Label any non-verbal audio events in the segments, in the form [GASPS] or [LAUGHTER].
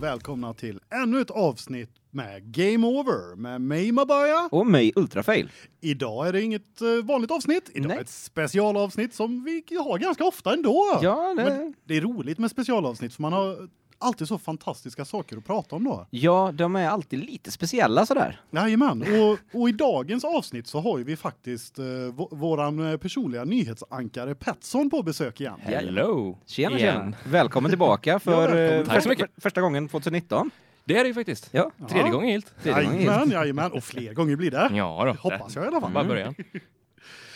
välkomna till ännu ett avsnitt med Game Over med mig Mabaya. Och mig Ultrafail. Idag är det inget eh, vanligt avsnitt, idag Nej. är ett specialavsnitt som vi har ganska ofta ändå. Ja, det- Men det är roligt med specialavsnitt för man har alltid så fantastiska saker att prata om då. Ja, de är alltid lite speciella sådär. Jajamän, och, och i dagens avsnitt så har ju vi faktiskt eh, vå- våran eh, personliga nyhetsankare Petson på besök igen. Hello! Tjena, Igen. tjena. Välkommen tillbaka för Ja, välkommen. eh, Tack så första- mycket. för- första gången 2019. Det är det ju faktiskt. Ja, Tredje gången gillt. tredje gången gillt. Jajamän, jajamän, och fler gånger blir det. Ja då. Hoppas jag i alla fall. Bara början.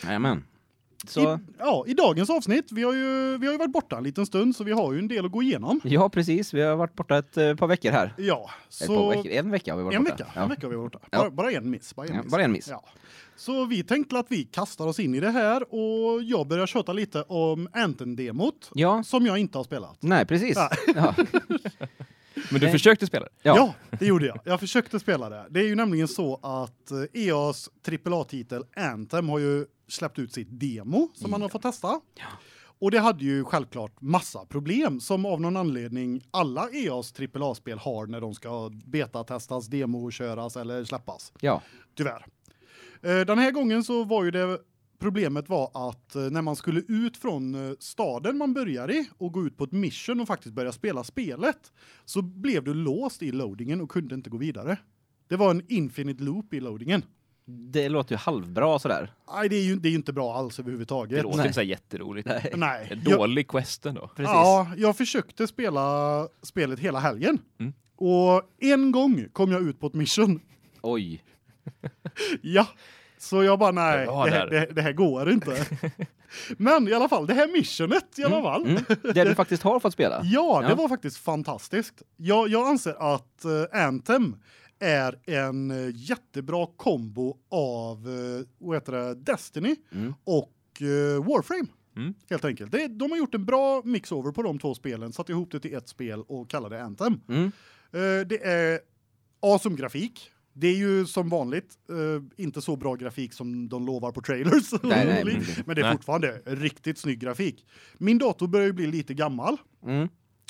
Jajamän. Så, I, ja, i dagens avsnitt, vi har, ju, vi har ju varit borta en liten stund så vi har ju en del att gå igenom. ja precis, vi har varit borta ett eh, par veckor här. Ja, Ett så... par veckor. En vecka har vi varit En borta. vecka, Ja. en vecka har vi varit borta. Ja. Bara, bara en miss. Bara en Ja, miss. bara en miss. Ja. Så vi tänkte att vi kastar oss in i det här och jag börjar köta lite om Anten-demot Ja, som jag inte har spelat. nej precis. Ja. Ja. Men du Nej. försökte spela det? Ja. Ja. det gjorde jag. Jag försökte spela det. Det är ju nämligen så att eh, EAs AAA-titel Anthem har ju släppt ut sitt demo som man har fått testa. Och det hade ju självklart massa problem som av någon anledning alla E EAs AAA-spel har när de ska betatestas, demo-köras eller släppas. ja. Tyvärr. Eh, Den här gången så var ju det problemet var att eh, när man skulle ut från eh, staden man börjar i och gå ut på ett mission och faktiskt börja spela spelet så blev du låst i loadingen och kunde inte gå vidare. Det var en infinite loop i loadingen. Det låter ju halvbra sådär. Nej, det är ju det är ju inte bra alls Det överhuvudtaget. låter Nej. inte så här jätteroligt. Nej. Det är Nej. jag- Dålig quest ändå. Precis. Ja, jag försökte spela spelet hela helgen. Mm. Och en gång kom jag ut på ett mission. Oj. Ja. Så jag bara nej, Bra det här, där. det, det här går inte. Men i alla fall, det här missionet i alla fall. Mm. Det du faktiskt har fått spela. Ja, det Ja. var faktiskt fantastiskt. Jag, jag anser att uh, Anthem är en eh, jättebra kombo av eh, vad heter det, Destiny Mm. och eh, Warframe. Mm. Helt enkelt. Det, de har gjort en bra mix-over på de två spelen, satt ihop det till ett spel och kallade det Anthem. Mm. Eh, det är awesome grafik. Det är ju som vanligt eh, inte så bra grafik som de lovar på trailers. Nej, [LAUGHS] nej, men- men det är Nej. fortfarande riktigt snygg grafik. Min dator börjar ju bli lite gammal. Mm.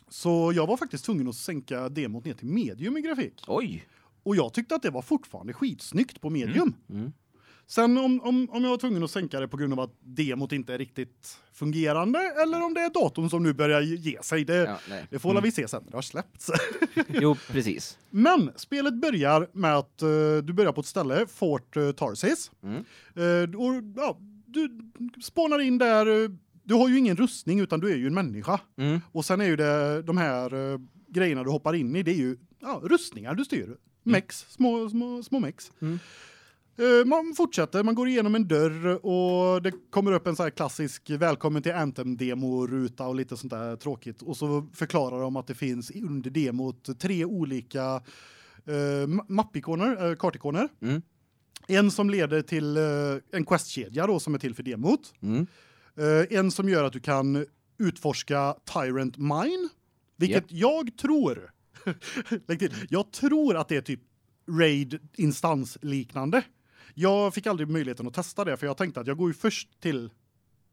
Så jag var faktiskt tvungen att sänka demot ner till medium i grafik. Oj. Och jag tyckte att det var fortfarande skitsnyggt på medium. Mm. Sen om, om, om jag var tvungen att sänka det på grund av att demot inte är riktigt fungerande eller om det är datorn som nu börjar ge sig, det, Ja, Mm. nej. det får väl vi se sen när det har släppts. Jo, precis. Men spelet börjar med att eh, du börjar på ett ställe, Fort eh, Tarsis. Mm. Eh, och, ja, du spånar in där, eh, du har ju ingen rustning utan du är ju en människa. Mm. Och sen är ju det de här eh, grejerna du hoppar in i, det är ju ja, rustningar du styr. Mex, små små små mex. Mm. Eh, man fortsätter, man går igenom en dörr och det kommer upp en så här klassisk välkommen till Anthem demo ruta och lite sånt där tråkigt och så förklarar de att det finns i- under demot tre olika eh, ma- mappikoner, eh, kartikoner. Mm. En som leder till eh, en questkedja då som är till för demot. Mm. Eh, en som gör att du kan utforska Tyrant Mine, vilket jag tror. [LAUGHS] Lägg till. Jag tror att det är typ raid instans liknande. Jag fick aldrig möjligheten att testa det för jag tänkte att jag går ju först till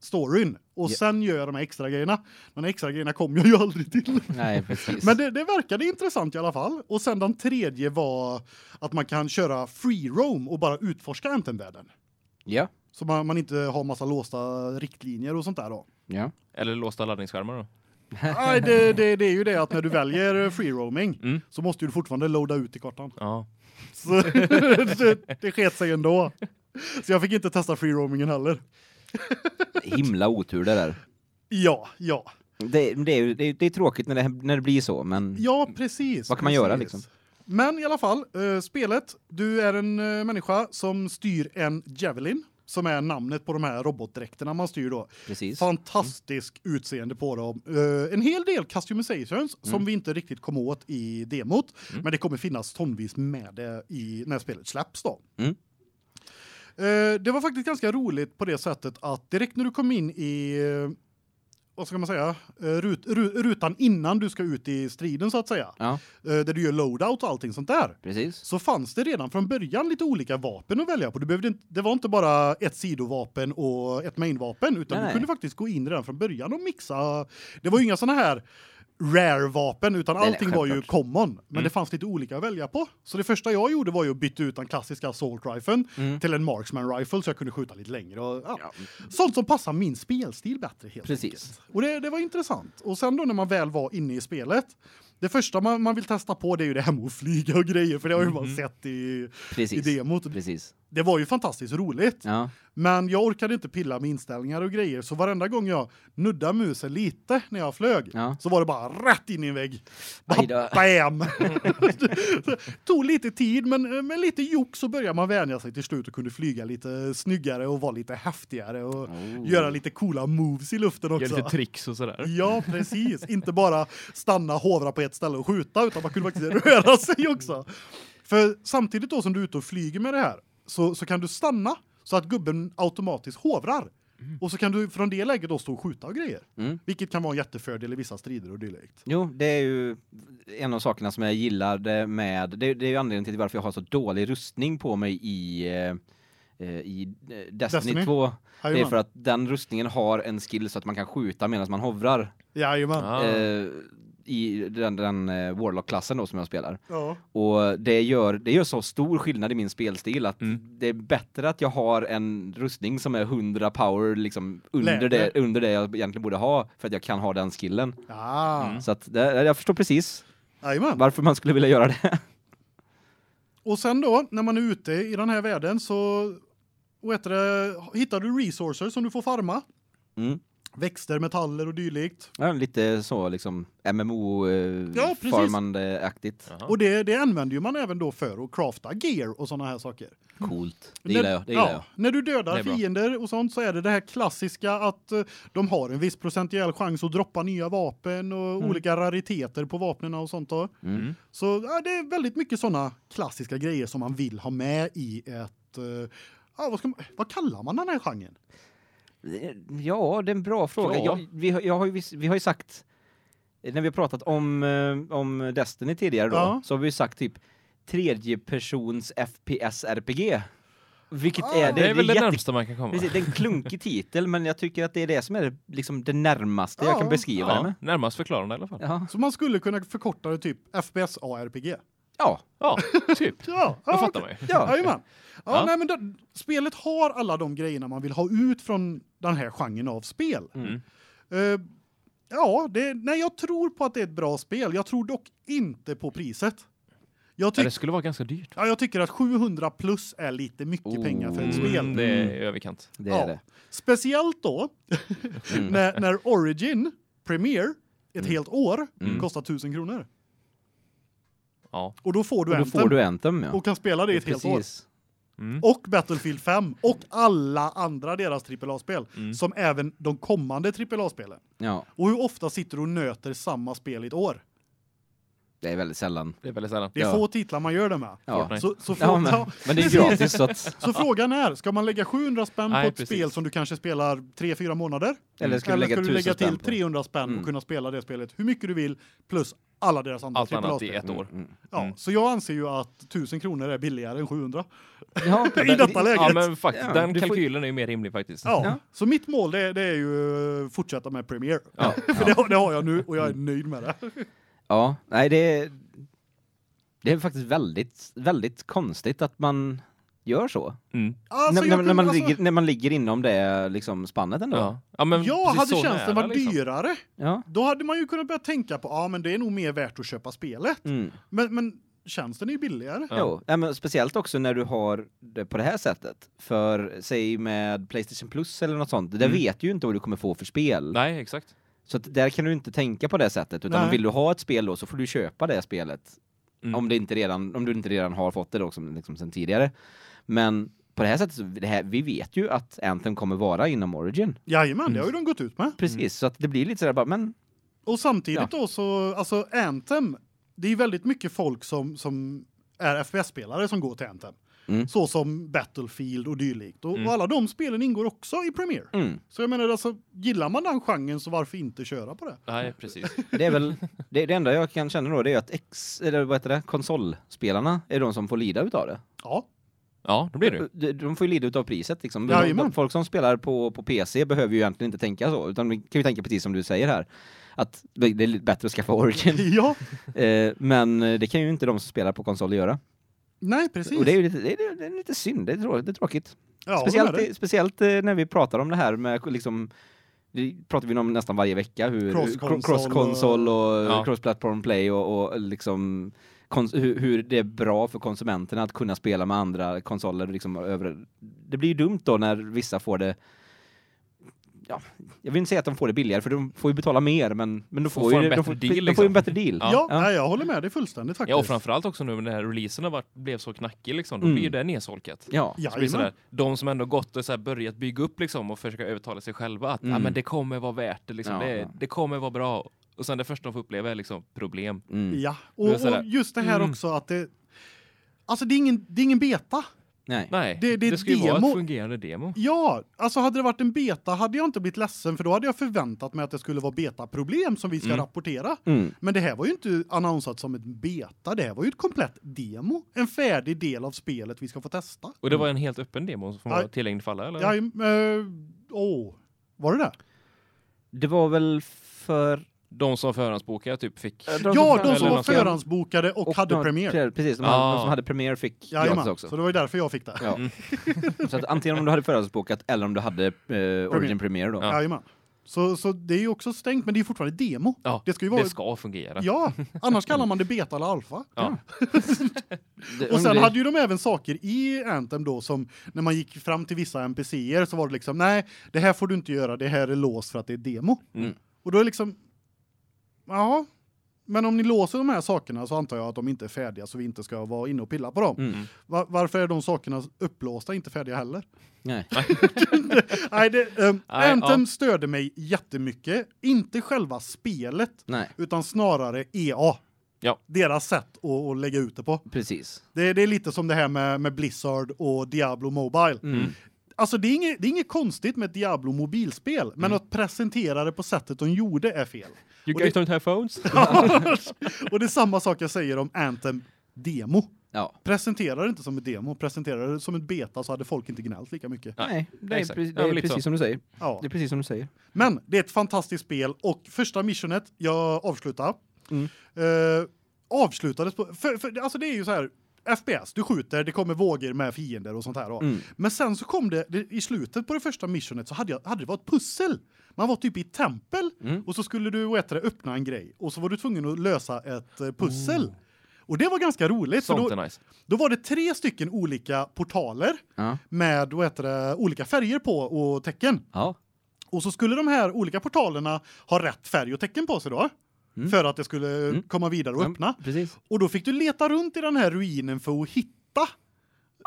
storyn och Ja. sen gör jag de här extra grejerna. Men de extra grejerna kom jag ju aldrig till. Nej, precis. Men det, det verkade intressant i alla fall. Och sen den tredje var att man kan köra free roam och bara utforska Anthem-världen. Ja. Så man, man inte har massa låsta riktlinjer och sånt där då. Ja. Eller låsta laddningsskärmar då. Nej, det, det, det är ju det att när du väljer eh, free roaming Mm. så måste du fortfarande loada ut i kartan. Ja. Så [LAUGHS] det, det sket sig ändå. Så jag fick inte testa free roamingen heller. Himla otur det där. Ja, ja. Det, det, är, ju- det, är- det är tråkigt när det, när det blir så, men Ja, precis. Vad kan man precis. göra, liksom? Men i alla fall, eh, spelet. Du är en eh, människa som styr en Javelin som är namnet på de här robotdräkterna man styr då. precis. Fantastisk utseende på dem. Eh, en hel del customizations som vi inte riktigt kom åt i demot, men det kommer finnas tonvis med det i när spelet släpps då. Mm. Eh, det var faktiskt ganska roligt på det sättet att direkt när du kom in i eh, vad ska man säga? Eh, Rut, ru, rutan innan du ska ut i striden så att säga. Ja, Eh, där du gör loadout och allting sånt där precis. så fanns det redan från början lite olika vapen att välja på. Du behövde inte, det var inte bara ett sidovapen och ett mainvapen utan Nej, du nej. kunde faktiskt gå in redan från början och mixa. Det var ju inga såna här rare-vapen utan Nej, nej, allting var ju självklart. common. Men Mm. det fanns lite olika att välja på. Så det första jag gjorde var ju att byta ut den klassiska assault riflen Mm. till en marksman rifle så jag kunde skjuta lite längre. Och, ja. Ja. Sånt som passar min spelstil bättre helt Precis. enkelt. Och det, det var intressant. Och sen då när man väl var inne i spelet. Det första man, man vill testa på det är ju det här med att flyga och grejer. För det har ju man Mhm. sett i, i Precis. demot. Precis. Det var ju fantastiskt roligt. Ja. Men jag orkade inte pilla med inställningar och grejer. Så varenda gång jag nuddade musen lite när jag flög. Ja. Så var det bara rätt in i en vägg. Aj Bara då. [LAUGHS] bam! [LAUGHS] tog lite tid men med lite jock så började man vänja sig till slut och kunde flyga lite snyggare och vara lite häftigare. Och Oh. göra lite coola moves i luften Gör lite också. tricks och sådär. Ja, precis. Inte bara stanna, hovra på ett ställe och skjuta, utan man kunde faktiskt röra sig också. För samtidigt då som du är ute och flyger med det här, så, så kan du stanna så att gubben automatiskt hovrar. Och så kan du från det läget då stå och skjuta och grejer. Mm. Vilket kan vara en jättefördel i vissa strider och dylikt. Jo, det är ju en av sakerna som jag gillade med, det, det är ju anledningen till varför jag har så dålig rustning på mig i, eh, eh, i eh, Destiny, Destiny? 2. Det är Jajamän. för att den rustningen har en skill så att man kan skjuta medan man hovrar. Jajamän. Ja. Ah. Eh, I den, den eh, Warlock-klassen då som jag spelar. Ja. Och det gör, det gör så stor skillnad i min spelstil att Mm. det är bättre att jag har en rustning som är 100 power liksom under, Läder. det, under det jag egentligen borde ha för att jag kan ha den skillen. Ja. Mm. Så att det, jag förstår precis Jajamän. varför man skulle vilja göra det. Och sen då, när man är ute i den här världen så vad heter det, hittar du resourcer som du får farma. Mm. Växter, metaller och dylikt. Ja, lite så liksom MMO eh, Ja, precis. farmande aktigt. Jaha. Och det, det använder ju man även då för att crafta gear och såna här saker. Coolt. Det gillar jag, det gillar Mm. ja, jag. När du Det dödar är bra. fiender och sånt så är det det här klassiska att eh, de har en viss procentuell chans att droppa nya vapen och Mm. olika rariteter på vapnen och sånt då. Mm. Så ja, det är väldigt mycket såna klassiska grejer som man vill ha med i ett eh, Ja, vad, ska man, vad kallar man den här genren? Eh, Ja, det är en bra fråga. Ja. Jag, vi, har- jag har ju, viss- vi har ju sagt, eh, när vi har pratat om, eh, om Destiny tidigare då, Ja. så har vi ju sagt typ tredjepersons FPS-RPG. Vilket Ah. är det? Det är väl det jätte- närmsta man kan komma. Precis, det är en klunkig titel, men jag tycker att det är det som är liksom det närmaste jag Ja. kan beskriva det Ja, med. närmast förklarande i alla fall. Ja, Så man skulle kunna förkorta det typ FPS ARPG. ja, Ja, typ. Ja, Då ja, fattar man ju. Ja, ja. jajamän. Ja, Ja. Nej, men då, spelet har alla de grejerna man vill ha ut från den här genren av spel. Mm. Eh, ja, det, nej, jag tror på att det är ett bra spel. Jag tror dock inte på priset. Jag, Ja, tyck, det skulle vara ganska dyrt. ja, jag tycker att 700 plus är lite mycket Oh. pengar för ett Mm. spel. Det är i överkant. det Ja. är det. Speciellt då Mm. [LAUGHS] när, när Origin Premiere ett helt år Mm. kostar 1000 kronor. Ja. Och då får du Och då Anthem får du Anthem, ja. och kan spela det i ett helt år. Precis. Mm. och Battlefield 5 och alla andra deras AAA-spel Mm. som även de kommande AAA-spelen. Ja, Och hur ofta sitter du och nöter samma spel i ett år? det är väldigt sällan. Det är väldigt sällan. Det är Ja. få titlar man gör det med. Ja. Fortnite. Så, så, frå- [LAUGHS] Ja, men, ja, men det är precis. gratis så att... [LAUGHS] så frågan är, ska man lägga 700 spänn Nej, på ett precis. spel som du kanske spelar 3-4 månader? Eller ska du Eller lägga ska du lägga 1000 till spänn på? 300 spänn Mm. och kunna spela det spelet hur mycket du vill plus alla deras andra Allt annat i AAA-spel? ett år. Mm. Ja, Mm. så jag anser ju att 1000 kronor är billigare än 700. Ja, [LAUGHS] I detta läget. Ja, men faktiskt. Ja, den du får- kalkylen är ju mer rimlig faktiskt. Ja. Ja. Så mitt mål det, det är ju eh, fortsätta med Premiere. Ja. [LAUGHS] För det, har- det har jag nu och jag är nöjd med det. Ja, nej det är, det är faktiskt väldigt, väldigt konstigt att man gör så. Mm. Alltså, när, jag när, när, man kunde- alltså, ligger, när man ligger inom det liksom, spannet ändå. Ja. Ja. Ja, men ja, precis hade så tjänsten nära, varit liksom. dyrare, då hade man ju kunnat börja tänka på, ja men det är nog mer värt att köpa spelet. Mm. Men, men tjänsten är ju billigare. Ja. Jo, nej, men speciellt också när du har det på det här sättet. För säg med Playstation Plus eller något sånt, där Mm. vet du ju inte vad du kommer få för spel. Nej, exakt. Så att där kan du inte tänka på det sättet, utan Nej. vill du ha ett spel då så får du köpa det spelet. Mm. Om, det inte redan, om du inte redan har fått det då, som, liksom sen tidigare. Men på det här sättet, så, det här, vi vet ju att Anthem kommer vara inom Origin. Jajamän, det har Mm. ju de gått ut med. Precis, så att det blir lite sådär bara, men Och samtidigt då så, alltså Anthem, det är ju väldigt mycket folk som, som är FPS-spelare som går till Anthem. Mm. Så som Battlefield och dylikt. Och, Mm. och alla de spelen ingår också i Premiere. mm, Så jag menar alltså, gillar man den genren så varför inte köra på det? Nej, precis. det är väl, det, det enda jag kan känna då det är att ex, eller vad heter det, konsolspelarna är de som får lida utav det. Ja, Ja, då [LAUGHS] blir det ju. De, de får ju lida av priset liksom. De, Jajamän. de, folk som spelar på, på PC behöver ju egentligen inte tänka så, utan vi kan ju tänka precis som du säger här. Att det det är lite bättre att skaffa Origin. [LAUGHS] Ja, Eh, men det kan ju inte de som spelar på konsol göra. nej precis. Och det är ju lite, det är, det är lite synd, det är, trå, det är tråkigt. ja, håller med speciellt, dig. speciellt eh, när vi pratar om det här med liksom det pratar vi om nästan varje vecka hur Cross-konsol cro- cross-konsol och, Ja. cross-platform play och, och liksom kons- hur, hur det är bra för konsumenterna att kunna spela med andra konsoler liksom över det blir ju dumt då när vissa får det ja, jag vill inte säga att de får det billigare för de får ju betala mer men men de Får- får, får ju en de bättre får, deal, de får liksom. ju en bättre deal. Ja, Ja. Nej, jag håller med dig fullständigt faktiskt. Ja, och framförallt också nu när den här releasen har varit, blev så knackig liksom, då Mm. blir ju det nedsolkat. Ja. Ja, Så blir det sådär, de som ändå gått och såhär börjat bygga upp liksom och försöka övertala sig själva att Mm. ah, men det kommer vara värt det, liksom. Ja, det, ja. det kommer vara bra. Och sen det första de får uppleva är liksom problem. Mm. Ja, Det och, är sådär, och just det här mm. också att det Alltså det är ingen det är ingen beta. Nej. Nej, Det- det är ska ju vara demo. ett fungerande demo. Ja, alltså hade det varit en beta hade jag inte blivit ledsen för då hade jag förväntat mig att det skulle vara betaproblem som vi ska Mm. rapportera. Mm. Men det här var ju inte annonsat som ett beta, det här var ju ett komplett demo, en färdig del av spelet vi ska få testa. Och det var en helt öppen demo som Ja. var tillgänglig för alla, eller? Ja, eh, åh, var det det? Det var väl för De som förhandsbokade typ fick... Ja, de eller som var någon som- förhandsbokade och, hade de- premiär. pre- Precis, de, Ah. hade, de som hade premiär fick gratis Jajamän, också. så det var ju därför jag fick det. Ja. Mm. [LAUGHS] så att antingen om du hade förhandsbokat eller om du hade eh, Origin Premiere då. Ja. Jajamän. Så, så det är ju också stängt, men det är ju fortfarande demo. Ja, Det ska ju vara- det ska fungera. Ja, annars kallar man det beta eller alfa. Ja. Det- Och sen det- hade ju de även saker i Anthem då som när man gick fram till vissa NPCer så var det liksom nej, det här får du inte göra, det här är låst för att det är demo. Mm. Och då är det liksom ja, men om ni låser de här sakerna så antar jag att de inte är färdiga så vi inte ska vara inne och pilla på dem. Mm. Va- varför är de sakerna upplåsta inte färdiga [LAUGHS] heller? Nej. nej, det ehm, Nej, Anthem ja. störde mig jättemycket, inte själva spelet Nej, utan snarare EA. Ja. Deras sätt att, att lägga ut det på. precis. Det, det är lite som det här med, med Blizzard och Diablo Mobile. Mm. Alltså det är, inget, det är inget konstigt med ett Diablo mobilspel, Mm. men att presentera det på sättet de gjorde är fel. You Och guys don't have phones? [LAUGHS] och det är samma sak jag säger om Anthem demo. Ja. Presentera det inte som ett demo, presentera det som ett beta så hade folk inte gnällt lika mycket. Nej, Nej, det är, exakt. precis, Ja, det är men lite precis så. som du säger. Ja. Det är precis som du säger. Men det är ett fantastiskt spel och första missionet jag avslutar. Mm. Eh, avslutades på för, för alltså det är ju så här FPS, du skjuter, det kommer vågor med fiender och sånt här då. Mm. Men sen så kom det, det i slutet på det första missionet så hade jag hade det varit ett pussel. Man var typ i ett tempel Mm. och så skulle du vad heter det, öppna en grej och så var du tvungen att lösa ett eh, pussel. Och det var ganska roligt för [LAUGHS] Sånt då, är nice. då var det tre stycken olika portaler Ja. med vad heter det, olika färger på och tecken. Ja. Och så skulle de här olika portalerna ha rätt färg och tecken på sig då. Mm. För att det skulle Mm. komma vidare och Ja, öppna. Precis. Och då fick du leta runt i den här ruinen för att hitta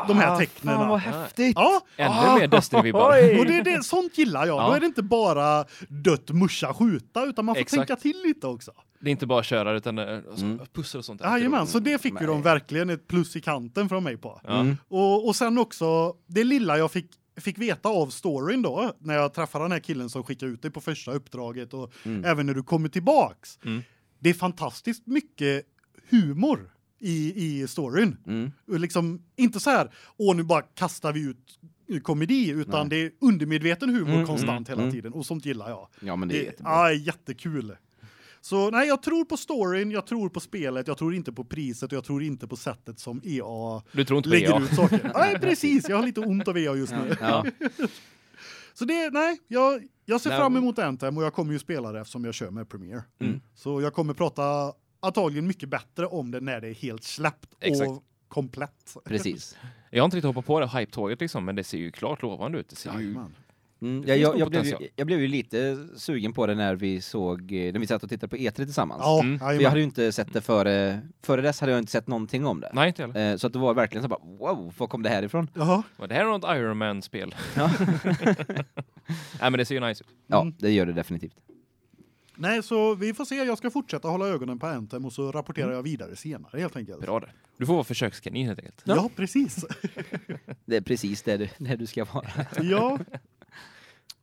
de Ah, här tecknen. Ah, Fan vad häftigt! Ja, Ah. Ännu mer Destiny-vibbar. Oj. och det, det, sånt gillar jag. Ja. Då är det inte bara dött, muscha, skjuta, utan man får Exakt. tänka till lite också. Det är inte bara köra utan eh, alltså, Mm. pussel och sånt. är alltid Jajamän, roligt. så det fick ju de Nej. verkligen ett plus i kanten från mig på. Ja. Mm. Och, och sen också, det lilla jag fick fick veta av storyn då när jag träffade den här killen som skickade ut dig på första uppdraget och Mm. även när du kommer tillbaks. Mm. Det är fantastiskt mycket humor i i storyn. Mm. Och liksom inte så här åh nu bara kastar vi ut komedi utan Nej. det är undermedveten humor Mm, konstant mm, hela mm. tiden och sånt gillar jag. Ja, men det är jättebra. ja, jättekul. Så nej, jag tror på storyn, jag tror på spelet, jag tror inte på priset och jag tror inte på sättet som E EA Du tror inte på lägger EA? ut [LAUGHS] saker. Nej, precis. Jag har lite ont av EA just nu. Ja. Ja. Så det, nej, jag, jag ser Nej, fram men- emot Anthem och jag kommer ju spela det eftersom jag kör med Premiere. Mm. Så jag kommer prata antagligen mycket bättre om det när det är helt släppt Exakt. och komplett. [LAUGHS] Precis. Jag har inte riktigt hoppat på det hype-tåget liksom, men det ser ju klart lovande ut. Det ser ju... Jajamän. Mm, jag, Det finns jag, nog jag, blev ju, potential. jag blev ju lite sugen på det när vi såg, eh, när vi satt och tittade på E3 tillsammans. Ja, Mm. För jag jajamän. Alltså, hade ju inte sett det före, före dess hade jag inte sett någonting om det. Nej, inte heller. Eh, Så att det var verkligen så bara, wow, var kom det här ifrån? Jaha. Men Det här är något Iron Man-spel. Ja. [LAUGHS] Nej, men det ser ju nice ut. Ja, Mm. det gör det definitivt. Nej, så vi får se. Jag ska fortsätta hålla ögonen på Anthem och så Mm. rapporterar jag vidare senare helt enkelt. Bra där. Du får vara försökskanin helt enkelt. Ja, [LAUGHS] precis. Det är precis där du, där du ska vara. ja.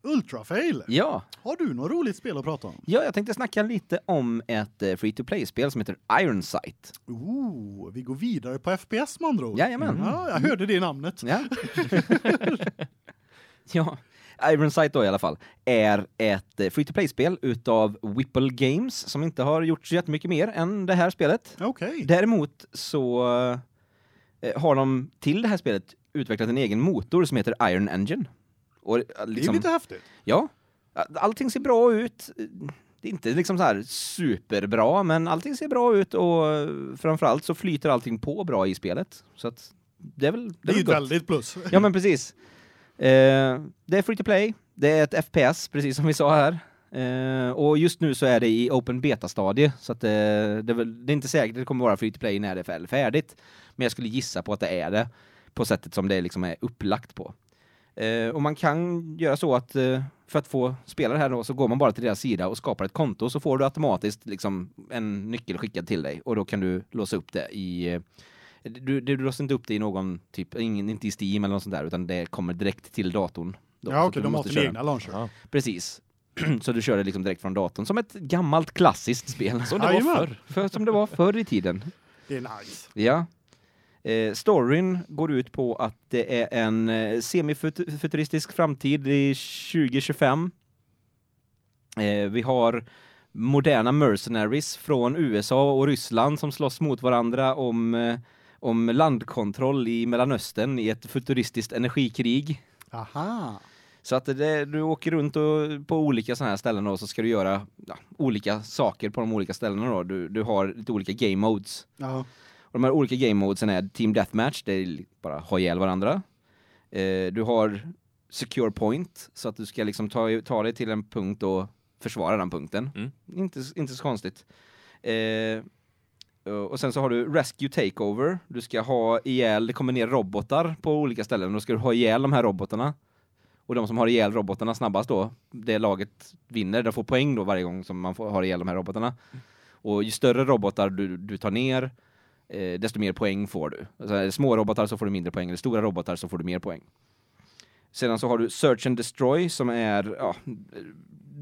Ultrafail. [LAUGHS] Ja. Har du något roligt spel att prata om? ja, jag tänkte snacka lite om ett free to play-spel som heter Iron Sight. Oh, vi går vidare på FPS med andra ord. Mm. Jajamän. Ja, jag hörde det i namnet. Ja. [LAUGHS] ja. Ironsight då i alla fall, är ett free to play-spel utav Whipple Games som inte har gjort så jättemycket mer än det här spelet. Okej. Däremot så eh, har de till det här spelet utvecklat en egen motor som heter Iron Engine. Och, eh, Det är liksom, lite häftigt. ja, allting ser bra ut. Det är inte liksom så här superbra, men allting ser bra ut och eh, framförallt så flyter allting på bra i spelet. Så att det är väl Det är väl ju ett gott. väldigt plus. Ja, men precis. Eh, det är free to play, det är ett FPS, precis som vi sa här. Eh, och just nu så är det i open beta-stadie, så att, eh, det, är väl, det är inte säkert att det kommer vara free to play när det är fär- färdigt. Men jag skulle gissa på att det är det, på sättet som det liksom är upplagt på. Eh, och man kan göra så att eh, för att få spela det här då, så går man bara till deras sida och skapar ett konto, så får du automatiskt liksom, en nyckel skickad till dig. Och då kan du låsa upp det i... eh, Du, du låser inte upp det i någon typ, ingen, inte i Steam eller något sånt där, utan det kommer direkt till datorn. då, [LAUGHS] så Ja, att okej, du de har måste sin köra. egna launcher. Ja. Precis. [CLEARS THROAT] så du kör det liksom direkt från datorn, som ett gammalt klassiskt spel. Som det var Jajamän. förr. [LAUGHS] För, som det var förr i tiden. Det är nice. Ja. Eh, storyn går ut på att det är en eh, semifuturistisk framtid i 2025. Eh, vi har moderna mercenaries från USA och Ryssland som slåss mot varandra om, eh, om landkontroll i Mellanöstern i ett futuristiskt energikrig. Aha. Så att det, du åker runt och, på olika sådana här ställen och så ska du göra ja, olika saker på de olika ställena då. Du, du har lite olika game modes. Ja. Och de här olika game modesen är Team Deathmatch, det är bara ha ihjäl varandra. Eh, du har Secure Point, så att du ska liksom ta, ta dig till en punkt och försvara den punkten. Mm. Inte, inte så konstigt. Eh, och sen så har du Rescue Takeover. Du ska ha ihjäl, det kommer ner robotar på olika ställen. Då ska du ha ihjäl de här robotarna. Och de som har ihjäl robotarna snabbast då, det laget vinner. De får poäng då varje gång som man får, har ihjäl de här robotarna. Och ju större robotar du, du tar ner, eh, desto mer poäng får du. Alltså, är det små robotar så får du mindre poäng, eller stora robotar så får du mer poäng. Sedan så har du Search and Destroy som är, ja,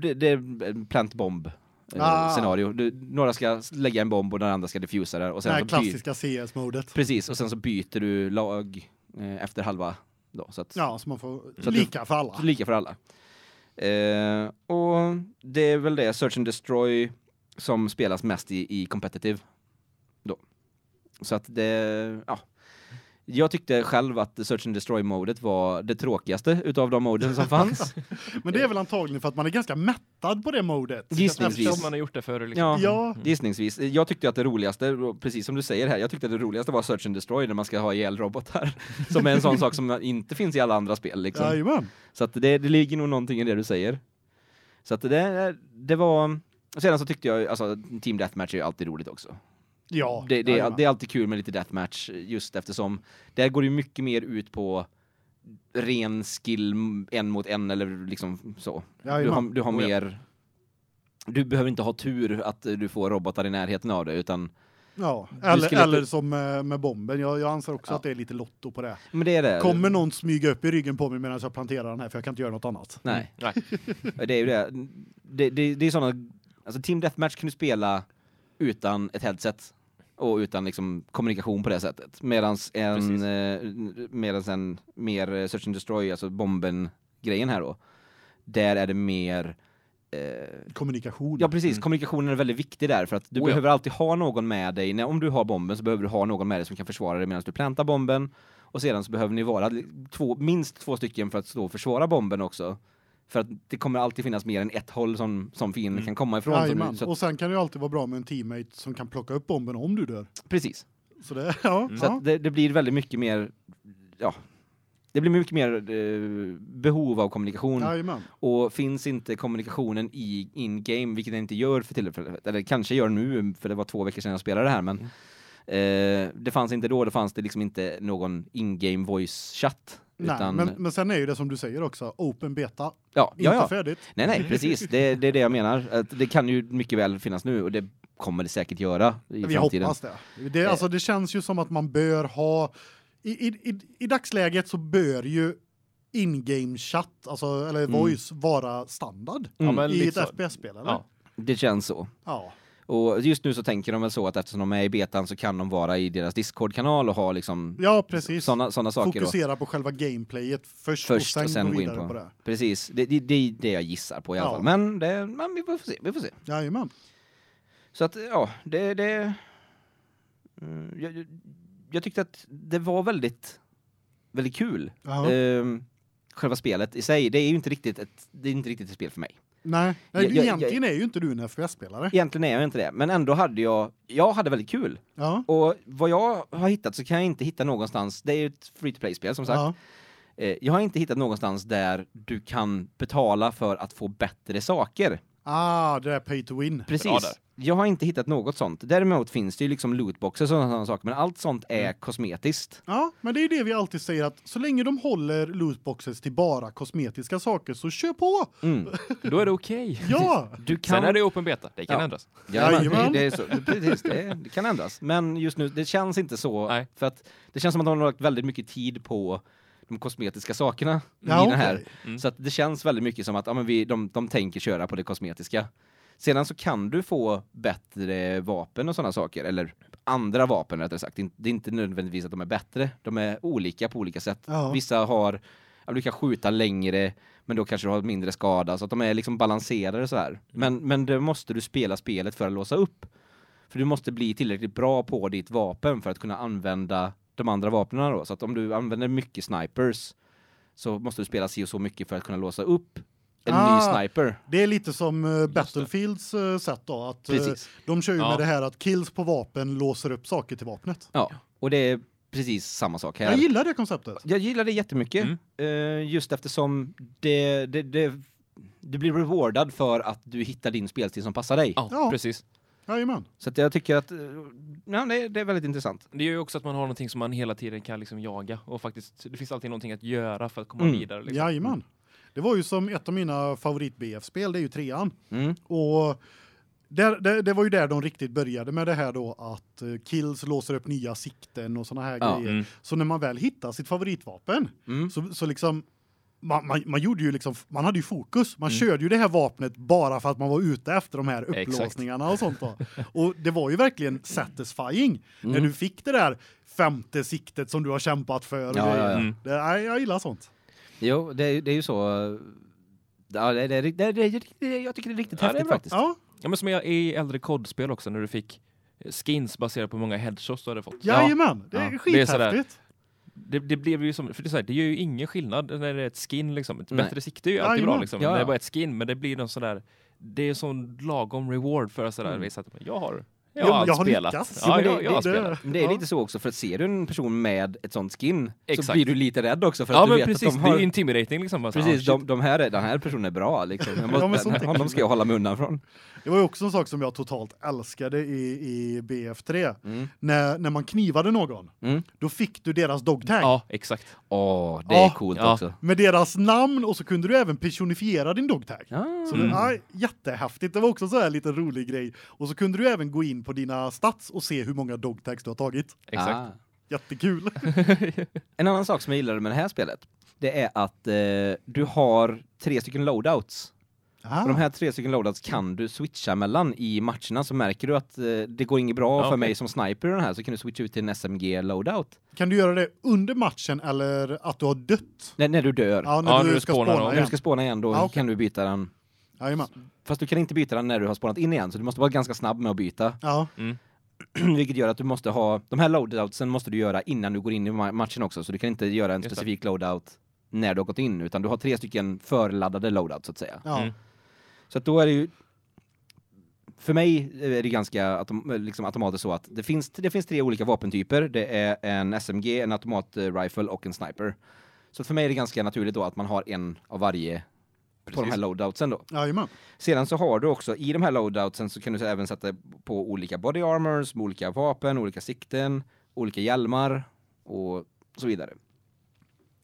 det, det är en plantbomb eh, Ah. scenario. Du, några ska lägga en bomb och den andra ska diffusa det. Och Det sen här så by, klassiska CS-modet. precis, och sen så byter du lag eh, efter halva då. Så att, Ja, så man får Så att du- lika för alla. Lika för alla. Eh, och det är väl det, Search and Destroy, som spelas mest i, i competitive. Då. Så att det, ja. Jag tyckte själv att Search and Destroy-modet var det tråkigaste utav de moden som fanns. Men det är väl antagligen för att man är ganska mättad på det modet. Gissningsvis. Eftersom Eftersom- man har gjort det förr. Liksom. Ja, Ja. Mm. gissningsvis. Jag tyckte att det roligaste, och precis som du säger här, jag tyckte att det roligaste var Search and Destroy när man ska ha ihjäl robotar. [LAUGHS] Som är en sån sak som inte finns i alla andra spel liksom. Jajamän. Så att det, det ligger nog någonting i det du säger. Så att det, det var... och Sedan så tyckte jag, alltså Team Deathmatch är ju alltid roligt också. Ja. Det, det, är, jajamän. det är alltid kul med lite Deathmatch just eftersom där går det ju mycket mer ut på ren skill m- en mot en eller liksom så. Du har, Jajamän. du har Oh ja. mer... Du behöver inte ha tur att eh, du får robotar i närheten av dig utan... Ja. du Eller, skulle- eller som eh, med bomben. Jag, jag anser också Ja. att det är lite lotto på det. Men det är det. Kommer någon smyga upp i ryggen på mig medan jag planterar den här för jag kan inte göra något annat. Nej. Nej. [LAUGHS] det är ju det. Det, det, det är sådana... Alltså Team Deathmatch kan du spela utan ett headset och utan liksom kommunikation på det sättet. Medan en, Precis. eh, medans en mer eh, Search and Destroy, alltså bomben-grejen här då, där är det mer... Eh, Kommunikation. Ja precis, Mm. kommunikationen är väldigt viktig där för att du Oh ja. behöver alltid ha någon med dig. När, om du har bomben så behöver du ha någon med dig som kan försvara dig medan du plantar bomben. Och sedan så behöver ni vara li- två, minst två stycken för att stå och försvara bomben också. För att det kommer alltid finnas mer än ett håll som, som fienden Mm. kan komma ifrån. Så Jajamän. du, så att, Och sen kan det ju alltid vara bra med en teammate som kan plocka upp bomben om du dör. precis. Så det, [LAUGHS] ja. Mm. Så ja. att det, det blir väldigt mycket mer, ja, det blir mycket mer eh, behov av kommunikation. Jajamän. Och finns inte kommunikationen i in-game, vilket den inte gör för tillfället, eller kanske gör nu, för det var två veckor sedan jag spelade det här, men eh, det fanns inte då, det fanns det liksom inte någon in-game voice-chatt. Nej, utan, men, men sen är ju det som du säger också, open beta, ja, inte ja, ja. färdigt. Nej, nej, precis. Det, det är det jag menar. Att det kan ju mycket väl finnas nu och det kommer det säkert göra i Vi framtiden. hoppas det. Det, alltså, det känns ju som att man bör ha... I, i, i, I dagsläget så bör ju in-game-chatt, alltså, eller voice, vara standard Mm. men i lite ett så. FPS-spel, eller? Ja. Det känns så. Ja. Och just nu så tänker de väl så att eftersom de är i betan så kan de vara i deras Discord-kanal och ha liksom ja, precis. sådana såna saker. då. Fokusera på själva gameplayet först, Först och sen gå gå in vidare på, på. det. Precis, det, det, det är det jag gissar på i alla Ja. fall. Men, det, men vi får se, vi får se. Jajamän. Så att, ja, det... det Mm, jag, jag- jag tyckte att det var väldigt, väldigt kul. Ja. Ehm, själva spelet i sig, det är ju inte riktigt ett, det är inte riktigt ett spel för mig. Nej, Nej jag- du, jag- egentligen är ju inte du en FPS-spelare. Egentligen är jag inte det, men ändå hade jag, jag hade väldigt kul. Ja. Och vad jag har hittat så kan jag inte hitta någonstans, det är ju ett free to play-spel som sagt. Ja. Eh, jag har inte hittat någonstans där du kan betala för att få bättre saker. Ah, det där pay to win. Bra där. Precis. Jag har inte hittat något sånt. Däremot finns det ju liksom lootboxes och sådana saker, men allt sånt är Mm. kosmetiskt. Ja, men det är ju det vi alltid säger att så länge de håller lootboxes till bara kosmetiska saker så kör på. Mm. Då är det okej. Ja. Du kan... Sen är det open beta, det kan Ja. ändras. Ja, men Jajamän. det, det, är så, det, precis, det, det kan ändras. Men just nu, det känns inte så. Nej. För att det känns som att de har lagt väldigt mycket tid på de kosmetiska sakerna Ja, i den här. okej. Mm. Så att det känns väldigt mycket som att ja, men vi, de, de tänker köra på det kosmetiska. Sedan så kan du få bättre vapen och sådana saker, eller andra vapen rättare sagt. Det är inte- det är inte nödvändigtvis att de är bättre, de är olika på olika sätt. Ja. Vissa har, ja, du kan skjuta längre, men då kanske du har mindre skada, så att de är liksom balanserade så här. Men, men det måste du spela spelet för att låsa upp. För du måste bli tillräckligt bra på ditt vapen för att kunna använda de andra vapnen då. Så att om du använder mycket snipers så måste du spela si och så mycket för att kunna låsa upp en ny Ah. sniper. Det är lite som eh, det. Battlefields eh, sätt då att eh, Precis. de kör ju Ja. med det här att kills på vapen låser upp saker till vapnet. Ja, och det är precis samma sak här. Jag gillar det konceptet. Jag gillar det jättemycket. Mm. Eh, just eftersom det, det, det, du blir rewardad för att du hittar din spelstil som passar dig. Ja, Ja. precis. Jajamän. Så att jag tycker att eh, ja, det, det är väldigt intressant. Det är ju också att man har någonting som man hela tiden kan liksom jaga och faktiskt, det finns alltid någonting att göra för att komma Mm. vidare. Liksom. Jajamän. Det var ju som ett av mina favorit BF-spel, det är ju trean. Mm. Och där, det, det var ju där de riktigt började med det här då att eh, kills låser upp nya sikten och såna här Ja. grejer. Mm. Så när man väl hittar sitt favoritvapen Mm. så, så liksom man, man, man gjorde ju liksom, man hade ju fokus. Mm. Man körde ju det här vapnet bara för att man var ute efter de här Exakt. upplåsningarna och sånt då. Och det var ju verkligen satisfying Mm. när du fick det där femte siktet som du har kämpat för. och Ja, grejer. ja, ja. Mm. Det, nej, jag gillar sånt. Jo, det, är- det är ju så. eh, Ja, det, det, det, det, det, det, jag tycker det är riktigt Ja, det är häftigt bra. faktiskt. Ja, Ja, men som jag är i äldre kodspel också, när du fick eh, skins baserat på hur många headshots du hade fått. jajamän. Det Ja. är Det är skithäftigt. sådär. Det, det blev ju som, för det, är så här, det gör ju ingen skillnad när det är ett skin liksom. Ett Nej. bättre sikte är ju alltid bra Jajamän. liksom, Ja, när det ja. bara är ett skin, men det blir någon sådär, det är sån lagom reward för att sådär Mm. visa att jag har, jag Jo, men har, jag har spelat. lyckats. Ja, Jo, men jag, jag har det- spelat. Men det är Ja. lite så också, för att ser du en person med ett sånt skin så Exakt. blir du lite rädd också för att Ja, du men vet precis. att de har... Det är ju intimidating liksom. Bara så, ah, Precis, shit. de, de här, är- den här personen är bra liksom. Jag Ja, men måste, sånt tycker honom jag. ska jag hålla mig undan från. Det var ju också en sak som jag totalt älskade i, i BF3. När, när man knivade någon, Mm. då fick du deras dogtag. Ja, exakt. Åh, det Ja. är coolt Ja. också. Med deras namn och så kunde du även personifiera din dogtag. Ja. Så Mm. det, ja, jättehäftigt. Det var också så här lite rolig grej. Och så kunde du även gå in på dina stats och se hur många dogtags du har tagit. Exakt. Ah. Jättekul. En annan sak som jag gillade med det här spelet, det är att eh, du har tre stycken loadouts. Och Ah. de här tre stycken loadouts kan du switcha mellan i matcherna, så märker du att eh, det går inget bra Ja, för okej. mig som sniper i den här, så kan du switcha ut till en SMG-loadout. Kan du göra det under matchen eller att du har dött? När, när du dör. Ja, när Ja, du när du ska spånar spåna någon. När du igen. ska spåna igen, då Ah, Ja, Ah, okej. kan du byta den. Jajamän. Fast du kan inte byta den när du har spånat in igen, så du måste vara ganska snabb med att byta. [CLEARS THROAT] Ja, Vilket gör att du måste ha, de här loadoutsen måste du göra innan du går in i ma- matchen också, så du kan inte göra en Just det. specifik loadout när du har gått in, utan du har tre stycken förladdade loadouts så att säga. ja. Mm. Så att då är det ju, för mig är det ganska autom liksom automatiskt så att det finns, det finns tre olika vapentyper, det är en SMG, en automatrifle och en sniper. Så för mig är det ganska naturligt då att man har en av varje på de Precis. här loadoutsen då. Jajamän. Sedan så har du också, i de här loadoutsen så kan du så även sätta på olika body armors, med olika vapen, olika sikten, olika hjälmar och så vidare.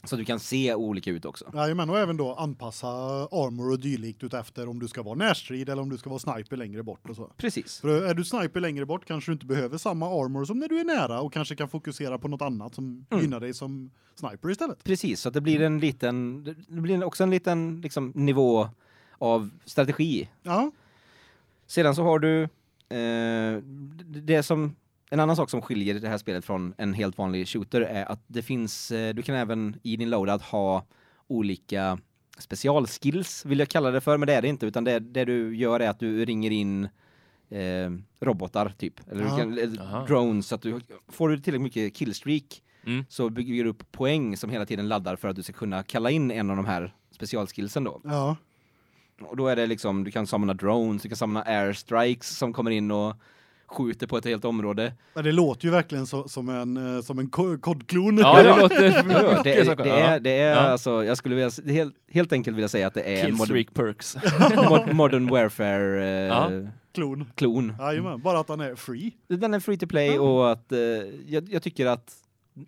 Så att du kan se olika ut också. Jajamän, och även då anpassa armor och dylikt utefter om du ska vara närstrid eller om du ska vara sniper längre bort och så. Precis. För är du sniper längre bort kanske du inte behöver samma armor som när du är nära och kanske kan fokusera på något annat som Mm. gynnar dig som sniper istället. Precis, så att det blir en liten det blir också en liten liksom nivå av strategi. Ja, Sedan så har du eh, det det som en annan sak som skiljer det här spelet från en helt vanlig shooter är att det finns eh, du kan även i din loadout ha olika specialskills vill jag kalla det för men det är det inte utan det det du gör är att du ringer in eh, robotar typ eller du Ja. kan, eller Aha. drones så att du får du tillräckligt mycket killstreak Mm. så bygger du upp poäng som hela tiden laddar för att du ska kunna kalla in en av de här specialskillsen då. ja, Och då är det liksom, du kan samla drones, du kan samla airstrikes som kommer in och skjuter på ett helt område. men det låter ju verkligen så, som en eh, som en ko- kodklon. Ja, det låter [LAUGHS] Det, mycket är- saker. det är, Ja. det är Ja. alltså, jag skulle vilja, s- helt, helt enkelt vilja säga att det Eh, är en modern, Killstreak perks. [LAUGHS] mod, modern warfare eh, Ja. Klon. klon. Jajamän, bara att han är free. Den är free to play och att eh, jag, jag tycker att,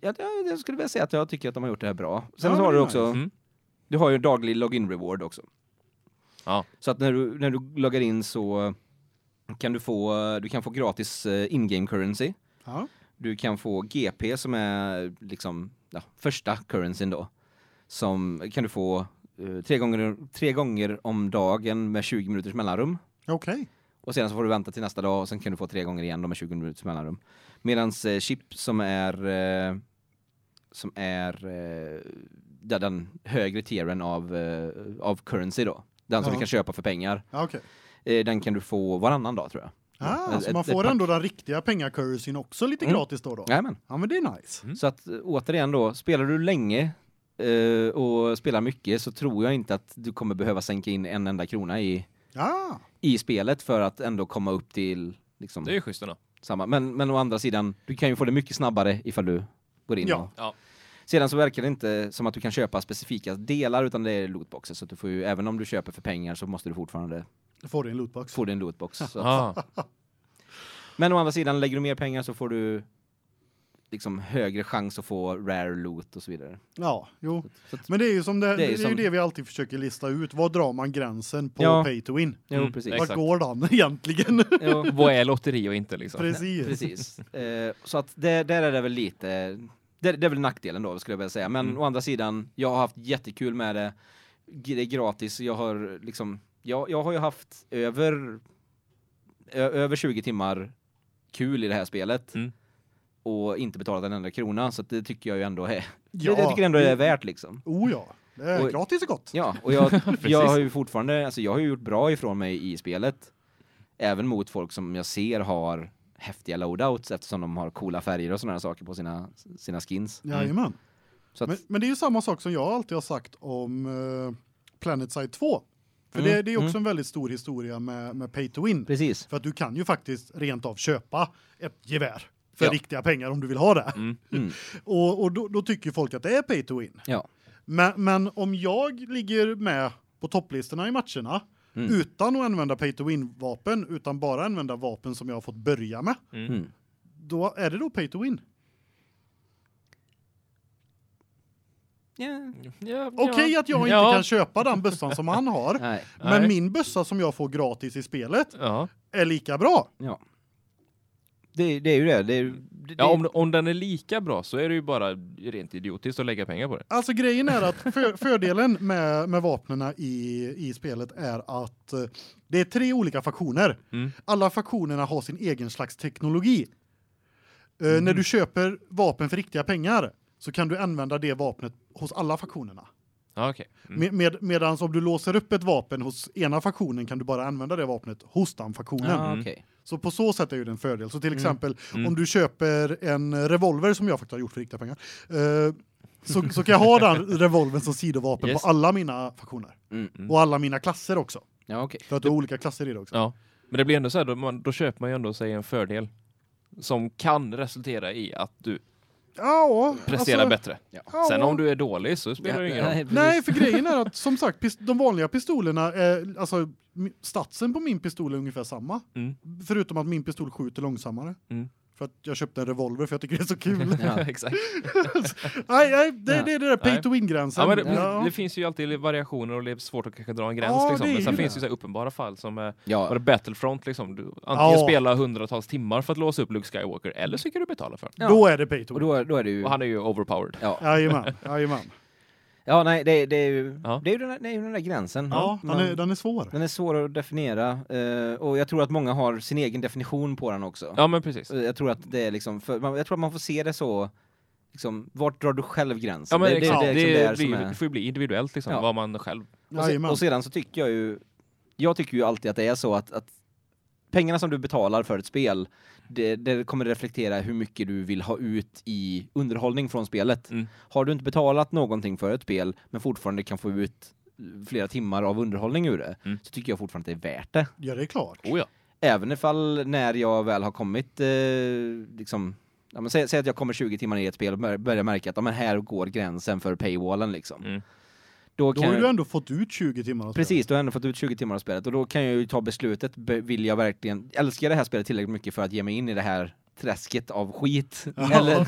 jag, jag, jag skulle vilja säga att jag tycker att de har gjort det här bra. Sen Ja, så har det du är också, Mm. du har ju en daglig login reward också. [LAUGHS] Ja. Så att när du, när du loggar in så kan du få, du kan få gratis eh, in-game currency. Ja. Du kan få GP som är liksom ja, första currencyn då. Som kan du få eh, tre, gånger, tre gånger om dagen med 20 minuters mellanrum. Okej. Och sedan så får du vänta till nästa dag och sen kan du få tre gånger igen då med 20 minuters mellanrum. Medans eh, chip som är eh, som är eh, ja, den högre tieren av, eh, av currency då. Den som Ja. du kan köpa för pengar. Ja, okej. Eh, den kan du få varannan dag tror jag. Ah, Ett- så man ett- ett får pack. ändå den riktiga pengacursyn också lite Mm. gratis då då. Jajamän. Ja, men det är nice. Mm. Så att eh, återigen då, spelar du länge eh, och spelar mycket så tror jag inte att du kommer behöva sänka in en enda krona i, Ja. i spelet för att ändå komma upp till liksom, Det är ju schysst ändå. samma. Men, men å andra sidan, du kan ju få det mycket snabbare ifall du går in Ja. och... Ja. Sedan så verkar det inte som att du kan köpa specifika delar utan det är lootboxer så att du får ju, även om du köper för pengar så måste du fortfarande Då får du en lootbox. få din lootbox. Så att, Ah. Men å andra sidan, lägger du mer pengar så får du liksom högre chans att få rare loot och så vidare. Ja, jo. Så att, Men det är ju som det, det är, ju, som- det vi alltid försöker lista ut. Var drar man gränsen på Ja. pay to win? jo, Mm, precis. Vart Exakt. går den [LAUGHS] egentligen? [LAUGHS] Jo, [LAUGHS] Vad är lotteri och inte liksom? Precis. precis. Eh, så att det, där är det väl lite, det, det är väl nackdelen då skulle jag vilja säga. Men Mm. å andra sidan, jag har haft jättekul med det. G- Det är gratis, jag har liksom, jag, jag har ju haft över, ö, över 20 timmar kul i det här spelet. Mm. Och inte betalat en enda krona, så att det tycker jag ju ändå är, Ja. det, det tycker jag ändå är värt liksom. Oh ja. Det är Och- gratis och gott. Ja, och [LAUGHS] jag, jag Precis. har ju fortfarande, alltså jag har ju gjort bra ifrån mig i spelet. Även mot folk som jag ser har häftiga loadouts eftersom de har coola färger och sådana här saker på sina, sina skins. Jajamän. Mm. Så att, Men, men det är ju samma sak som jag alltid har sagt om uh, Planetside 2. För Mm, det, det är också mm. en väldigt stor historia med, med pay to win. precis. För att du kan ju faktiskt rent av köpa ett gevär för Ja. riktiga pengar om du vill ha det. Mm. [LAUGHS] Mm. Och, och då, då tycker ju folk att det är pay to win. Ja. Men, men om jag ligger med på topplistorna i matcherna Mm. utan att använda pay to win-vapen, utan bara använda vapen som jag har fått börja med, Mm. Mm. då är det då pay to win. Ja. Ja, Okej ja. att jag inte Ja. kan köpa den bössan som han [LAUGHS] har, Nej. men Nej. min bössa som jag får gratis i spelet Ja. är lika bra. Ja. Det, det är ju det. det, är, det Ja, om, om den är lika bra så är det ju bara rent idiotiskt att lägga pengar på det. Alltså grejen är att för, fördelen med, med vapnena i, i spelet är att eh, det är tre olika faktioner. Mm. Alla faktionerna har sin egen slags teknologi. Eh, Mm. När du köper vapen för riktiga pengar så kan du använda det vapnet hos alla faktionerna. Ja, okej. Mm. Med, med, Medan om du låser upp ett vapen hos ena faktionen kan du bara använda det vapnet hos den faktionen. ah, okej. Så på så sätt är ju det en fördel. Så till Mm. exempel Mm. om du köper en revolver som jag faktiskt har gjort för riktiga pengar. eh, så, så kan jag ha den revolven som sidovapen Yes. på alla mina faktioner. Mm. Mm. Och alla mina klasser också. Ja, okej. För att du har olika klasser i det också. Ja. Men det blir ändå så här, då, man, då köper man ju ändå sig en fördel som kan resultera i att du Ja, presterar alltså- bättre. ja. Sen om du är dålig så spelar det ingen roll. precis. Nej, för grejen är att som sagt, pist- de vanliga pistolerna, är, alltså mi- statsen på min pistol är ungefär samma. Mm. Förutom att min pistol skjuter långsammare. Mm. För att jag köpte en revolver för jag tycker det är så kul. [LAUGHS] Ja. [LAUGHS] Exakt. nej, nej, det, Ja. det är det där pay Nej. to win-gränsen. Ja, men det, Ja. det finns ju alltid variationer och det är svårt att kanske dra en gräns. Ja, det liksom. är Men sen ju finns det. det ju så här uppenbara fall som eh, var det Ja. Battlefront. Liksom. Du, antingen Ja. spela hundratals timmar för att låsa upp Luke Skywalker eller så kan du betala för det. ja. Då är det pay to Och win. då, då är det ju... Och han är ju overpowered. Ja, Jajamän, [LAUGHS] jajamän. ja nej, det, det är ju, Ja. det är ju den, där, det är ju den där gränsen. Ja, den Man- är, den är svår. Den är svår att definiera eh, och jag tror att många har sin egen definition på den också. Ja, men precis. Eh, Jag tror att det är liksom för, man, jag tror att man får se det så liksom vart drar du själv gränsen? Ja, men det, exakt. det, det, är liksom där blir, som det är. får ju bli individuellt, liksom, Ja. vad man själv... Och, se, Jajamän. och sedan så tycker jag ju jag tycker ju alltid att det är så att, att pengarna som du betalar för ett spel det, det kommer reflektera hur mycket du vill ha ut i underhållning från spelet. Mm. Har du inte betalat någonting för ett spel men fortfarande kan få ut flera timmar av underhållning ur det Mm. så tycker jag fortfarande att det är värt det. Ja, det är klart. Oh, ja. Även ifall när jag väl har kommit, eh, liksom, ja, men säg, säg att jag kommer 20 timmar i ett spel och bör- börjar märka att ja, men här går gränsen för paywallen liksom. Mm. Då Då kan har jag, du ändå fått ut 20 timmar av spelet. precis, då har jag ändå fått ut 20 timmar av spelet och då kan jag ju ta beslutet, be, vill jag verkligen, älskar jag det här spelet tillräckligt mycket för att ge mig in i det här träsket av skit? Ja. [LAUGHS] Eller,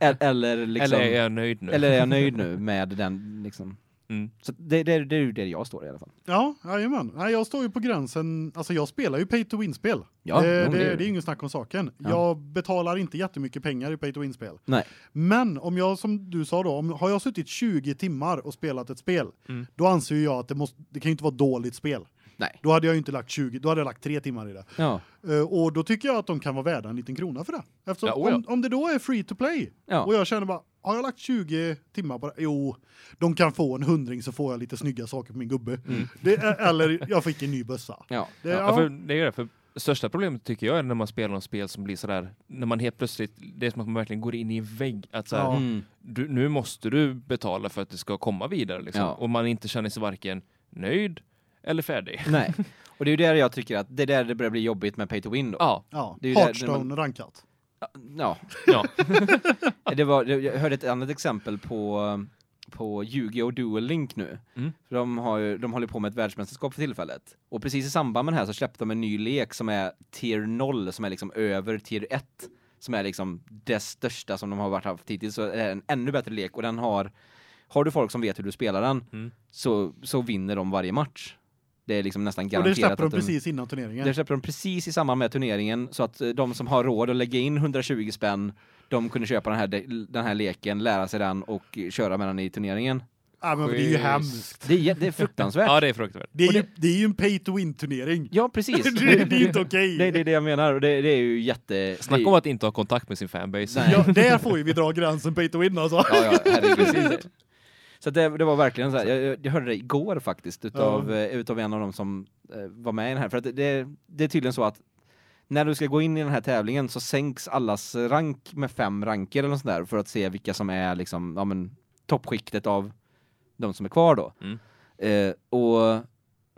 el- eller, liksom, Eller är jag nöjd nu? eller är jag nöjd nu med den liksom? Mm. Så det, det, det är ju där jag står i alla fall. Ja, jajamän. Nej, jag står ju på gränsen. Alltså jag spelar ju pay to win-spel. Ja, det, jo, det, det det gör är du. ju ingen snack om saken. Ja. Jag betalar inte jättemycket pengar i pay to win-spel. Nej. Men om jag, som du sa då, om, har jag suttit 20 timmar och spelat ett spel, Mm. då anser ju jag att det, måste, det kan ju inte vara dåligt spel. Nej. Då hade jag ju inte lagt 20, då hade jag lagt 3 timmar i det. Ja, Eh, och då tycker jag att de kan vara värda en liten krona för det. Eftersom Ja, oja. om, om det då är free to play, oh ja. och jag känner bara, har jag lagt 20 timmar på det? Jo, de kan få en hundring så får jag lite snygga saker på min gubbe. Det, eller jag fick en ny bössa. Mm. ja. Det, Ja, ja, För det är ju det, för största problemet tycker jag är när man spelar något spel som blir sådär, när man helt plötsligt, det är som att man verkligen går in i en vägg. Att såhär, Ja. Mm. du, nu måste du betala för att det ska komma vidare. Liksom. Ja. Och man inte känner sig varken nöjd eller färdig. Nej. Och det är ju där jag tycker att det är där det börjar bli jobbigt med pay to win då. Ja, ja. det är ju det- Hearthstone det rankat. Ja. ja. Det var, det- jag hörde ett annat exempel på, på Yu-Gi-Oh! Duel Link nu. Mm. För de, har ju, de håller på med ett världsmästerskap för tillfället. Och precis i samband med det här så släppte de en ny lek som är tier 0, som är liksom över tier 1. Som är liksom det största som de har varit haft hittills. Så det är en ännu bättre lek och den har, har du folk som vet hur du spelar den Mm. så, så vinner de varje match. Det är liksom nästan Och det garanterat släpper de att de- precis innan turneringen. Där släpper de precis i samband med turneringen så att eh, de som har råd att lägga in 120 spänn, de kunde köpa den här, de- den här leken, lära sig den och eh, köra med den i turneringen. Ja, men det är ju Schysst. hemskt. Det är, jä- det är fruktansvärt. ja, det är fruktansvärt. Det är, Och det- ju, det är ju en pay to win-turnering. Ja, [LAUGHS] precis. [LAUGHS] det, det är ju inte okej. Nej, det är det jag menar och det, det är ju jätte... det Snacka är- om att inte ha kontakt med sin fanbase. Nej. Ja, där får ju vi dra gränsen pay to win alltså. Ja, ja, herregud. Så att det, det var verkligen så här. Jag, jag, jag hörde det igår faktiskt utav, Ja. eh, utav en av dem som eh, var med i den här. För att det- det, det är tydligen så att när du ska gå in i den här tävlingen så sänks allas rank med fem ranker eller något sånt där för att se vilka som är liksom, ja men toppskiktet av de som är kvar då. Mm. Eh, och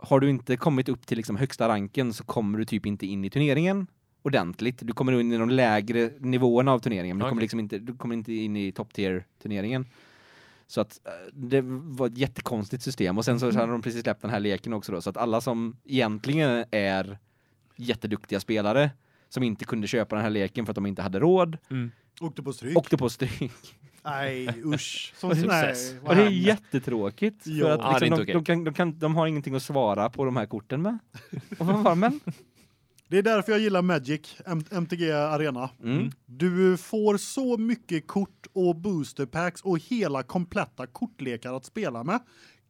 har du inte kommit upp till liksom högsta ranken så kommer du typ inte in i turneringen ordentligt. Du kommer in i de lägre nivåerna av turneringen, men du kommer Okej. liksom inte du kommer inte in i top tier turneringen. Så att eh, det var ett jättekonstigt system och sen så hade de precis släppt den här leken också då så att alla som egentligen är jätteduktiga spelare som inte kunde köpa den här leken för att de inte hade råd Åkte på stryk. åkte på stryk. Nej, [LAUGHS] usch. Som, Och nej, success. vad Och det är hemskt. jättetråkigt Ja. för att Ja, det är liksom, de, inte okej. de, kan, de, kan, de har ingenting att svara på de här korten med. Och vad var men? Det är därför jag gillar Magic, M- MTG Arena. Mm. Du får så mycket kort och booster packs och hela kompletta kortlekar att spela med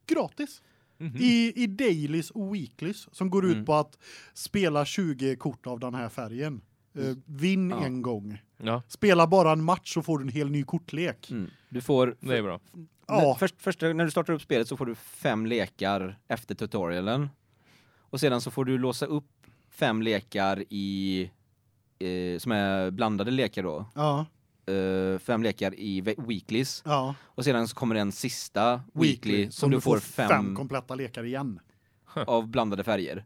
gratis. Mhm. I, I dailies och weeklies som går ut Mm. på att spela 20 kort av den här färgen. Eh, vinn Ja. en gång. Ja, Spela bara en match så får du en hel ny kortlek. Mm. Du får det är bra. Ja. N- Först, först när du startar upp spelet så får du fem lekar efter tutorialen. Och sedan så får du låsa upp fem lekar i eh, som är blandade lekar då. Ja, Eh, fem lekar i ve- weeklies ja. och sedan så kommer en sista weekly, som, du får fem, kompletta lekar igen. av blandade färger.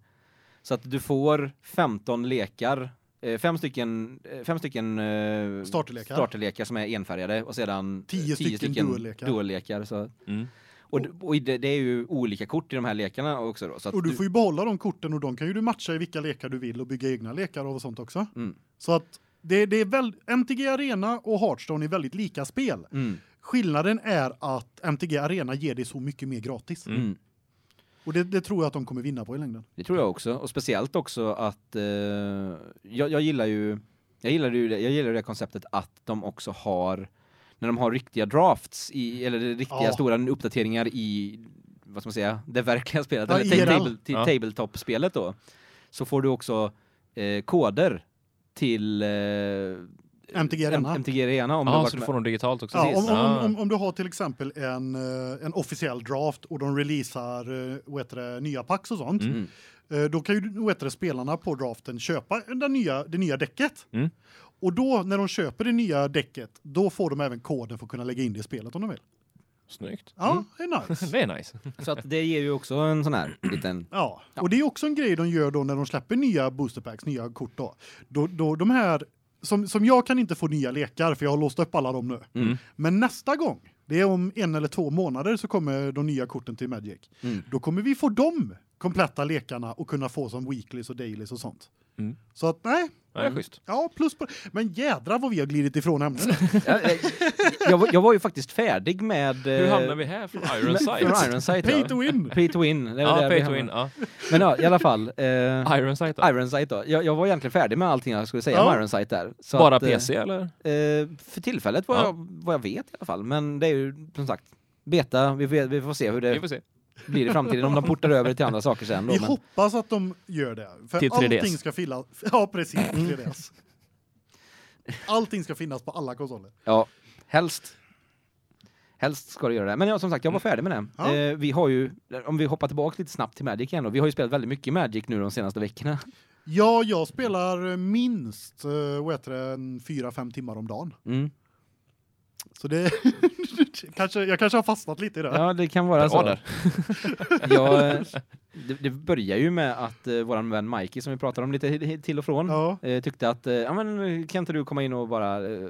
Så att du får 15 lekar, eh, fem stycken eh, fem stycken eh, Starterlekar. starterlekar som är enfärgade och sedan eh, Tio stycken duellekar. duellekar, så Mm. Och, d- och i det, det är ju olika kort i de här lekarna också då. Så att Och du får ju behålla de korten och de kan ju du matcha i vilka lekar du vill och bygga egna lekar av och sånt också. Mm. Så att Det, det är väl, MTG Arena och Hearthstone är väldigt lika spel. Mm. Skillnaden är att MTG Arena ger dig så mycket mer gratis. Mm. Mm. Och det, det tror jag att de kommer vinna på i längden. Det tror jag också och speciellt också att eh, jag jag gillar ju jag gillar ju det, jag gillar det konceptet att de också har när de har riktiga drafts i eller riktiga Ja. stora uppdateringar i vad ska man säga, det verkliga spelet Ja, eller ta- IRL. table, till Ja. tabletop-spelet då så får du också eh, koder till eh, MTG Arena. M- MTG Arena om du har Ja, varit så du med. får dem digitalt också. Ja, om, Precis. om, Ah. om, om du har till exempel en, eh, en officiell draft och de releasar eh, vad heter det, nya packs och sånt. Mm. Eh, Då kan ju vad heter det, spelarna på draften köpa den nya, det nya däcket. Mm. Och då när de köper det nya däcket, då får de även koden för att kunna lägga in det i spelet om de vill. Snyggt. Ja, Mm. det är nice. [LAUGHS] Det är nice. Så att det ger ju också en sån här liten [LAUGHS] Ja, och det är också en grej de gör då när de släpper nya boosterpacks, nya kort då. Då, då de här, som, som jag kan inte få nya lekar för jag har låst upp alla dem nu. Mm. Men nästa gång, det är om en eller två månader så kommer de nya korten till Magic. Mm. Då kommer vi få de kompletta lekarna och kunna få som weeklies och dailies och sånt. Mm. Så att nej, Ja, det är schysst. ja plus på Men jädra vad vi har glidit ifrån ämnet. [LAUGHS] jag, jag, jag, var- jag var ju faktiskt färdig med Hur eh, hamnar [LAUGHS] vi här från Ironside? Från Ironside, Pay ja. to win! [LAUGHS] Pay to win. Det var Ja, där vi pay to hamnade. win. Ja. [LAUGHS] Men ja, i alla fall. Eh, Ironside då? Ironside då. Jag, jag var egentligen färdig med allting jag skulle säga Ja. om Ironside där. Så Bara att, eh, PC eller? Eh, för tillfället, vad, Ja. jag, vad jag vet i alla fall. Men det är ju som sagt beta. Vi får, vi får se hur Vi det får se. blir i framtiden. Om de portar över till andra saker [LAUGHS] sen. Då, Vi men, hoppas att de gör det. För Till 3DS. allting ska finnas... Ja, precis. [LAUGHS] 3DS. Allting ska finnas på alla konsoler. ja, helst. Helst ska det göra det. Men ja, som sagt, jag Mm. var färdig med det. Ja. Eh, vi har ju, om vi hoppar tillbaka lite snabbt till Magic igen då. Vi har ju spelat väldigt mycket Magic nu de senaste veckorna. Ja, jag spelar minst eh, vad heter det, en 4-5 timmar om dagen. Mm. Så det [LAUGHS] kanske jag kanske har fastnat lite i det. Ja, det kan vara Bra så. där. Ja, eh, det, det börjar ju med att eh, våran vän Mikey som vi pratar om lite hi- till och från Ja. eh, tyckte att eh, ja men kan inte du komma in och bara eh,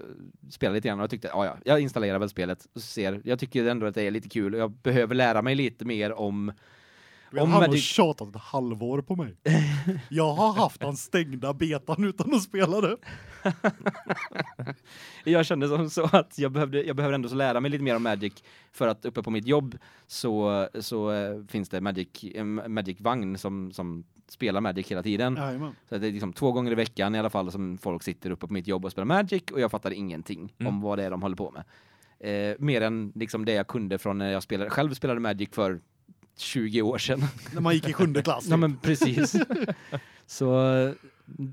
spela lite grann och jag tyckte ja ja, jag installerar väl spelet och ser jag tycker ändå att det är lite kul och jag behöver lära mig lite mer om Men Om han har Magic- tjatat ett halvår på mig. Jag har haft den stängda betan utan att spela det. jag kände som så att jag behövde jag behöver ändå så lära mig lite mer om Magic för att uppe på mitt jobb så så eh, finns det Magic en Magic vagn som som spelar Magic hela tiden. Jajamän. Så det är liksom två gånger i veckan i alla fall som folk sitter uppe på mitt jobb och spelar Magic och jag fattar ingenting Mm. om vad det är de håller på med. Eh, mer än liksom det jag kunde från när jag spelade, själv spelade Magic för 20 år [LAUGHS] sedan. När man gick i sjunde klass. ja men [LAUGHS] precis. Så eh,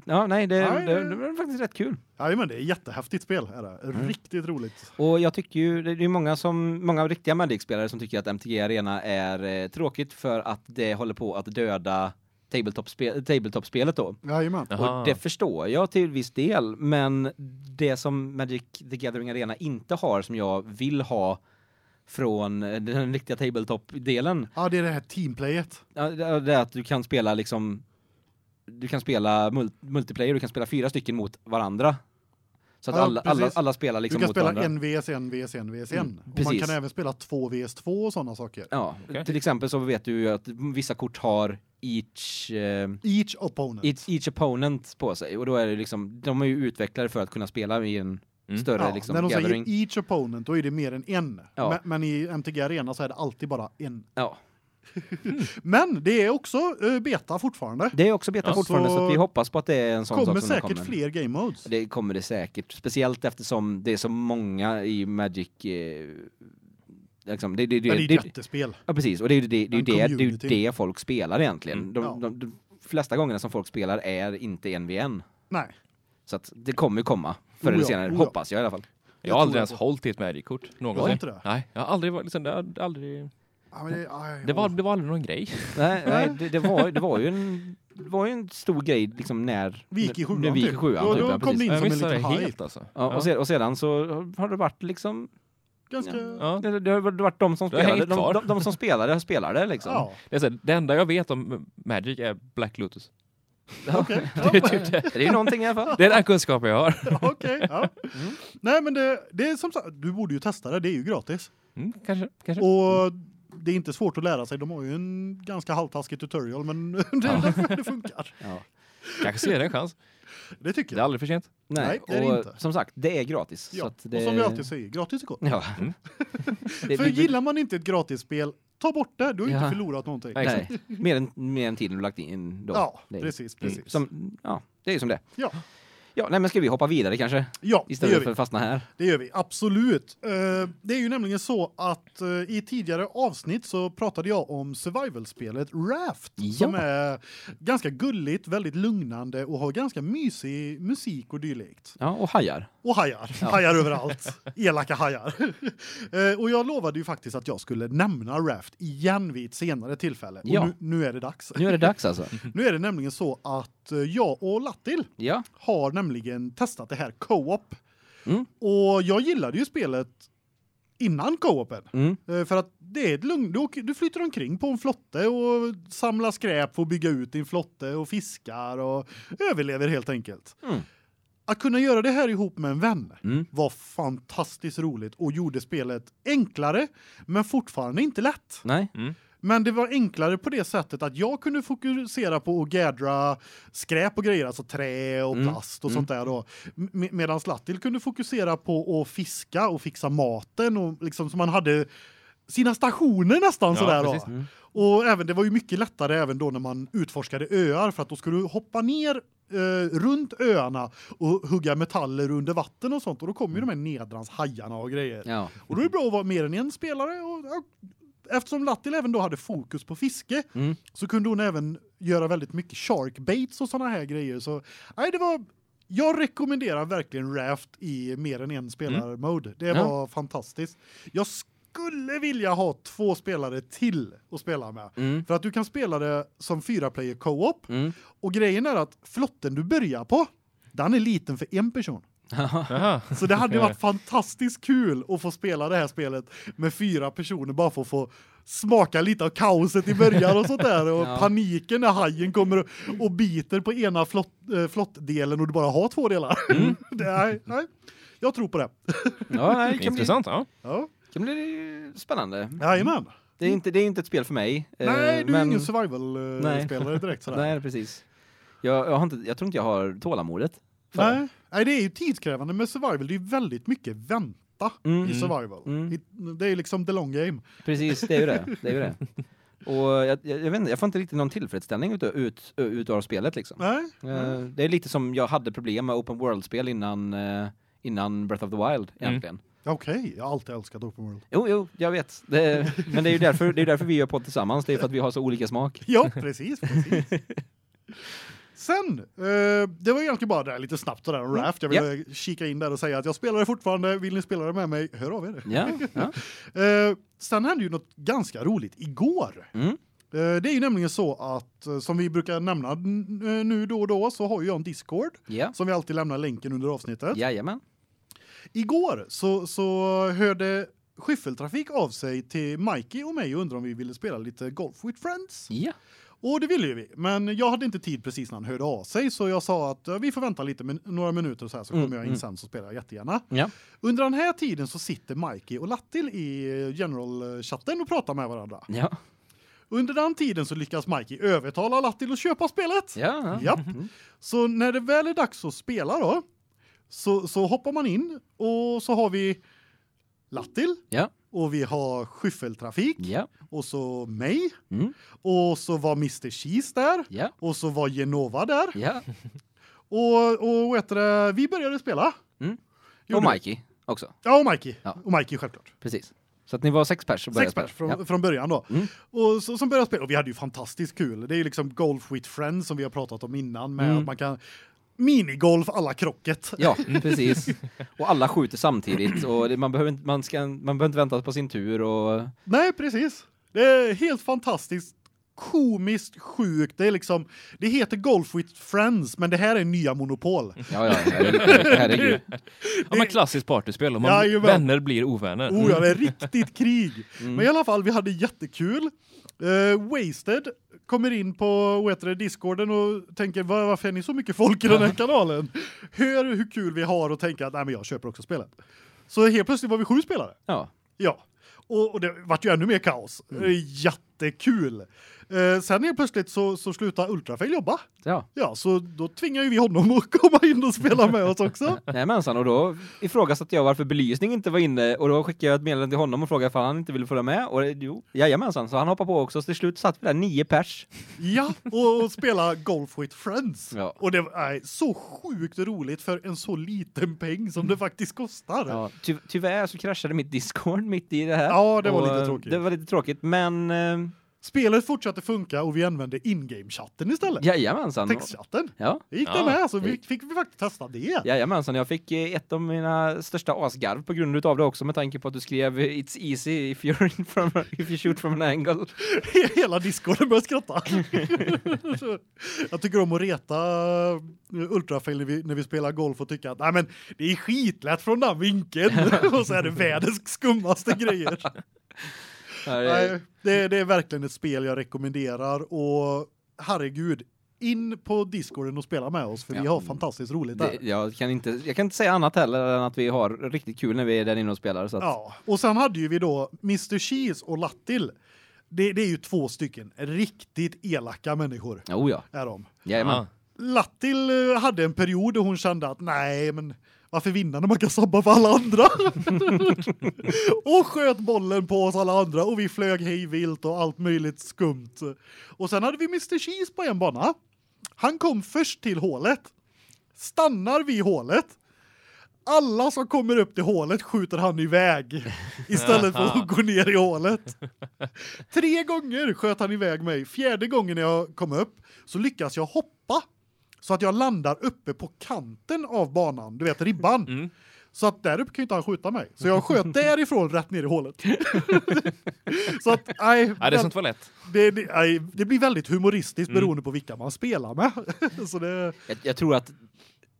ja, nej, det, Nej, det, det- det var faktiskt rätt kul. typ. Jajamän, det är ett jättehäftigt spel är det. Mm. Riktigt roligt. Och jag tycker ju, det är ju många som, många riktiga Magic-spelare som tycker att MTG Arena är eh, tråkigt för att det håller på att döda tabletop-spe- tabletop-spelet då. Jajamän. Jaha. Och det förstår jag till viss del, men det som Magic the Gathering Arena inte har som jag vill ha från eh, den riktiga tabletop-delen, Ja, det är det här teamplayet. ja, det det är att du kan spela liksom du kan spela mul- multiplayer, du kan spela fyra stycken mot varandra. Så att Ja, alla, alla, precis. alla spelar liksom du kan mot spela varandra. en VS, en VS, en VS, en. Mm, och man precis. kan även spela två VS, två och sådana saker. Ja, Okej. till exempel så vet du ju att vissa kort har each eh, Each opponent. each, each opponent på sig och då är det liksom de är ju utvecklade för att kunna spela i en Mm. större ja, liksom när de gathering. säger each opponent, då är det mer än en. Ja. Men, men i MTG Arena så är det alltid bara en. Ja. Men det är också eh, beta fortfarande. Det är också beta Ja, fortfarande så, så att vi hoppas på att det är en sån kommer sak som säkert kommer. fler game modes. Det kommer det säkert, speciellt eftersom det är så många i Magic eh, liksom det det Men det det, är ett det jättespel. Ja precis och det är ju det det är ju En det, det, är ju community. det folk spelar egentligen. Mm. De, Ja. de, de flesta gångerna som folk spelar är inte en vid en. Nej. Så att det kommer ju komma Oh förr eller ja, senare oh ja. hoppas jag i alla fall. Jag har aldrig tror ens jag hållit i ett Magic-kort. Någonsin. inte det? Nej, jag har aldrig varit liksom, det har aldrig... Ja, men det, aj, Det var, åh. det var aldrig någon grej. Nej, nej [LAUGHS] det, det var det var ju en det var ju en stor grej liksom när Vi gick i sjuan när vi gick i typ. sjuan Då- typ, då ja, kom precis. det in Jag som en missade det liten hype. helt alltså. Ja, och, sedan, och sedan så har det varit liksom Ganska... Ja. Ja. Det, det har varit de som Det har spelade, hängt de, kvar. de, de som spelade spelade liksom. Det, är så här, det enda jag vet om Magic är Black Lotus. Okej, [LAUGHS] Det är typ det. [LAUGHS] Det är ju någonting i alla fall. Det är den kunskapen jag har. liksom. ja, okej, ja. Mm. Nej, men det, det är som sagt, du borde ju testa det, det är ju gratis. Mm, kanske, kanske. Och det är inte svårt att lära sig, de har ju [LAUGHS] en ganska halvtaskig tutorial, men det, det funkar. Ja. Kanske ser det en chans. Det tycker Det är jag. aldrig för sent. Nej, Nej, det är det och inte. som sagt, det är gratis. så Ja. att det... Och som vi alltid säger, gratis är gott. Ja. [LAUGHS] Mm. Det- För vi- gillar man inte ett gratisspel, ta bort det. Du har Ja. inte förlorat någonting. Nej. Nej, mer än, mer än tiden du lagt in då. Ja, Det är- precis, Mm. precis. Som, ja, det är som det. Ja. Ja, nej men ska vi hoppa vidare kanske? Ja, det gör Istället för vi. att fastna här. Det gör vi, absolut. Eh, det är ju nämligen så att eh, i tidigare avsnitt så pratade jag om survival-spelet Raft Ja. som är ganska gulligt, väldigt lugnande och har ganska mysig musik och dylikt. Ja, och hajar. Och hajar, hajar överallt. Elaka hajar. [LAUGHS] Eh, och jag lovade ju faktiskt att jag skulle nämna Raft igen vid ett senare tillfälle. Och Ja. nu, nu är det dags. Nu är det dags [LAUGHS] alltså. Nu är det nämligen så att eh, jag och Lattil Ja. har nämligen testat det här co-op. Mm. Och jag gillade ju spelet innan co-open. Mm. Eh, För att det är ett lugn, du, åker, du flyter omkring på en flotte och samlar skräp för att bygga ut din flotte och fiskar och överlever helt enkelt. Mm. Att kunna göra det här ihop med en vän Mm. var fantastiskt roligt och gjorde spelet enklare men fortfarande inte lätt. Nej. Mm. Men det var enklare på det sättet att jag kunde fokusera på att gaddra skräp och grejer, alltså trä och Mm, plast och sånt där då. Me- medan Lattil kunde fokusera på att fiska och fixa maten och liksom så man hade sina stationer nästan Ja, sådär precis. då. Mm. Och även det var ju mycket lättare även då när man utforskade öar för att då skulle du hoppa ner eh, runt öarna och hugga metaller under vatten och sånt och då kommer ju Mm. de här nedrans hajarna och grejer. Ja. Och då är det bra att vara mer än en spelare. Och, ja, eftersom Lattil även då hade fokus på fiske Mm. så kunde hon även göra väldigt mycket shark baits och såna här grejer. Så nej, det var... Jag rekommenderar verkligen Raft i mer än en spelarmode. Det Mm. Ja. var fantastiskt. Jag skulle vilja ha två spelare till att spela med. Mm. För att du kan spela det som fyra player co-op. Mm. [LAUGHS] Och grejen är att flotten du börjar på, den är liten för en person. Aha. Så det hade ju varit fantastiskt kul att få spela det här spelet med fyra personer bara för att få smaka lite av kaoset i början och sånt där och [LAUGHS] Ja. paniken när hajen kommer och, och biter på ena flott, eh, flottdelen och du bara har två delar. Mm. [LAUGHS] det är, nej, jag tror på det. Ja, nej, det kan bli, Intressant. Ja. Ja, kan bli spännande. jajamän. Det är inte, det är inte ett spel för mig. eh, nej, du är men- ingen survival-spelare direkt sådär. Nej. [LAUGHS] Nej, precis. Jag, jag, har inte, jag tror inte jag har tålamodet. för- Nej. det är ju tidskrävande med survival. Det är ju väldigt mycket vänta Mm. i survival. Mm. I- Det är liksom the long game. Precis, det är ju [LAUGHS] det. det, är ju det. Och jag, jag, jag, vet inte, jag får inte riktigt någon tillfredsställning ut, ut, ut av spelet liksom. Nej, Eh, Det är lite som jag hade problem med open world-spel innan, eh, innan Breath of the Wild egentligen. okej. Jag har alltid älskat open world. Jo, jo, jag vet. Det, men det är ju därför, det är därför vi gör podd tillsammans. Det är för att vi har så olika smak. [LAUGHS] Ja, precis, precis. Sen, eh, det var egentligen bara det här lite snabbt sådär Mm. om Raft. Jag ville kika in där och säga att jag spelar det fortfarande. Vill ni spela det med mig, hör av er. Ja, ja. Eh, sen hände ju något ganska roligt igår. Mm. Eh, det är ju nämligen så att, eh, som vi brukar nämna n- eh, nu då och då, så har ju jag en Discord. Ja. Som vi alltid lämnar länken under avsnittet. Jajamän. Igår så, så hörde Skyffeltrafik av sig till Mikey och mig och undrade om vi ville spela lite Golf with Friends. Ja. Och det ville ju vi, men jag hade inte tid precis när han hörde av sig så jag sa att eh, vi får vänta lite men några minuter och så här så Mm, kommer jag in mm. sen så spelar jag jättegärna. Ja. Under den här tiden så sitter Mikey och Lattil i eh, general chatten och pratar med varandra. Ja. Under den tiden så lyckas Mikey övertala Lattil att köpa spelet. Ja. Mm. Japp. Så när det väl är dags att spela då så så hoppar man in och så har vi Lattil Ja. och vi har skyffeltrafik Ja. och så mig Mm. och så var Mr Cheese där. Ja. Och så var Genova där. Ja. Och, och vad heter det? vi började spela. Mm. Gjorde vi. Och Mikey också. Ja, och Mikey. Ja. Och Mikey självklart. Precis. Så att ni var sex pers och började Sex pers från, spela. från början då. Mm. Och så, som började spela. Och vi hade ju fantastiskt kul. Det är ju liksom Golf with Friends som vi har pratat om innan. Med Mm. att man kan minigolf alla krocket. Ja, [LAUGHS] ja precis. Och alla skjuter samtidigt och det, man behöver inte man ska man behöver inte vänta på sin tur och Nej, precis. Det är helt fantastiskt komiskt sjukt. Det är liksom det heter Golf with Friends, men det här är nya monopol. ja ja [LAUGHS] herregud. herregud. Ja, men klassiskt partyspel. Om man Jajamän. vänner blir ovänner. Oh ja, det är riktigt krig. Men i alla fall, vi hade jättekul. Eh, Wasted kommer in på vad heter det, discorden och tänker "Va- varför är ni så mycket folk i den här kanalen? Hör hur kul vi har och tänker att nej men jag köper också spelet. Så helt plötsligt var vi sju spelare. Ja. Ja. Och, och det vart ju ännu mer kaos. Mm. jättekul. Eh, sen helt plötsligt så, så slutar Ultrafail jobba. Ja. Ja, så då tvingar ju vi honom att [LAUGHS] komma in och spela med oss också. Jajamensan, och då ifrågasatte jag varför belysning inte var inne och då skickade jag ett meddelande till honom och frågade ifall han inte ville följa med och det- jo, jajamensan, så han hoppade på också så till slut satt vi där nio pers. Ja, och, och spela Golf with Friends. Ja. Och det är så sjukt roligt för en så liten peng som det faktiskt kostar. Ty tyvärr så kraschade mitt Discord mitt i det här. Ja, det var lite eh, tråkigt. Det var lite tråkigt, men eh, Spelet fortsatte funka och vi använde in-game-chatten istället. jajamensan. Textchatten. Ja. Det gick det Ja, med, så vi, det- fick vi faktiskt testa det. Jajamensan, jag fick eh, ett av mina största asgarv på grund utav det också med tanke på att du skrev eh, It's easy if, you're in from a, if you shoot from an angle. [LAUGHS] Hela discorden började skratta. [LAUGHS] jag tycker om att reta ultrafail när vi, när vi spelar golf och tycka att Nej, men det är skitlätt från den vinkeln. [LAUGHS] och så är det världens skummaste grejer. Här eh, är- Nej, det, det är verkligen ett spel jag rekommenderar och herregud, in på discorden och spela med oss för vi Ja. har fantastiskt roligt Det, där. jag, kan inte, jag kan inte säga annat heller än att vi har riktigt kul när vi är där inne och spelar. Så att, Ja, och sen hade ju vi då Mr. Cheese och Lattil. Det, det är ju två stycken riktigt elaka människor Jo, Oh ja. är de. Jajamän. Ja. Lattil eh, hade en period där hon kände att nej, men varför vinna när man kan sabba för alla andra? [LAUGHS] och sköt bollen på oss alla andra och vi flög hej vilt och allt möjligt skumt. Och sen hade vi Mr. Cheese på en bana. Han kom först till hålet. Stannar vid hålet. Alla som kommer upp till hålet skjuter han iväg [LAUGHS] istället för att gå ner i hålet. Tre gånger sköt han iväg mig. Fjärde gången när jag kom upp så lyckas jag hoppa så att jag landar uppe på kanten av banan, du vet ribban. Mm. Så att där uppe kan ju inte han skjuta mig. Så jag [LAUGHS] sköt därifrån rätt ner i hålet. så att nej, Ja, det är sånt var lätt. det, det, nej, det blir väldigt humoristiskt Mm. beroende på vilka man spelar med. [LAUGHS] så det Jag, jag tror att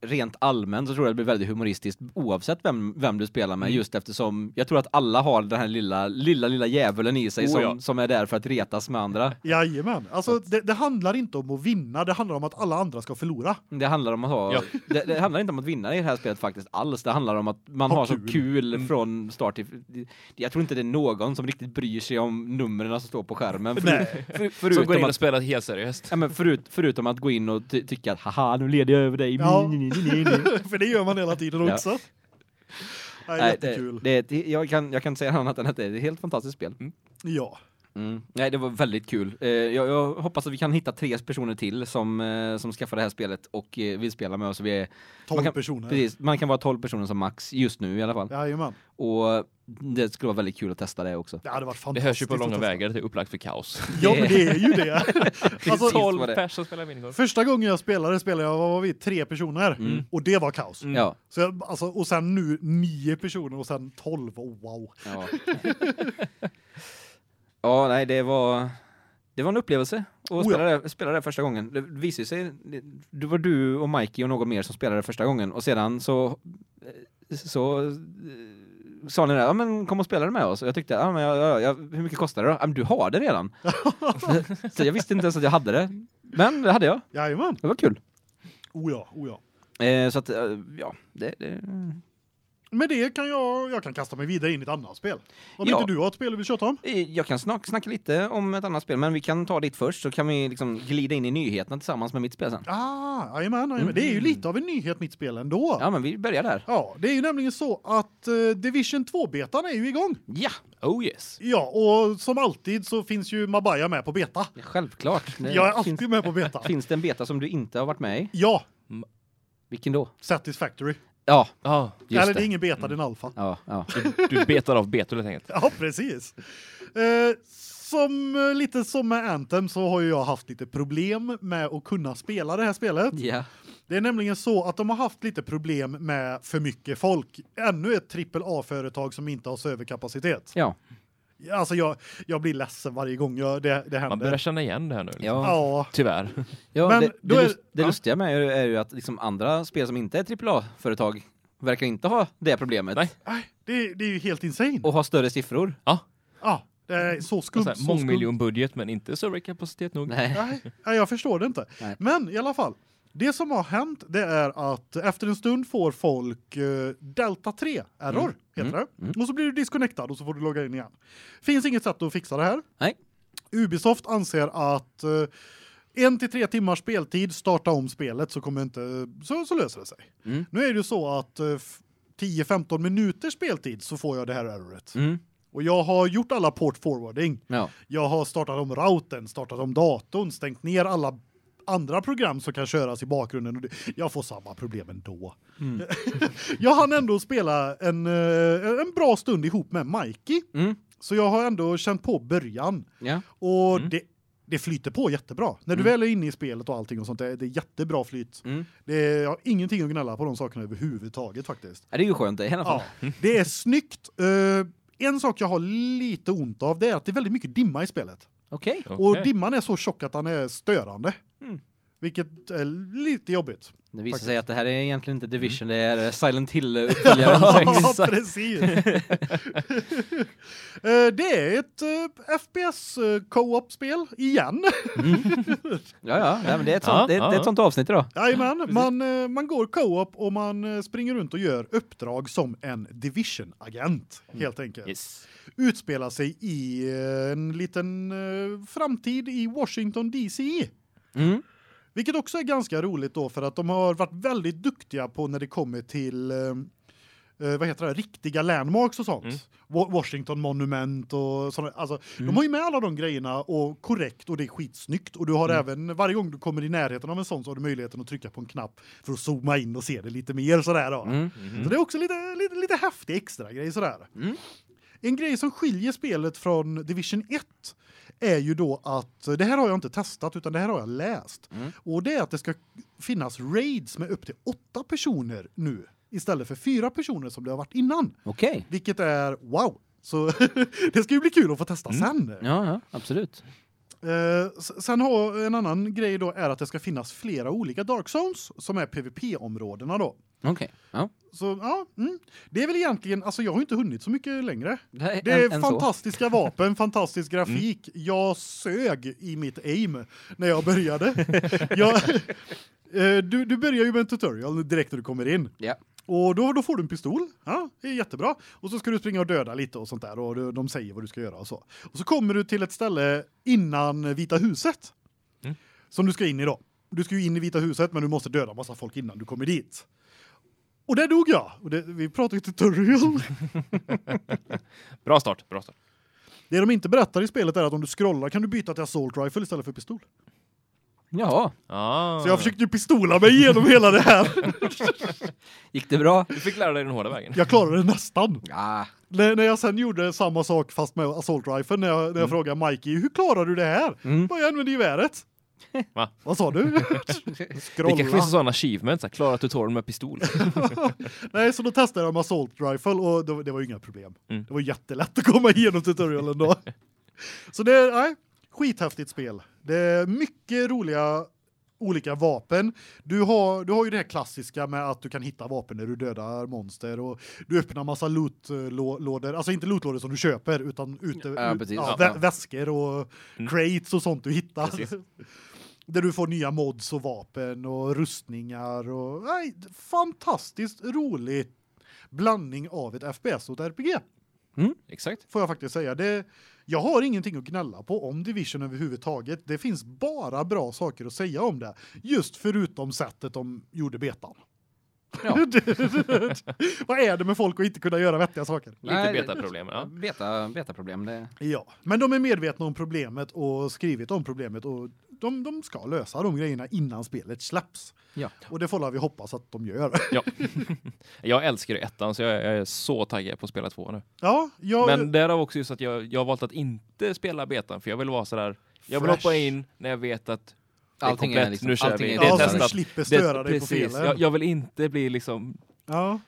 rent allmänt så tror jag det blir väldigt humoristiskt oavsett vem, vem du spelar Mm. med. Just eftersom jag tror att alla har den här lilla, lilla, lilla djävulen i sig Oh, som, ja. som är där för att retas med andra. Jajamän. Alltså det, det handlar inte om att vinna, det handlar om att alla andra ska förlora. Det handlar om att ha, Ja. [LAUGHS] det, det handlar inte om att vinna i det här spelet faktiskt alls. Det handlar om att man Ha har kul. så kul från start till... Jag tror inte det är någon som riktigt bryr sig om numren som står på skärmen. För, Nej. för, Som går förutom in att och spelar helt seriöst. Ja, men förut, förutom att gå in och ty tycka att haha, nu leder jag över dig. Ja. Ni, ni, ni, ni, ni. [LAUGHS] För det gör man hela tiden Ja. också. Nej, Nej, jättekul. det, det, är ett- jag, kan, jag kan inte säga annat än att det är ett helt fantastiskt spel. Ja. Mm. Nej, det var väldigt kul. Eh, jag, jag hoppas att vi kan hitta tre personer till som, eh, som skaffar det här spelet och eh, vill spela med oss. Vi är, 12 Man kan- personer. precis, man kan vara 12 personer som max just nu i alla fall. Jajamän. Och det skulle vara väldigt kul att testa det också. Det hade varit Det fantastiskt. hörs ju på att långa testa. vägar, det är upplagt för kaos. Ja, men det är ju [LAUGHS] det. Alltså, alltså, 12 vad det är. pers som spelar minigolf. första gången jag spelade spelade jag, vad var vi, tre personer. Mm. Och det var kaos. Mm. Ja, Så jag, alltså, och sen nu nio personer och sen tolv. Oh, wow. [LAUGHS] ja. ja, nej, det var... Det var en upplevelse ja. att spela, det, spela det första gången. Det visade sig, det, det var du och Mikey och någon mer som spelade det första gången och sedan så, så eh, sa ni det, ja men kom och spela det med oss. Och jag tyckte, ja men jag, jag, jag, hur mycket kostar det då? Ja men du har det redan. så jag visste inte ens att jag hade det. Men det hade jag, Jajamän. det var kul. Oh ja, oh ja. Eh, så att, eh, ja, det, det, Med det kan jag, jag kan kasta mig vidare in i ett annat spel. Om Ja. inte du har ett spel du vill köta om? Eh, Jag kan snack, snacka lite om ett annat spel, men vi kan ta ditt först så kan vi liksom glida in i nyheterna tillsammans med mitt spel sen. Ah, jajamän, jajamän. Det är ju lite av en nyhet mitt spel ändå. Mm. Ja, men vi börjar där. Ja, det är ju nämligen så att eh, Division 2-betan är ju igång. Ja, Oh yes. Ja, och som alltid så finns ju Mabaya med på beta. självklart. Det Jag är finns, alltid med på beta. finns det en beta som du inte har varit med i? Ja, Vilken då? Satisfactory. Ja, Ja, just Eller det är det. ingen beta, det är en alfa. Ja, ja. du betar av betor helt enkelt. Ja, precis. Eh, som eh, lite som med Anthem så har ju jag haft lite problem med att kunna spela det här spelet. [LAUGHS] ja. Det är nämligen så att de har haft lite problem med för mycket folk. Ännu ett AAA-företag som inte har så överkapacitet. Ja. Alltså jag, jag blir ledsen varje gång jag, det, det händer. Man börjar känna igen det här nu. liksom. ja. Ja, Tyvärr. ja Men det då det, är- lust, det ja. lustiga med är ju- är ju att liksom andra spel som inte är AAA-företag verkar inte ha det problemet. Nej. aj, det, det är ju helt insane. Och ha större siffror. Ja, Ja, det är så skumt. så här, så skumt. mångmiljonbudget men inte serverkapacitet nog. Nej. Nej, nej, jag förstår det inte. Nej. Men i alla fall, det som har hänt det är att efter en stund får folk eh, Delta 3 error Mm. heter det. Och så blir du disconnectad och så får du logga in igen. Finns inget sätt att fixa det här. Nej. Ubisoft anser att eh, en till tre timmars speltid, starta om spelet så kommer inte så så löser det sig. Mm. Nu är det ju så att eh, f- 10-15 minuters speltid så får jag det här erroret. Mm. Och jag har gjort alla port forwarding. Ja. Jag har startat om routern, startat om datorn, stängt ner alla andra program som kan köras i bakgrunden och det, jag får samma problem ändå. Mm. [LAUGHS] jag hann ändå spela en eh, en bra stund ihop med Mikey, Mm. så jag har ändå känt på början Ja. och Mm. det det flyter på jättebra. När du Mm. väl är inne i spelet och allting och sånt det, det är jättebra flyt. Mm. Det är jag har ingenting att gnälla på de sakerna överhuvudtaget faktiskt. Ja, Det är ju skönt det i alla fall. Ja, det är snyggt. Eh, en sak jag har lite ont av det är att det är väldigt mycket dimma i spelet. Okej. Och Okej. dimman är så tjock att han är störande. Mm. Vilket är lite jobbigt. Det visar Faktiskt. sig att det här är egentligen inte Division, det är eh, Silent Hill [LAUGHS] eh, uppföljaren. Ja, Exakt. precis. Eh, det är ett eh, FPS eh, co-op-spel igen. ja, ja, nej, men det är ett Ja, sånt, det, är- ja, det är ja. ett sånt avsnitt idag. Jajamän, man, eh, man går co-op och man eh, springer runt och gör uppdrag som en Division-agent, helt enkelt. Yes. Utspelar sig i eh, en liten eh, framtid i Washington DC. Mm. Vilket också är ganska roligt då för att de har varit väldigt duktiga på när det kommer till eh, eh, vad heter det riktiga landmarks och sånt. Mm. Wa- Washington Monument och såna alltså Mm. de har ju med alla de grejerna och korrekt och det är skitsnyggt och du Mm. har även varje gång du kommer i närheten av en sån så har du möjligheten att trycka på en knapp för att zooma in och se det lite mer så där då. Mm. Så det är också lite lite lite häftig extra grej så där. Mm. En grej som skiljer spelet från Division 1 är ju då att det här har jag inte testat utan det här har jag läst. Mm. Och det är att det ska finnas raids med upp till åtta personer nu istället för fyra personer som det har varit innan, Okej. vilket är wow. Så [LAUGHS] det ska ju bli kul att få testa sen. Mm. Ja, ja, absolut. Eh, s- sen har en annan grej då är att det ska finnas flera olika dark zones som är PVP-områdena då. Okej. Ja. Så ja, mm. det är väl egentligen alltså jag har inte hunnit så mycket längre. Det här Det är en- en så. fantastiska vapen, fantastisk grafik. Jag sög i mitt aim när jag började. jag, eh, du, du börjar ju med en tutorial direkt när du kommer in. Ja. Och då, då får du en pistol. Ja, det är jättebra. Och så ska du springa och döda lite och sånt där. Och du- de säger vad du ska göra och så. Och så kommer du till ett ställe innan Vita huset. Mm. Som du ska in i då. Du ska ju in i Vita huset men du måste döda massa folk innan du kommer dit. Och där dog jag. Och det, vi pratar ju tutorial. Bra start. Bra start. Det de inte berättar i spelet är att om du scrollar kan du byta till assault rifle istället för pistol. Jaha. Ah. Så jag försökte ju pistola mig igenom hela det här. [LAUGHS] Gick det bra? Du fick lära dig den hårda vägen. Jag klarade det nästan. Ja. När, när jag sen gjorde samma sak fast med assault rifle när jag, när jag Mm. frågade Mikey, hur klarar du det här? Mm. Bara jag använder geväret. Va? Vad sa [LAUGHS] du? Det kanske Scrolla. finns sådana achievements, att klara tutorialen [LAUGHS] med pistol. Nej, så då testade jag med assault rifle och det, var- det var ju inga problem. Mm. Det var jättelätt att komma igenom tutorialen då. så det är nej, skithäftigt spel. Det är mycket roliga olika vapen. Du har du har ju det här klassiska med att du kan hitta vapen när du dödar monster och du öppnar massa lootlådor, alltså inte lootlådor som du köper utan ute Ja, ut- precis. ja, Ja, vä ja. väskor och Mm. crates och sånt du hittar. Precis. [LAUGHS] Där du får nya mods och vapen och rustningar och nej, fantastiskt roligt blandning av ett FPS och ett RPG Mm? Exakt. får jag faktiskt säga. Det, jag har ingenting att gnälla på om Division överhuvudtaget. Det finns bara bra saker att säga om det. Just förutom sättet de gjorde betan. Ja. [LAUGHS] Vad är det med folk att inte kunna göra vettiga saker? Lite Nej, det- betaproblem. Ja. Beta, betaproblem, det... Ja, men de är medvetna om problemet och skrivit om problemet och de, de ska lösa de grejerna innan spelet släpps. Ja. Och det får vi hoppas att de gör. [LAUGHS] Ja. [LAUGHS] jag älskar ju ettan, så jag, jag är så taggad på att spela tvåan nu. ja, jag, Men därav också just att jag, jag har valt att inte spela betan, för jag vill vara sådär... Jag vill Fresh. hoppa in när jag vet att det är Allting är komplett. liksom- nu kör allting vi. är- Det är ja, så du testat. slipper Det- störa dig på precis. felen. Jag, jag vill inte bli liksom... Ja.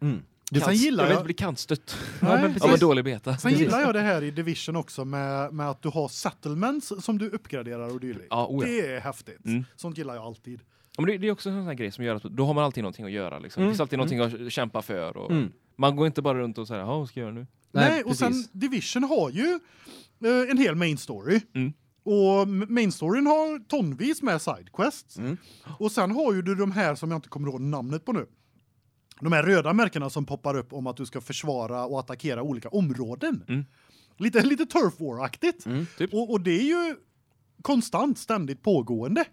Mm. Sen kant- gillar jag vill jag- inte bli kantstött Nej, men [LAUGHS] precis. av en dålig beta. Sen gillar jag det här i Division också med, med att du har settlements som du uppgraderar och dylikt. Ja, oh ja. Det är häftigt. Mm. Sånt gillar jag alltid. Ja, men det, det är också en sån här grej som gör att då har man alltid någonting att göra. Liksom. Mm. Det finns alltid någonting att kämpa för. Och Mm. Man går inte bara runt och säger, ja, vad ska jag göra nu? Nej, Nej, och sen precis. Division har ju eh, en hel main story. Mm. Och m- main storyn har tonvis med sidequests. Mm. Och sen har ju du de här som jag inte kommer ihåg namnet på nu. De här röda märkena som poppar upp om att du ska försvara och attackera olika områden. Mm. Lite, lite turf war-aktigt. Mm, typ. Och, och det är ju konstant, ständigt pågående.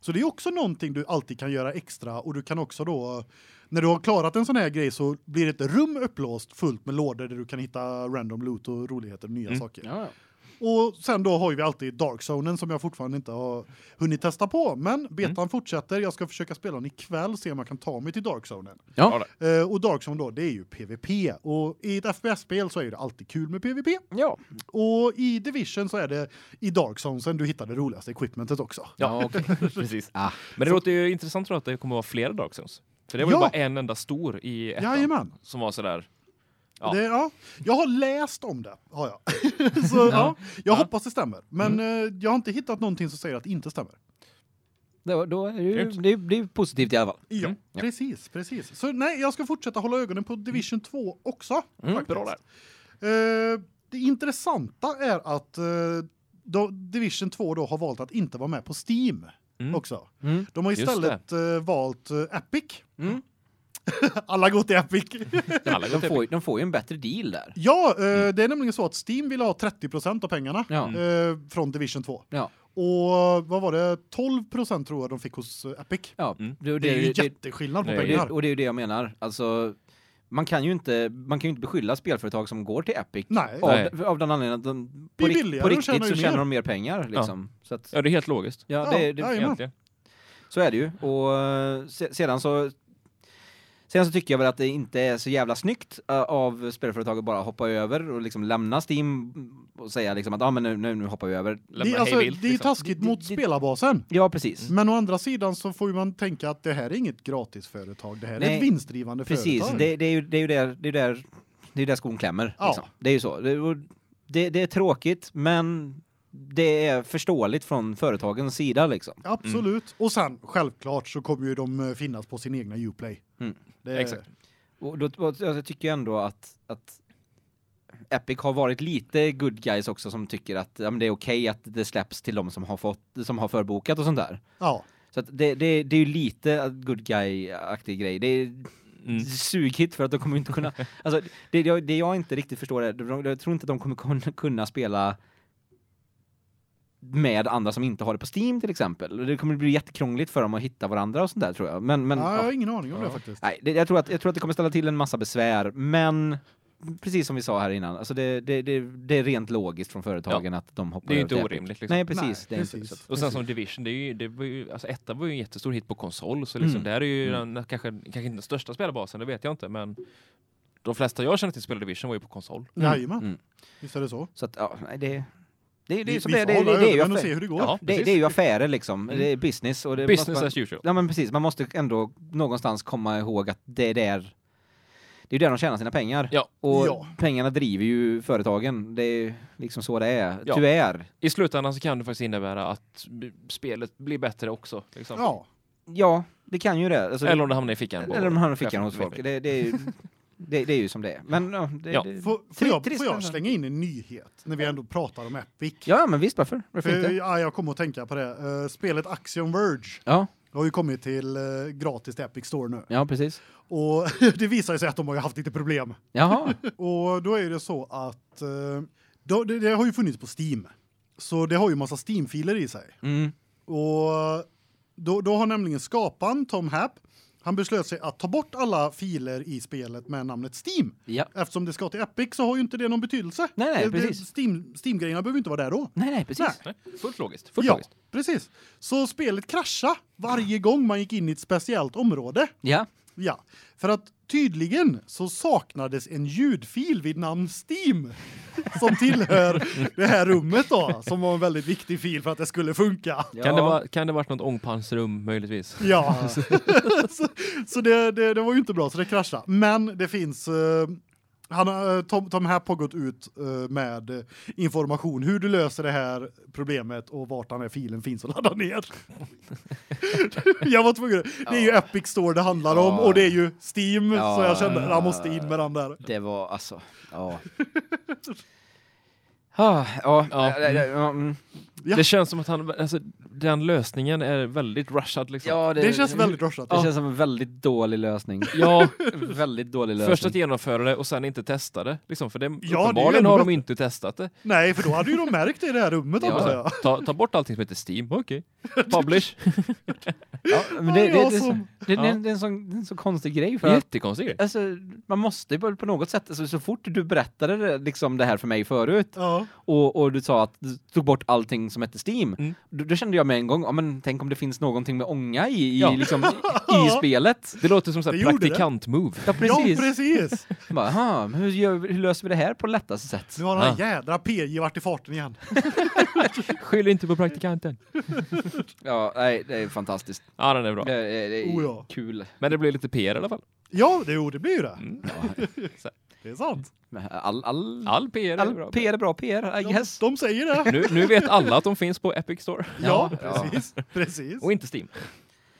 Så det är också någonting du alltid kan göra extra och du kan också då när du har klarat en sån här grej så blir ett rum upplåst fullt med lådor där du kan hitta random loot och roligheter och nya Mm. saker. Ja, ja. Och sen då har vi alltid Dark Zonen som jag fortfarande inte har hunnit testa på, men betan fortsätter. Jag ska försöka spela den ikväll se om jag kan ta mig till Dark Zonen. Ja. Ja, Eh, och Dark Zone då, det är ju PVP och i ett FPS-spel så är det alltid kul med PVP. Ja. Och i Division så är det i Dark Zone sen du hittar det roligaste equipmentet också. Ja, okej. [LAUGHS] precis. Ah. Men det låter ju intressant tror jag att det kommer att vara flera Dark Zones. För det var Ja. ju bara en enda stor i ettan. Jajamän. Som var sådär. Ja. Det, ja. Jag har läst om det, har jag. [LAUGHS] så ja. jag hoppas det stämmer. Men eh, jag har inte hittat någonting som säger att det inte stämmer. Det, var- då är det, ju, Grymt. det, är- det är ju positivt i alla fall. Ja, Mm. Ja. precis, precis. Så nej, jag ska fortsätta hålla ögonen på Division 2 också. Mm, faktiskt. Bra där. Eh, det intressanta är att eh, då Division 2 då har valt att inte vara med på Steam Mm. också. Mm. De har Just istället eh, valt eh, Epic. Mm. [LAUGHS] Alla går till Epic. Alla går De, till får, ju- de får ju en bättre deal där. ja, eh, det är nämligen så att Steam vill ha 30 av pengarna Ja. eh, från Division 2. Ja. Och eh, vad var det? 12 tror jag de fick hos eh, Epic. Ja. Mm. Det, det, Det är ju det, jätteskillnad på det är- det, pengar. och det är ju det jag menar. Alltså, man kan ju inte, man kan ju inte beskylla spelföretag som går till Epic Nej. Av, Nej. av den anledningen att de Det på, är rikt- billigare, på de riktigt tjänar ju så tjänar mer. de mer pengar. Liksom. Så, att, Ja, det är helt logiskt. ja, Ja, det, det, jajamän. Egentligen. så är det ju. Och eh, se, sedan så Sen så tycker jag väl att det inte är så jävla snyggt eh, av spelföretag att bara hoppa över och liksom lämna Steam och säga liksom att ah, men nu, nu, nu hoppar vi över. Det, är- alltså, hej vilt, det är ju liksom. taskigt Det- mot det- spelarbasen. Ja, precis. Men å andra sidan så får ju man tänka att det här är inget gratisföretag. Det här är Nej, ett vinstdrivande Precis, företag. det, det är ju det är ju där det är där det är där skon klämmer Ja. liksom. Det är ju så. Det, och det det är tråkigt men det är förståeligt från företagens sida liksom. Absolut. Och sen självklart så kommer ju de eh, finnas på sin egna Uplay. Mm. Det, Exakt. Och då och alltså, jag tycker jag ändå att att Epic har varit lite good guys också som tycker att ja, men det är okej att det släpps till de som har fått som har förbokat och sånt där. Ja, Så att det det det är ju lite good guy aktig grej. Det är Mm. sughit för att de kommer inte [LAUGHS] kunna alltså det jag, det jag inte riktigt förstår är de- jag tror inte de kommer kun- kunna spela med andra som inte har det på Steam till exempel. Och Det kommer bli jättekrångligt för dem att hitta varandra och sånt där tror jag. Men men ja, jag ja. har ingen aning om Ja. det faktiskt. nej, det, jag tror att jag tror att det kommer ställa till en massa besvär, men precis som vi sa här innan, alltså det det det, det är rent logiskt från företagen att de hoppar Det är ju över inte till orimligt, Epic. liksom. Nej, precis, det är inte precis. så att- Och sen som Division, det är ju, det var ju, alltså ettan var ju en jättestor hit på konsol, så liksom Mm. där är ju den, kanske, kanske inte den största spelarbasen, det vet jag inte, men de flesta jag känner till spelar Division var ju på konsol. Mm, Jajamän, mm. visst är det så. Så att ja, nej, det det, det är Vi, ju som vi det, får det, hålla det, det är ju ögonen och se Mm. affär, hur det går. Ja, det, precis. det är ju affärer liksom, det är business och det Business måste man- as usual. Ja men precis, man måste ändå någonstans komma ihåg att det är där det är där de tjänar sina pengar. Ja. Och Ja. pengarna driver ju företagen. Det är liksom så det är. Ja. Tyvärr. I slutändan så kan det faktiskt innebära att b- spelet blir bättre också. Liksom. Ja, Ja, det kan ju det. Alltså, Eller om det hamnar i fickan. på- eller om han fick chefen. hos folk. Det, det, är ju, det, det är ju som det är. Men ja, det, Ja. det, får, får, jag, Trist, får jag nästan. slänga in en nyhet när vi ändå pratar om Epic? ja men visst, varför? Varför För, inte? ja, jag kommer att tänka på det. Eh, Spelet Axiom Verge Ja, har ju kommit till eh, gratis till Epic Store nu. ja precis. Och [LAUGHS] det visar ju sig att de har ju haft lite problem. [LAUGHS] Jaha. Och då är det så att eh, då, det, det har ju funnits på Steam. Så det har ju massa Steam-filer i sig. Mm. Och då, då har nämligen skaparen Tom Happ, han beslöt sig att ta bort alla filer i spelet med namnet Steam. Ja. Eftersom det ska till Epic så har ju inte det någon betydelse. Nej, nej, Det- det- precis. Steam, Steam-grejerna behöver inte vara där då. Nej, nej, precis. Nej, fullt logiskt. Fullt ja, logiskt. precis. Så spelet kraschade varje gång man gick in i ett speciellt område. Ja. Ja, för att tydligen så saknades en ljudfil vid namn Steam som tillhör det här rummet då, som var en väldigt viktig fil för att det skulle funka. ja. Kan, det vara, kan det varit något ångpansrum möjligtvis? Ja, [LAUGHS] så, så det, det, det var ju inte bra så det kraschade. Men det finns, eh, han, har, eh, Tom, Tom Happ har gått ut eh, med eh, information hur du löser det här problemet och vart den här filen finns att ladda ner. [LAUGHS] jag var tvungen, det är ju Epic Store det handlar om Ja. och det är ju Steam Ja. så jag kände jag måste in med den där. Det var alltså, ja. Ah, ja, Ja. ja, ja, ja, mm. Ja. Det känns som att han, alltså, den lösningen är väldigt rushad liksom. Ja, Det känns väldigt rushat. Det känns som en väldigt dålig lösning. Ja, [LAUGHS] väldigt dålig lösning. först att genomföra det och sen inte testa det. Liksom, för det, det är ju uppenbarligen ändå har de bättre. inte testat det. Alltså, Nej, för då hade ju de märkt det i det här rummet, Ja. ja. jag. Ta, ta bort allting som heter Steam, okej. [LAUGHS] Publish. ja, men det, det, det, är så- Som- det, det, Ja. det är en sån, det är en sån konstig grej [LAUGHS] för att Jättekonstig grej. Alltså, man måste ju på på något sätt, alltså, så fort du berättade det, liksom det här för mig förut Ja. och, och du sa att du tog bort allting som hette Steam, Mm. då, då kände jag med en gång, ja men tänk om det finns någonting med ånga i, i, Ja. liksom, i, i spelet. Det låter som så Det här gjorde det. praktikant-move. Ja ja, precis. precis. Bara, aha, men hur, gör, vi- hur löser vi det här på lättaste sätt? Nu har den här Ah. jädra PJ varit i farten igen. Skyll inte på praktikanten. Ja, nej, det är fantastiskt. Ja, den är bra. Det är, det är Oh, ja. kul. Men det blir lite PR i alla fall. Ja, det, jo, det blir ju Mm. det. Ja, Det är sant. all, all, All PR är all bra. PR är bra PR, I De, guess. de säger det. Nu, nu vet alla att de finns på Epic Store. Ja, Ja, ja. precis. precis. Och inte Steam.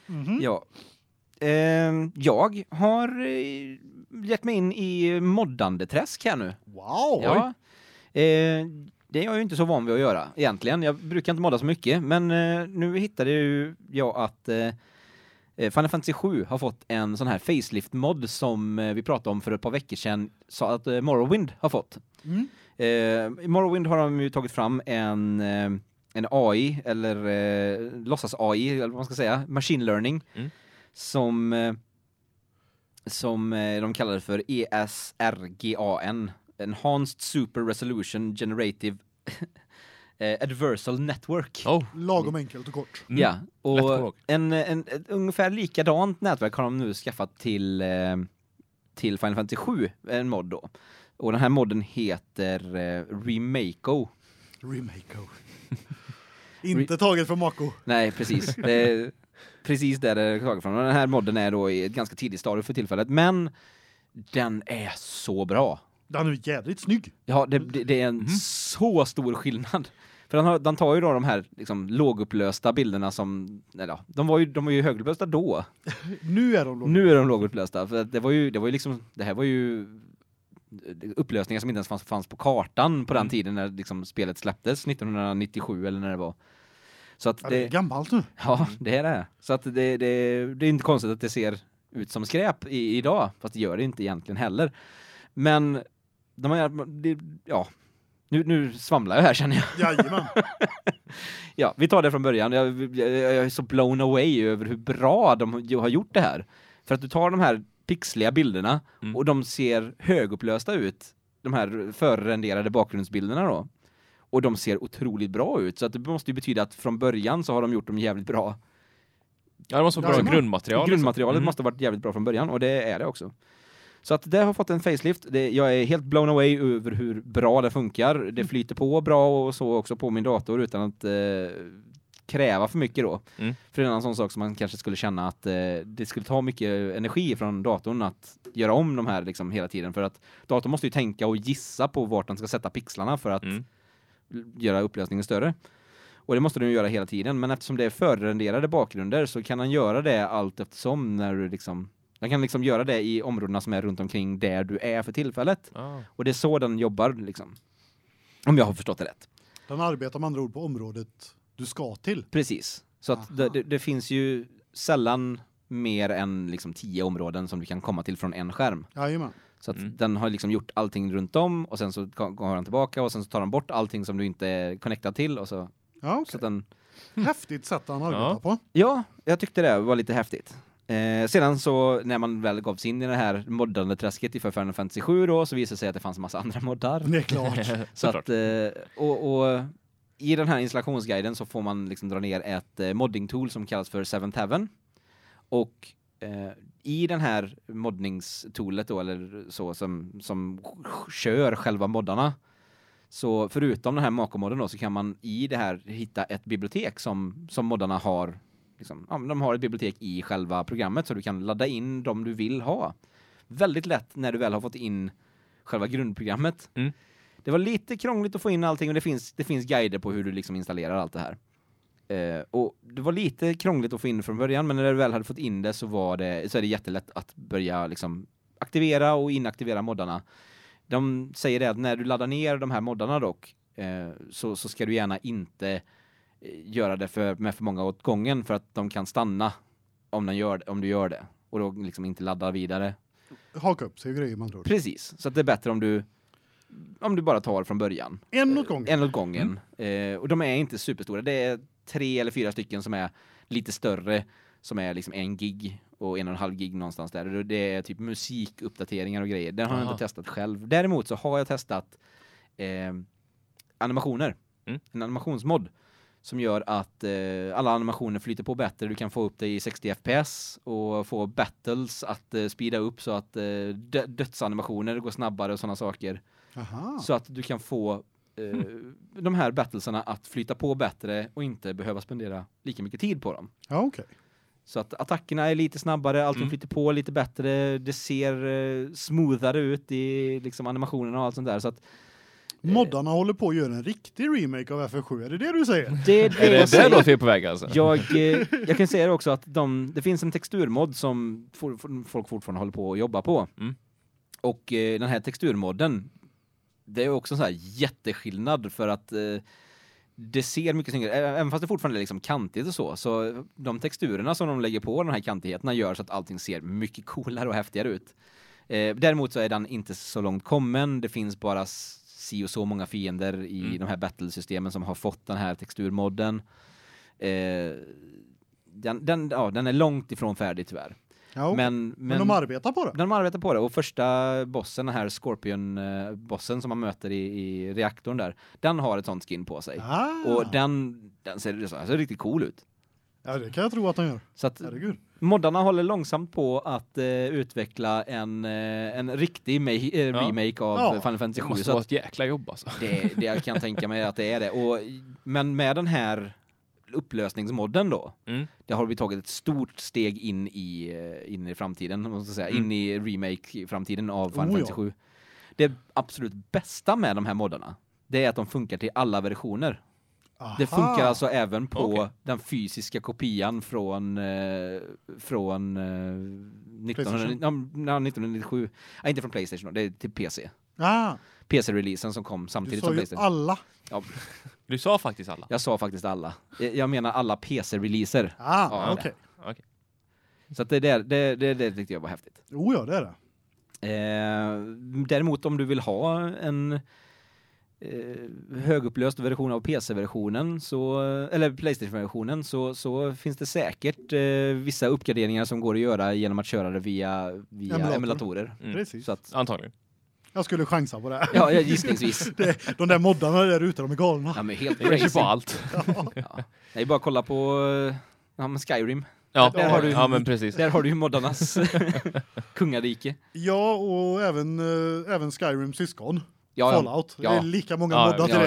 Mhm. Ja. Ehm, jag har eh, gett mig in i moddandeträsk här nu. Wow! Ja. Ehm, det är jag ju inte så van vid att göra egentligen. Jag brukar inte modda så mycket, men eh, nu hittade ju jag att eh, eh, Final Fantasy 7 har fått en sån här facelift-mod som eh, vi pratade om för ett par veckor sedan, sa att eh, Morrowind har fått. Mm. Eh, I Morrowind har de ju tagit fram en, eh, en AI, eller eh, låtsas-AI, eller vad man ska säga, machine learning, Mm. som, eh, som eh, de kallar för ESRGAN, Enhanced Super Resolution Generative [LAUGHS] eh, Adversal Network. Oh. Lagom enkelt och kort. Mm. Ja, Lätt att komma och ihåg. en, en, ett ungefär likadant nätverk har de nu skaffat till, eh, till Final Fantasy 7, en mod då. Och den här modden heter eh, Remako. Remako. [LAUGHS] inte taget från Mako. Nej, precis. Det [LAUGHS] är precis där det är taget från. Och Den här modden är då i ett ganska tidigt stadium för tillfället, men den är så bra. Den är ju jädrigt snygg. Ja, det, det, det är Mm. en så stor skillnad. För den, har, den tar ju då de här liksom, lågupplösta bilderna som, eller ja, de var ju, de var ju högupplösta då. Nu är de låg. Nu är de lågupplösta för att det var ju det var ju liksom det här var ju upplösningar som inte ens fanns, fanns på kartan på den Mm. tiden när liksom spelet släpptes 1997 eller när det var. Så att Ja, det är det gammalt [LAUGHS] nu. ja, det är det. Så att det det det är inte konstigt att det ser ut som skräp i, idag fast det gör det inte egentligen heller. Men de har det, ja nu, nu svamlar jag här känner jag. Jajamän. Ja, vi tar det från början. Jag, jag, jag är så blown away över hur bra de har gjort det här. För att du tar de här pixliga bilderna Mm. och de ser högupplösta ut. De här förrenderade bakgrundsbilderna då. Och de ser otroligt bra ut. Så att det måste ju betyda att från början så har de gjort dem jävligt bra. Ja, det måste vara Ja, bra så- grundmaterial. liksom. Grundmaterialet Mm. måste ha varit jävligt bra från början och det är det också. Så att det har fått en facelift. Det, jag är helt blown away över hur bra det funkar. Mm. Det flyter på bra och så också på min dator utan att eh, kräva för mycket då. Mm. För det är en annan sån sak som man kanske skulle känna att eh, det skulle ta mycket energi från datorn att göra om de här liksom hela tiden för att datorn måste ju tänka och gissa på vart den ska sätta pixlarna för att Mm. göra upplösningen större. Och det måste den ju göra hela tiden, men eftersom det är förrenderade bakgrunder så kan den göra det allt eftersom när du liksom den kan liksom göra det i områdena som är runt omkring där du är för tillfället. Ah. Och det är så den jobbar liksom. Om jag har förstått det rätt. Den arbetar med andra ord på området du ska till. Precis. Så att det, Aha. det, det finns ju sällan mer än liksom tio områden som du kan komma till från en skärm. Jajamän. Så att Mm. den har liksom gjort allting runt om och sen så ka- går den tillbaka och sen så tar den bort allting som du inte är connectad till och så, Ja, okej. så att den Häftigt sätt han arbetar Ja. på. Ja, jag tyckte det var lite häftigt. Eh, sedan så när man väl gav sig in i det här moddande träsket i Final Fantasy 7 då så visade det sig att det fanns en massa [LAUGHS] andra moddar. Det är [LAUGHS] klart. Så [LAUGHS] Såklart. att, eh, och, och i den här installationsguiden så får man liksom dra ner ett eh, modding-tool som kallas för Seventh Heaven. Och eh, i den här moddningstoolet då, eller så, som, som kör själva moddarna, så förutom den här Mako-modden då, så kan man i det här hitta ett bibliotek som, som moddarna har, liksom, ja, men de har ett bibliotek i själva programmet så du kan ladda in dem du vill ha. Väldigt lätt när du väl har fått in själva grundprogrammet. Mm. Det var lite krångligt att få in allting och det finns, det finns guider på hur du liksom installerar allt det här. Eh, och det var lite krångligt att få in från början, men när du väl hade fått in det så, var det, så är det jättelätt att börja liksom aktivera och inaktivera moddarna. De säger det att när du laddar ner de här moddarna dock, eh, så, så ska du gärna inte eh, göra det för, med för många åt gången för att de kan stanna om, den gör, om du gör det. Och då liksom inte laddar vidare. Haka upp sig och grejer man tror. Precis, så att det är bättre om du, om du bara tar från början. En åt gången. Mm. En åt gången. Eh, och de är inte superstora. Det är tre eller fyra stycken som är lite större, som är liksom en gig och en och en halv gig någonstans där. Och det är typ musikuppdateringar och grejer. Den har jag Aha. inte testat själv. Däremot så har jag testat eh, animationer. Mm. En animationsmod som gör att eh, alla animationer flyter på bättre. Du kan få upp det i 60 FPS och få battles att eh, speeda upp så att eh, dö- dödsanimationer går snabbare och sådana saker. Aha. Eh, Så att du kan få eh, de här battlesarna att flyta på bättre och inte behöva spendera lika mycket tid på dem. Ja, okej. Så att attackerna är lite snabbare, allting Mm. flyter på lite bättre, det ser eh, smoothare ut i liksom animationerna och allt sånt där. Så att Eh. Moddarna håller på att göra en riktig remake av FF7, är det det du säger? [LAUGHS] det är det Är jag det där säger. då vi är på väg alltså? Jag, [LAUGHS] eh, jag kan säga det också att de, det finns en texturmod som for, for, folk fortfarande håller på att jobba på. Mm. Och eh, den här texturmodden, det är också en sån här jätteskillnad för att eh, det ser mycket snyggare, Ä- även fast det fortfarande är liksom kantigt och så, så de texturerna som de lägger på de här kantigheterna gör så att allting ser mycket coolare och häftigare ut. Eh, däremot så är den inte så långt kommen, det finns bara s- si och så många fiender i Mm. de här battlesystemen som har fått den här texturmodden. Eh, den, den, ja, den är långt ifrån färdig tyvärr. Ja, okej. Men, men, de arbetar på det. de arbetar på det och första bossen, den här Scorpion-bossen som man möter i, i reaktorn där, den har ett sånt skin på sig. Ah. Och den, den ser, den ser riktigt cool ut. Ja, det kan jag tro att de gör. Så att Herregud. moddarna håller långsamt på att eh, utveckla en, eh, en riktig ma- eh, Ja. remake av Ja. Final Det Fantasy 7. måste Så vara att ett jäkla jobb alltså. det, det jag kan tänka mig att det är det. Och, men med den här upplösningsmodden då, Mm. det har vi tagit ett stort steg in i eh, in i framtiden, om man ska säga, Mm. in i remake framtiden av Final Oh, ja. Fantasy 7. Det absolut bästa med de här moddarna, det är att de funkar till alla versioner. Det Aha. funkar alltså även på Okej. den fysiska kopian från eh, från eh, 19, PlayStation. ja, nej, 1997. Nej, inte från PlayStation, då, det är till PC. Ah, PC-releasen som kom du samtidigt sa som ju PlayStation. alla. Ja, Du sa faktiskt alla. jag sa faktiskt alla. Jag jag menar alla PC-releaser. Ah, Ja, okej. Okej. Så att det, där, det, det, det tyckte jag var häftigt. Oh ja, det är det. Eh, däremot om du vill ha en eh, högupplöst version av PC-versionen så eller PlayStation-versionen så så finns det säkert eh, vissa uppgraderingar som går att göra genom att köra det via via Emulator. emulatorer. Mm. Precis. Så att Antagligen. Jag skulle chansa på det. ja, ja, gissningsvis. [LAUGHS] Det, de där moddarna där ute, de är galna. Ja men helt Det är crazy. på allt. Ja. Ja. Nej bara kolla på eh, ja, men Skyrim. Ja, Där har du- ja men precis. Där har du [LAUGHS] ju moddarnas kungarike. Ja, och även, eh, även Skyrim syskon. Ja, ja. Fallout. Ja. Det är lika många Ja, moddar till ja,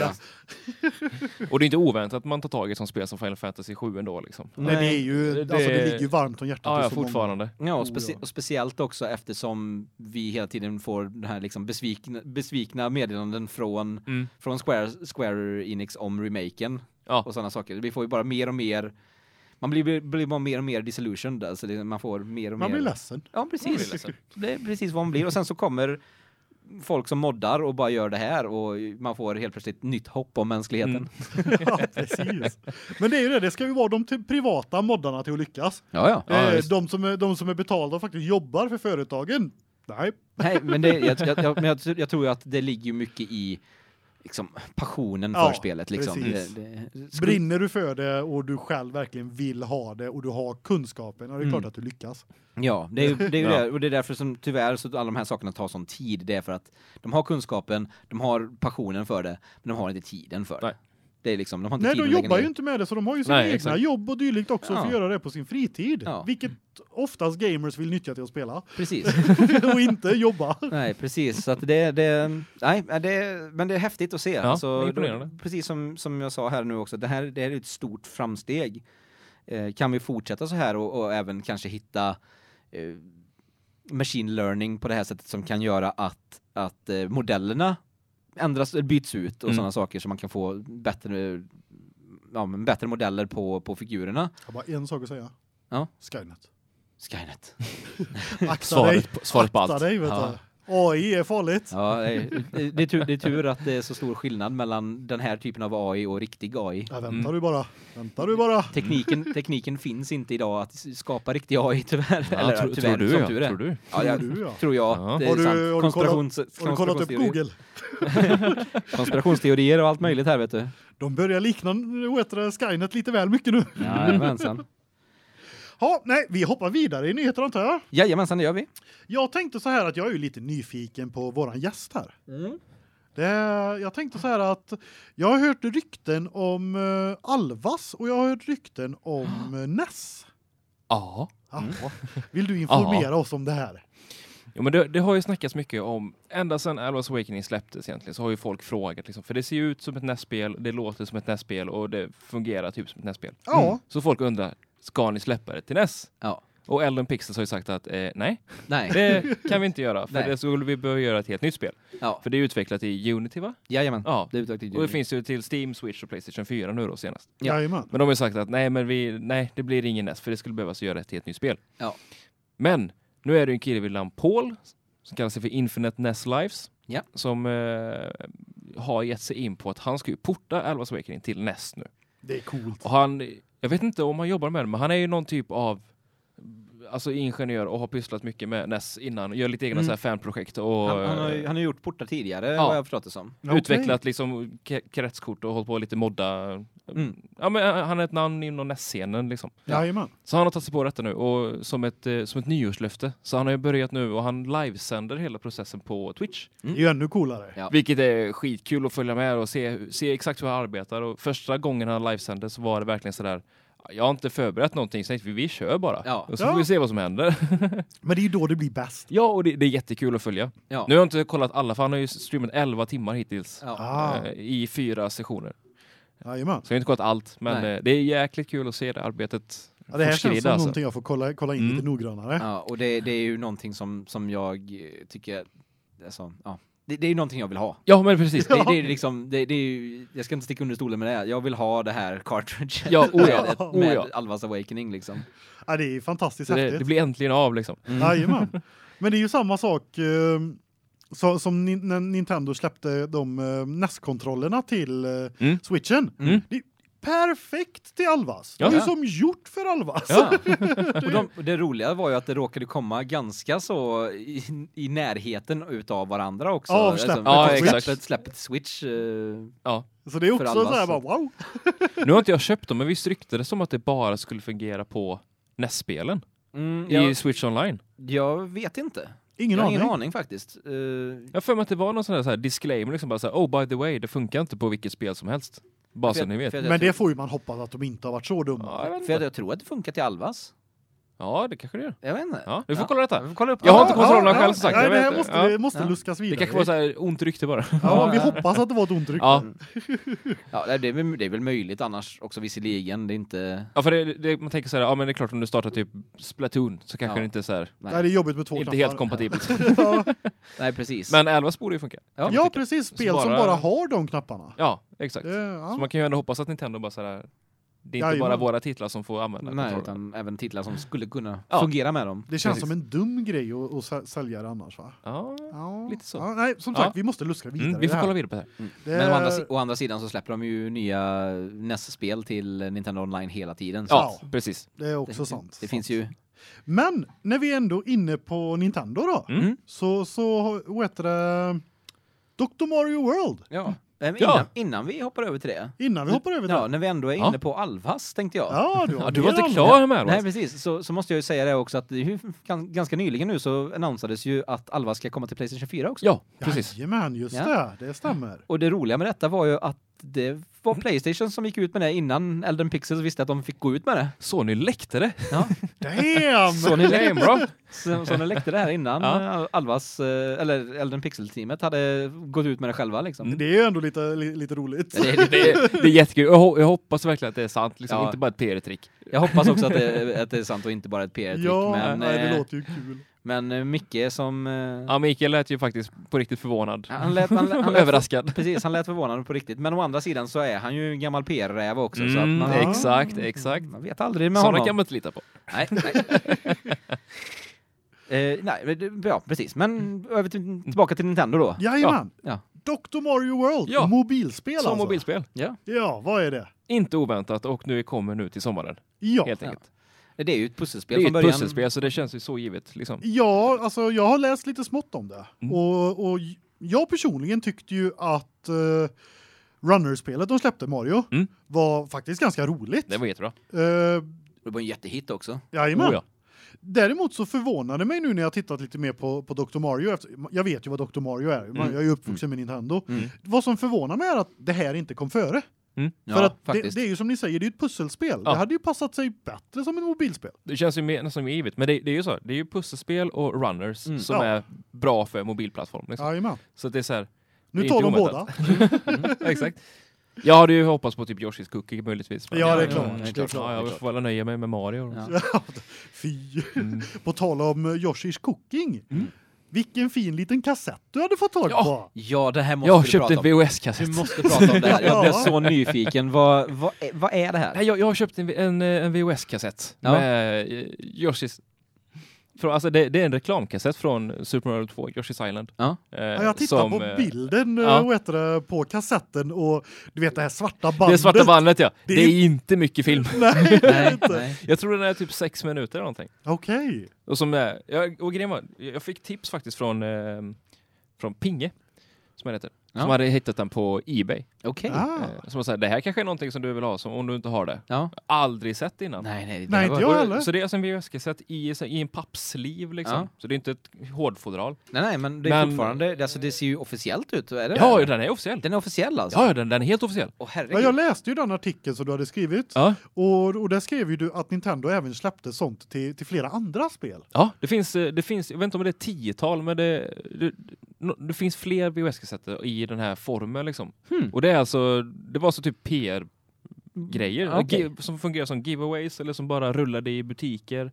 det. ja. Och det är inte oväntat att man tar tag i ett sånt spel som Final Fantasy 7 ändå liksom. Mm. Nej, det är ju, det- alltså det ligger ju varmt om hjärtat. Ja, hos ja så många. fortfarande. Ja, och, Oh, specie- ja. och speciellt också eftersom vi hela tiden får den här liksom besvikna, besvikna meddelanden från, Mm. från Square, Square Enix om remaken Ja. och sådana saker. Vi får ju bara mer och mer, man blir, blir bara mer och mer disillusioned, alltså det- man får mer och Man mer. blir ledsen. [LAUGHS] Ja, Man blir precis. ledsen. Det är precis vad man blir. Och sen så kommer folk som moddar och bara gör det här och man får helt plötsligt nytt hopp om mänskligheten. Mm. ja, precis. Men det är ju det, det ska ju vara de till privata moddarna till att lyckas. Ja, ja. Ja, eh, visst. de, som är, de som är betalda och faktiskt jobbar för företagen. Nej, Nej, men, det, jag, jag, jag, men jag, tr- jag tror ju att det ligger ju mycket i liksom, passionen Ja, för spelet. Liksom. precis. Det, det, skulle- brinner du för det och du själv verkligen vill ha det och du har kunskapen, och det är Mm. klart att du lyckas. Ja, det är, ju- det är ju Ja. det. Och det är därför som tyvärr så alla de här sakerna tar sån tid. Det är för att de har kunskapen, de har passionen för det, men de har inte tiden för Nej. det. Det är liksom, de har inte Nej, de tid att lägga jobbar ner. ju inte med det så de har ju sina Nej, egna exakt. jobb och dylikt också för Ja. att göra det på sin fritid. Ja. Vilket oftast gamers vill nyttja till att spela [LAUGHS] Precis. och inte jobba. Nej, precis. Så att det, det, nej, men det, men det är häftigt att se. alltså, imponerande. då- precis som, som jag sa här nu också, det här, det här är ett stort framsteg. Eh, kan vi fortsätta så här och, och även kanske hitta eh, machine learning på det här sättet som kan göra att, att eh, modellerna ändras, eh, byts ut och Mm. sådana saker så man kan få bättre, ja, men bättre modeller på, på figurerna. Jag har bara en sak att säga. Ja. Skynet. [LAUGHS] Skynet. Akta dig. Svaret, på- svaret på Akta allt. dig, vet Ja. du. AI är farligt. Ja, det är, det, är tur, det är tur att det är så stor skillnad mellan den här typen av AI och riktig AI. Ja, väntar Mm. du bara. Väntar du bara. [LAUGHS] Tekniken, tekniken finns inte idag att skapa riktig AI [LAUGHS] tyvärr. Ja, Eller, tro- tyvärr, tror du, som ja. tur är. Tror du? Ja, jag, Tror du, ja. tror jag. Ja. Det är Har du- har sant. du kollat- Konspirations- Har du kollat upp konspirationsteorier. Google? [LAUGHS] Konspirationsteorier och allt möjligt här vet du. De börjar likna vad heter det, Skynet lite väl mycket nu. Jajamensan. Ja, nej, vi hoppar vidare i nyheter antar jag. [LAUGHS] Jajamensan, det gör vi. Jag tänkte så här att jag är ju lite nyfiken på våran gäst här. Mm. Det, jag tänkte så här att jag har hört rykten om eh, Alvas och jag har hört rykten [GASPS] om eh, Ness. Ja. Jaha. Vill du informera oss om det Mm. här? Jo, men det, det har ju snackats mycket om, ända sedan Alice Awakening släpptes egentligen, så har ju folk frågat liksom, för det ser ju ut som ett nästspel, det låter som ett nästspel och det fungerar typ som ett nästspel. Ja, Så folk undrar, ska ni släppa det till näs? Ja. Och Ellen Pixels har ju sagt att eh, nej, Nej. det kan vi inte göra, för Nej. det skulle vi behöva göra ett helt nytt spel. [LAUGHS] Ja. För det är utvecklat i Unity va? Jajamän. Ja. Det är utlagt Och det finns ju till Steam, Switch och Playstation 4 nu då senast. Ja. jajamän. Men de har ju sagt att nej, men vi, nej, det blir ingen NES för det skulle behövas göra ett helt nytt spel. Ja. Men nu är det ju en kille vid namn Paul som kallar sig för Infinite NES Lives Ja. som eh, har gett sig in på att han ska ju porta Alvas Awakening till NES nu. Det är coolt. Och han, jag vet inte om han jobbar med det, men han är ju någon typ av alltså ingenjör och har pysslat mycket med NES innan, gör lite egna Mm. så här fanprojekt och Han, han, har, ju- eh, han har gjort portar tidigare, Ja. vad jag har förstått det som. Okej. utvecklat liksom k- kretskort och hållit på lite modda. Mm. Ja, men eh, han är ett namn inom NES-scenen liksom. Jajamän. Så han har tagit sig på detta nu och som ett, eh, som ett nyårslöfte. Så han har ju börjat nu och han livesänder hela processen på Twitch. Det är ju ännu coolare. Ja. Vilket är skitkul att följa med och se, se exakt hur han arbetar. Och första gången han livesände så var det verkligen sådär jag har inte förberett någonting, så jag tänkte, vi, vi kör bara. Ja. Och så Ja. får vi se vad som händer. [LAUGHS] Men det är ju då det blir bäst. ja, och det, det är jättekul att följa. Ja. Nu har jag inte kollat alla, för han har ju streamat 11 timmar hittills. Ja. Ah, eh, I fyra sessioner. jajamän. Så jag har inte kollat allt, men Nej. eh, det är jäkligt kul att se det arbetet Ja, det här fortskrida, känns som alltså. någonting jag får kolla, kolla in Mm. lite noggrannare. Ja, och det, det är ju någonting som, som jag eh, tycker, alltså, ja. det, det är ju någonting jag vill ha. Ja, men precis. Det, det är liksom, det, det är ju, jag ska inte sticka under stolen med det, här. jag vill ha det här cartridget [LAUGHS] Ja, oh [LAUGHS] ja. med, Oh med ja. Alvas Awakening liksom. Ja, det är fantastiskt Så det, häftigt. det blir äntligen av liksom. Mm. Mm. Jajamän. Men det är ju samma sak eh, så, som Nin- när Nintendo släppte de eh, NES-kontrollerna till eh, Mm. Switchen. Mm. Det är perfekt till Alvas. Ja. Det är ju som gjort för Alvas. Ja. Och de, och det roliga var ju att det råkade komma ganska så i, i närheten utav varandra också. Ja, av släppet Ja, av exakt. Släppet, släppet Switch. eh, Ja. [LAUGHS] Så det är För också Alvas. så här bara wow. Nu har inte jag köpt dem, men visst ryktades det som att det bara skulle fungera på NES-spelen mm, jag, i Switch Online. jag vet inte. Ingen jag har aning. ingen aning faktiskt. Eh, Jag har för mig att det var någon sån där så här disclaimer, liksom bara så här, oh by the way, det funkar inte på vilket spel som helst. Bara så för- ni vet. för att jag Men det tror- får ju man hoppas att de inte har varit så dumma. Ja, jag vet För att inte. jag tror att det funkar till Alvas. ja, det kanske det gör. Jag vet inte. Ja, vi får kolla detta. Vi får kolla upp Jag har Ja, inte kontrollerna själv, som sagt. Nej, Jag det vet här det. måste, Ja. det måste Ja. luskas Det vidare. kanske var så här ont [LAUGHS] rykte bara. Ja, vi hoppas att det var ett ont rykte. Ja, Ja, det är, väl- det är väl möjligt annars också visserligen. Det är inte... ja för det, det, man tänker så här, ja men det är klart om du startar typ Splatoon så kanske Ja. det inte är så här, Nej, det är jobbigt med två inte knappar. helt kompatibelt. ja. Nej, precis. Men 11 borde ju funka. Ja. ja, precis. Spel Så som bara- bara har de knapparna. Ja, exakt. Det, ja. Så man kan ju ändå hoppas att Nintendo bara så här, det är inte Jajamän. bara våra titlar som får använda Nej, kontrollen. utan även titlar som skulle kunna Ja. fungera med dem. Det känns Precis. som en dum grej att, att sä- sälja det annars va? Ja, Ja. Lite så. Ja, nej, som Ja. sagt, vi måste luska vidare. mm, i vi det får här. kolla vidare på det här. Det Men å andra, är- si- å andra sidan så släpper de ju nya NES-spel till Nintendo Online hela tiden. Så Ja, Ja. precis. det är att också det, sant. Det finns ju... Men när vi ändå är inne på Nintendo då, Mm. så, så har- vad heter det? Dr. Mario World, Ja. men Ja. Innan, innan vi hoppar över till det. innan vi hoppar över Ja, där. när vi ändå är Mm. Ja. inne på Alvas, tänkte jag. Ja, du, har Ja, du var mer inte om- klar med Nej, det? precis. Så, så måste jag ju säga det också att det är ju gan- ganska nyligen nu så annonsades ju att Alva ska komma till Playstation 4 också. Ja, precis. Jajamän, just Ja. det. Det [LAUGHS] stämmer. Och det roliga med detta var ju att det var Playstation som gick ut med det innan Elden Pixels visste att de fick gå ut med det. Så ni läckte det? Ja. Damn! [LAUGHS] Så ni läckte, Damn bra! så, så ni läckte det här innan Ja. eh, Alvas, eh, eller Elden Pixel-teamet hade gått ut med det själva liksom. Mm. Det är ju ändå lite, li, lite roligt. Det- det- [LAUGHS] Det är, det är jättekul. Jag, ho- jag hoppas verkligen att det är sant, liksom. Ja. inte bara ett PR-trick. Jag hoppas också att det, att det är sant och inte bara ett [LAUGHS] PR-trick. ja, men, nej, det eh, låter ju kul. men eh, Micke som... eh, Ja, Mikael lät ju faktiskt på riktigt förvånad. Han lät, han, [LAUGHS] lät, han, lät, Överraskad. precis, han lät förvånad på riktigt. Men å andra sidan så är han ju en gammal PR-räv också. så att Mm, man, Ja. Exakt, exakt. man vet aldrig med Sådana [LAUGHS] honom. kan man inte lita på. Nej, nej. Eh, nej, men det- ja, precis. Men över till, tillbaka till Nintendo då. Jajamän! Ja. Dr. Mario World, Ja. mobilspel Som alltså. mobilspel. Ja. Ja, vad är det? Inte oväntat och nu kommer nu till sommaren. Ja. Helt enkelt. Det är ju ett pusselspel Det är ju från ett början. pusselspel så det känns ju så givet liksom. Ja, alltså jag har läst lite smått om det. Mm. Och, och jag personligen tyckte ju att uh, Runner-spelet de släppte, Mario, Mm. var faktiskt ganska roligt. Det var jättebra. Eh, Det var en jättehit också. jajamän. Oh, ja. Däremot så förvånade mig nu när jag tittat lite mer på, på Dr. Mario. Efter, jag vet ju vad Dr. Mario är. Man- Mm. Jag är ju uppvuxen med Nintendo. Mm. Vad som förvånar mig är att det här inte kom före. Ja, För att det, faktiskt. det är ju som ni säger, det är ju ett pusselspel. Ja. Det hade ju passat sig bättre som ett mobilspel. Det känns ju mer, nästan mer givet. Men det, det är ju så. Det är ju pusselspel och runners Mm. som Ja. är bra för mobilplattform. Liksom. Jajamän. Så att det är så här. det Nu är tar inte de oväntat. båda. [LAUGHS] Exakt. Jag hade ju hoppats på typ Yoshi's Cookie möjligtvis. men- Ja, det är Ja, klart. ja, det är det är klart. klart. Ja, det är jag klart. får väl nöja mig med Mario. Ja. Fy. Mm. På tal om eh, Yoshis Cooking. Mm. Vilken fin liten kassett du hade fått tag Ja. på. ja, det här måste Jag vi köpte prata en om. VHS-kassett. Du måste prata om det här. Jag Ja. blev så nyfiken. Vad, vad, är, vad är det här? Nej, jag, jag har köpt en, en, eh, en VHS-kassett Ja. med eh, Yoshi's... Från, alltså det, det är en reklamkassett från Super Mario 2, Yoshi's Island. Ja. Eh, Ja, jag tittar som, på eh, bilden ja. och heter det, på kassetten och du vet det här svarta bandet. [LAUGHS] Det svarta bandet ja. Det Det är är, inte mycket film. Nej, det är Nej, inte. nej. Jag tror den är typ sex minuter eller någonting. Okej. Och, som är, jag, och grejen var, jag fick tips faktiskt från, eh, från Pinge, som han heter. Ja. Som hade hittat den på Ebay. Okej. Ah. Eh, som var såhär, det här kanske är någonting som du vill ha, som, om du inte har det. Ja. Aldrig sett innan. Nej, nej. det Nej, var- inte jag heller. Så det är alltså en VHS-kassett i, så- i en pappsliv liksom. Ja. Så det är inte ett hårdfodral. nej, nej, men det är Men- fortfarande... Alltså, det ser ju officiellt ut. Är det Ja, det? den är officiell. Den är officiell alltså? Ja, ja, den, den är helt officiell. Åh, Ja, herregud. jag läste ju den artikeln som du hade skrivit Ja, och, och där skrev ju du att Nintendo även släppte sånt till, till flera andra spel. ja det, finns, eh, det finns, jag vet inte om det är ett tiotal, men det, det, no- det finns fler VHS-kassetter i den här formen liksom. Hmm. Och det är alltså, det var alltså typ PR-grejer Mm, Ja, okej. gi- som fungerar som giveaways eller som bara rullade i butiker.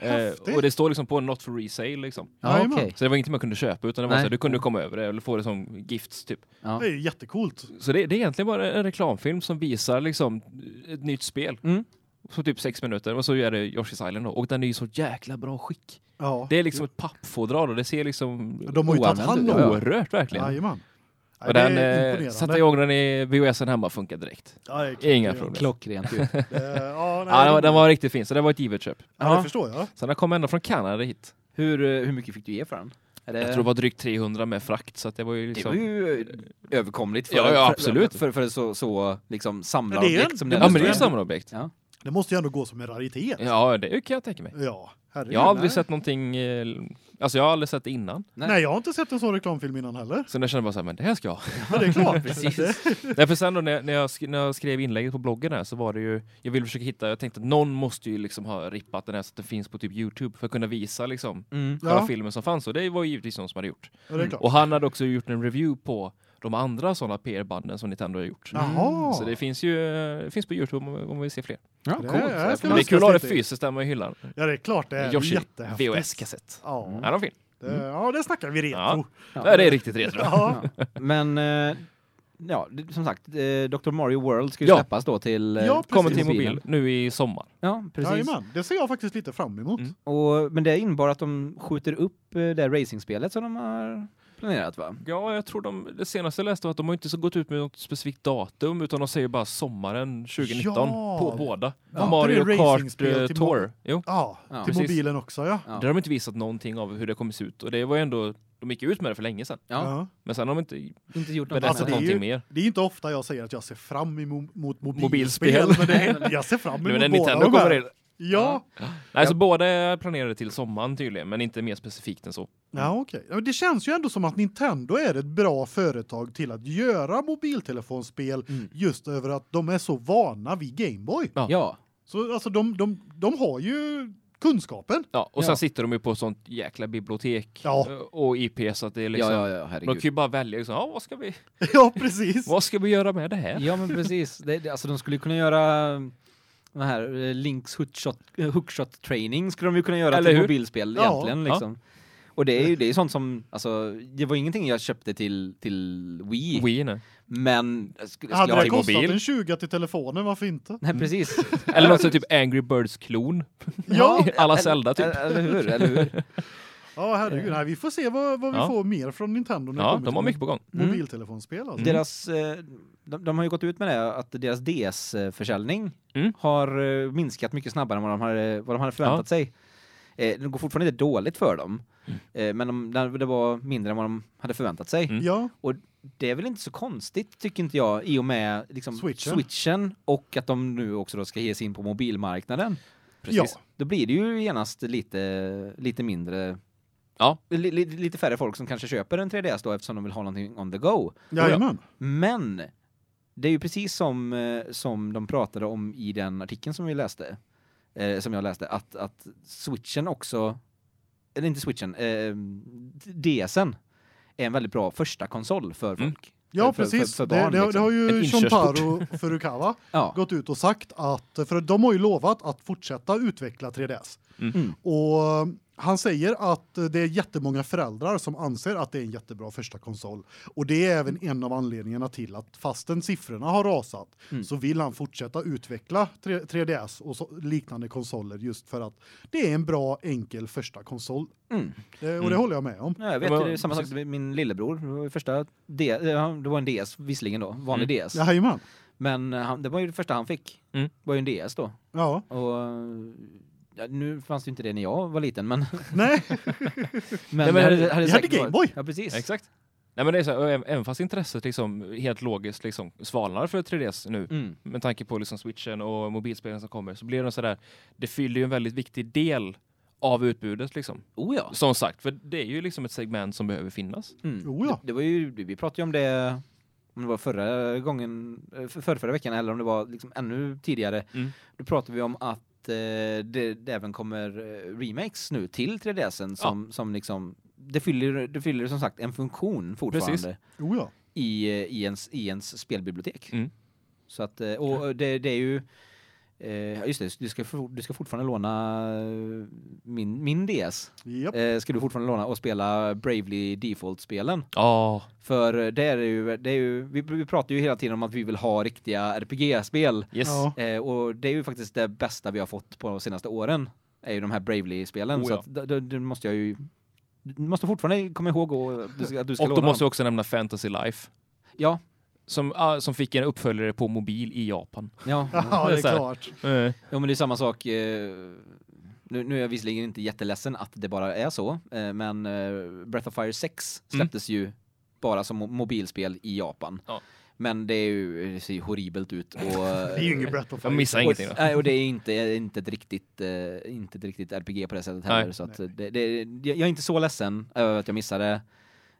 Eh, Häftigt. och det står liksom på not for resale liksom. Ja, Jajamän. okej. Så det var inte man kunde köpa utan det var Nej. så här, du kunde komma över det eller få det som gifts typ. Ja. Det är ju jättecoolt. Så det, det är egentligen bara en reklamfilm som visar liksom ett nytt spel. Mm. På typ sex minuter och så är det Yoshi's Island då. Och den är ju så jäkla bra skick. Ja. Det är liksom ett pappfodral och det ser liksom De har ju tagit oanvänt hand om ut, ja. det. orört verkligen. Jajamän. Nej, och det den är eh, imponerande. satte igång den i VHSen hemma funkar direkt. Ja, det är klart. Inga problem. Klockrent ju. [LAUGHS] Eh, ja, nej, Ja, den, var, den var riktigt fin så det var ett givet köp. ja, det Ja. förstår jag. Sen den kom ända från Kanada hit. Hur, eh, hur mycket fick du ge för den? Är det... Jag tror det var drygt 300 med frakt så att det var ju Det liksom... var ju eh, överkomligt för, Ja, ja, för- absolut. för, för, så, så liksom Ja, det är samlarobjekt en- som det Ja men det är ju måste- samma objekt. Ja. Det måste ju ändå gå som en raritet. Ja det kan jag tänka mig. Ja, herregud. Jag har aldrig nej. sett någonting, eh, alltså jag har aldrig sett det innan. Nej, jag har inte sett en sån reklamfilm innan heller. [LAUGHS] Så jag kände bara så här, men det här ska jag ha. [LAUGHS] Men det är klart. Precis. Nej, för sen då när jag, när, jag sk- när jag skrev inlägget på bloggen här så var det ju, jag ville försöka hitta, jag tänkte att någon måste ju liksom ha rippat den här så att den finns på typ Youtube för att kunna visa liksom Mm. Ja. själva filmen som fanns och det var ju givetvis någon som hade gjort. Ja, det är klart. Och han hade också gjort en review på de andra sådana PR-banden som Nintendo har gjort. Jaha. Mm, Så det finns ju, eh, det finns på Youtube om, om vi ser fler. Ja, Det coolt. är- Jag ska ska- Men det är man kul att ha det se lite. fysiskt hemma i hyllan. Ja, det är klart. Det är Yoshi, jättehäftigt. Mm. VHS-kassett. Ja, Ja, de är fin. det, ja, det snackar vi retro. Ja. Det här är riktigt retro. Ja. Men eh, ja, det- som sagt, eh, Dr. Mario World ska ju Ja. släppas då till... eh, Ja, precis. Kommer till mobilen. mobil nu i sommar. Ja, precis. Jajamän, det ser jag faktiskt lite fram emot. Mm. Och, men det innebar att de skjuter upp eh, det racingspelet som de har planerat va? Ja, jag tror de, det senaste jag läste var att de har inte så gått ut med något specifikt datum utan de säger bara sommaren 2019 Ja. på båda. Ja. Mario Det är Kart racingspel eh, till Tour. mobil. Jo. Ja, Ja. till Precis. mobilen också, ja. Ja. Där har de inte visat någonting av hur det kommer se ut och det var ju ändå, de gick ut med det för länge sedan. Ja. Ja. Men sen har de inte Inte gjort något berättat Alltså, det är någonting ju- mer. Det är inte ofta jag säger att jag ser fram emot mot mobilspel, Mobilspel. men det [LAUGHS] är, jag ser fram Nu emot när båda Nintendo de här. kommer in. Ja, Nej, så båda är planerade till sommaren tydligen, men inte mer specifikt än så. ja okej. Ja, men Det känns ju ändå som att Nintendo är ett bra företag till att göra mobiltelefonspel Mm. just över att de är så vana vid Gameboy. Ja. Ja. Så alltså de, de, de har ju kunskapen. Ja, och Ja. sen sitter de ju på sånt jäkla bibliotek Ja. eh, och IP så att det är liksom... ja, ja, ja, De kan herregud. ju bara välja liksom, ja, vad ska vi, [LAUGHS] Ja, precis. vad ska vi göra med det här? Ja men precis. Det, det, alltså de skulle kunna göra eh, de här eh, Links hookshot, eh, hookshot training skulle de ju kunna göra Eller till hur? mobilspel Ja. egentligen Ja. liksom. Och det är ju det är sånt som alltså det var ingenting jag köpte till till Wii, Wii, nej. men jag skulle, skulle Hade jag ha det till kostat mobil. en 20 till telefonen, varför [LAUGHS] inte? Nej [LAUGHS] precis. Eller något sånt typ Angry Birds-klon. Ja. [LAUGHS] Alla Zelda typ. Mm. Eller, eller hur? Eller hur? Ja, herregud. Nej, vi får se vad, vad vi Ja. får mer från Nintendo när det Ja, kommer de har till mycket på gång. Mm. mobiltelefonspel. Alltså. Deras, eh, de, de har ju gått ut med det att deras DS-försäljning Mm. har eh, minskat mycket snabbare än vad de hade, vad de hade förväntat Ja. sig. Eh, det går fortfarande inte dåligt för dem, eh, men de, det- det var mindre än vad de hade förväntat sig. Mm. Ja, Och det är väl inte så konstigt, tycker inte jag, i och med liksom, Switchen. switchen och att de nu också då ska ge sig in på mobilmarknaden. Precis. Då blir det ju genast lite, lite mindre Ja. li, li, lite färre folk som kanske köper en 3DS då eftersom de vill ha någonting on the go. jajamän. Men det är ju precis som eh, som de pratade om i den artikeln som vi läste eh, som jag läste att att switchen också eller inte switchen eh, DSen är en väldigt bra första konsol för Mm. folk. Ja, för- precis. för- för barn, det, det, har- det liksom. har Ett ju inkörsport. Shontaro Furukawa [LAUGHS] Ja. gått ut och sagt att, för de har ju lovat att fortsätta utveckla 3DS. Mm. Och han säger att det är jättemånga föräldrar som anser att det är en jättebra första konsol. Och det är även en av anledningarna till att fastän siffrorna har rasat Mm. så vill han fortsätta utveckla 3, ds och så, liknande konsoler just för att det är en bra enkel första konsol. Mm. Eh, och det Mm. håller jag med om. Ja, jag vet Ja, ju, men- det är samma sak precis. med min lillebror. Det var ju första D, eh, det var en DS visserligen då, vanlig DS. Jajamän. Men eh, han, det var ju det första han fick. Mm. Var ju en DS då. Ja. Och eh, ja, nu fanns det ju inte det när jag var liten men Nej. [LAUGHS] men, men hade, vi hade säkert Game varit- Boy. Ja precis. Exakt. Nej, men det är så här, och även- även fast intresset liksom helt logiskt liksom svalnar för 3DS nu Mm. med tanke på liksom switchen och mobilspelen som kommer så blir det så där det fyller ju en väldigt viktig del av utbudet liksom. Oh ja. Som sagt, för det är ju liksom ett segment som behöver finnas. Mm. Oh ja. Det, det var ju vi pratade ju om det om det var förra gången eh, för, förra veckan eller om det var liksom ännu tidigare. Mm. Då pratade vi om att eh, det, det även kommer eh, remakes nu till 3DSen som som liksom det fyller det fyller som sagt en funktion fortfarande. Precis. Oh ja. i, eh, i, ens, i ens spelbibliotek. Mm. Så att, eh, och eh, det, det är ju... Eh, ja, just det, du ska, for- du ska fortfarande låna eh, min, min DS. Japp. Eh, ska du fortfarande låna och spela Bravely Default-spelen. Ja, För eh, det är ju, det är ju vi, vi pratar ju hela tiden om att vi vill ha riktiga RPG-spel. yes. Ja. Eh, och det är ju faktiskt det bästa vi har fått på de senaste åren. är ju de här Bravely-spelen. Oh, Så ja. att, då- då- då måste jag ju... Du måste fortfarande komma ihåg och, att du ska, att du ska Och då låna måste dem. jag också nämna Fantasy Life Ja, som ah, som fick en uppföljare på mobil i Japan. ja. [LAUGHS] Ja, det det är är så här. klart. Eh. Jo men det är samma sak eh, nu, nu är jag visserligen inte jätteledsen att det bara är så, eh, men eh, Breath of Fire 6 Mm. släpptes ju bara som mo- mobilspel i Japan. Ja. Men det, är ju, det ser ju horribelt ut [LAUGHS] och Det är ju inget Breath of Jag Fire. missar och, ingenting. Då. nej, och det är inte inte ett riktigt eh, inte ett riktigt RPG på det sättet heller Nej. så att eh, det, det, jag är inte så ledsen över att jag missade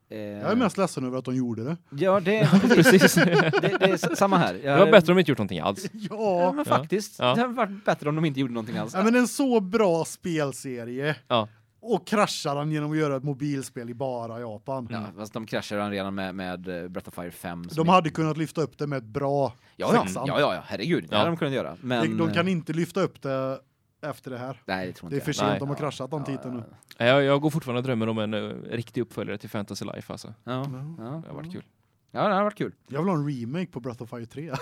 eh, Jag är mest ledsen över att de gjorde det. [LAUGHS] Ja, det precis. [LAUGHS] det, det är s- samma här. Det Jag, var bättre om de inte gjort någonting alls. Ja, Ja. men faktiskt. [LAUGHS] Ja. Det hade varit bättre om de inte gjorde någonting alls. ja men en så bra spelserie. Ja. Och kraschar han genom att göra ett mobilspel i bara Japan. Ja, fast de kraschade han redan med, med eh, Breath of Fire 5. som De hade kunnat lyfta upp det med ett bra ja, ja, sexan. ja, ja, ja, herregud. Det Ja. hade de kunnat göra. Men, de, de eh, kan inte lyfta upp det efter det här. Nej, det tror Det inte är jag. för sent, Nej. de har kraschat den titeln nu. Nej, Eh, Jag, jag går fortfarande och drömmer om en eh, riktig uppföljare till Fantasy Life alltså. Ja, Ja. ja. Det har varit kul. ja, det hade varit kul. Jag vill ha en remake på Breath of Fire 3.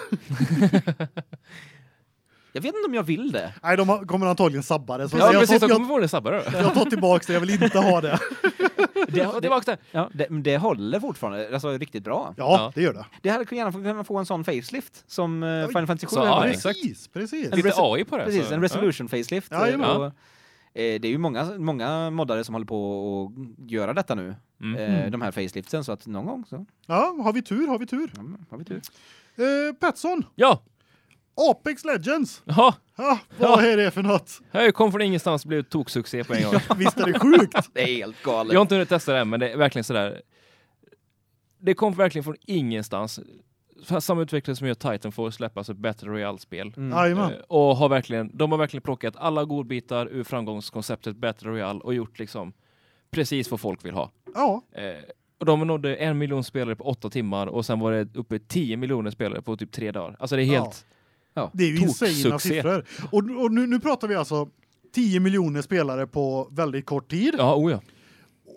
Jag vet inte om jag vill det. [LAUGHS] Nej, de har- kommer antagligen sabba det. Så Ja, jag, precis. tar, De kommer jag, få det snabbare då. jag tar tillbaka det, jag vill inte ha [LAUGHS] det. Det, det var också... Ja, det, men det håller fortfarande alltså, riktigt bra. Ja, Ja. det gör det. Det hade kunnat gärna få en sån facelift som eh, Final Fantasy 7 så, ja, hade. exakt. precis, precis. En Lite resi- AI på det. här, Precis, så- en resolution facelift. Ja, jajamän. och, eh, det är ju många, många moddare som håller på att göra detta nu. Mm. Eh, de här faceliftsen, så att någon gång så Ja, har vi tur, har vi tur. ja, men har vi tur. Eh, Petsson, Ja, Apex Legends. ja. Ja, vad är det för något? Jag kom från ingenstans och blev toksuccé på [LAUGHS] en gång. Visst är det sjukt? Mm. Det är helt galet. Jag har inte hunnit testa det än, men det är verkligen sådär. Det kom verkligen från ingenstans. Samma utvecklare som gör Titanfall släppas ett Battle Royale-spel. Mm. Jajamän. Eh, Och har verkligen, de har verkligen plockat alla godbitar ur framgångskonceptet Battle Royale och gjort liksom precis vad folk vill ha. Ja, Eh, och de nådde en miljon spelare på åtta timmar och sen var det uppe i tio miljoner spelare på typ tre dagar. Alltså det är helt... Ja. det är ju insana Toksuccé. siffror. Och, och nu, nu pratar vi alltså 10 miljoner spelare på väldigt kort tid. Ja, oh ja.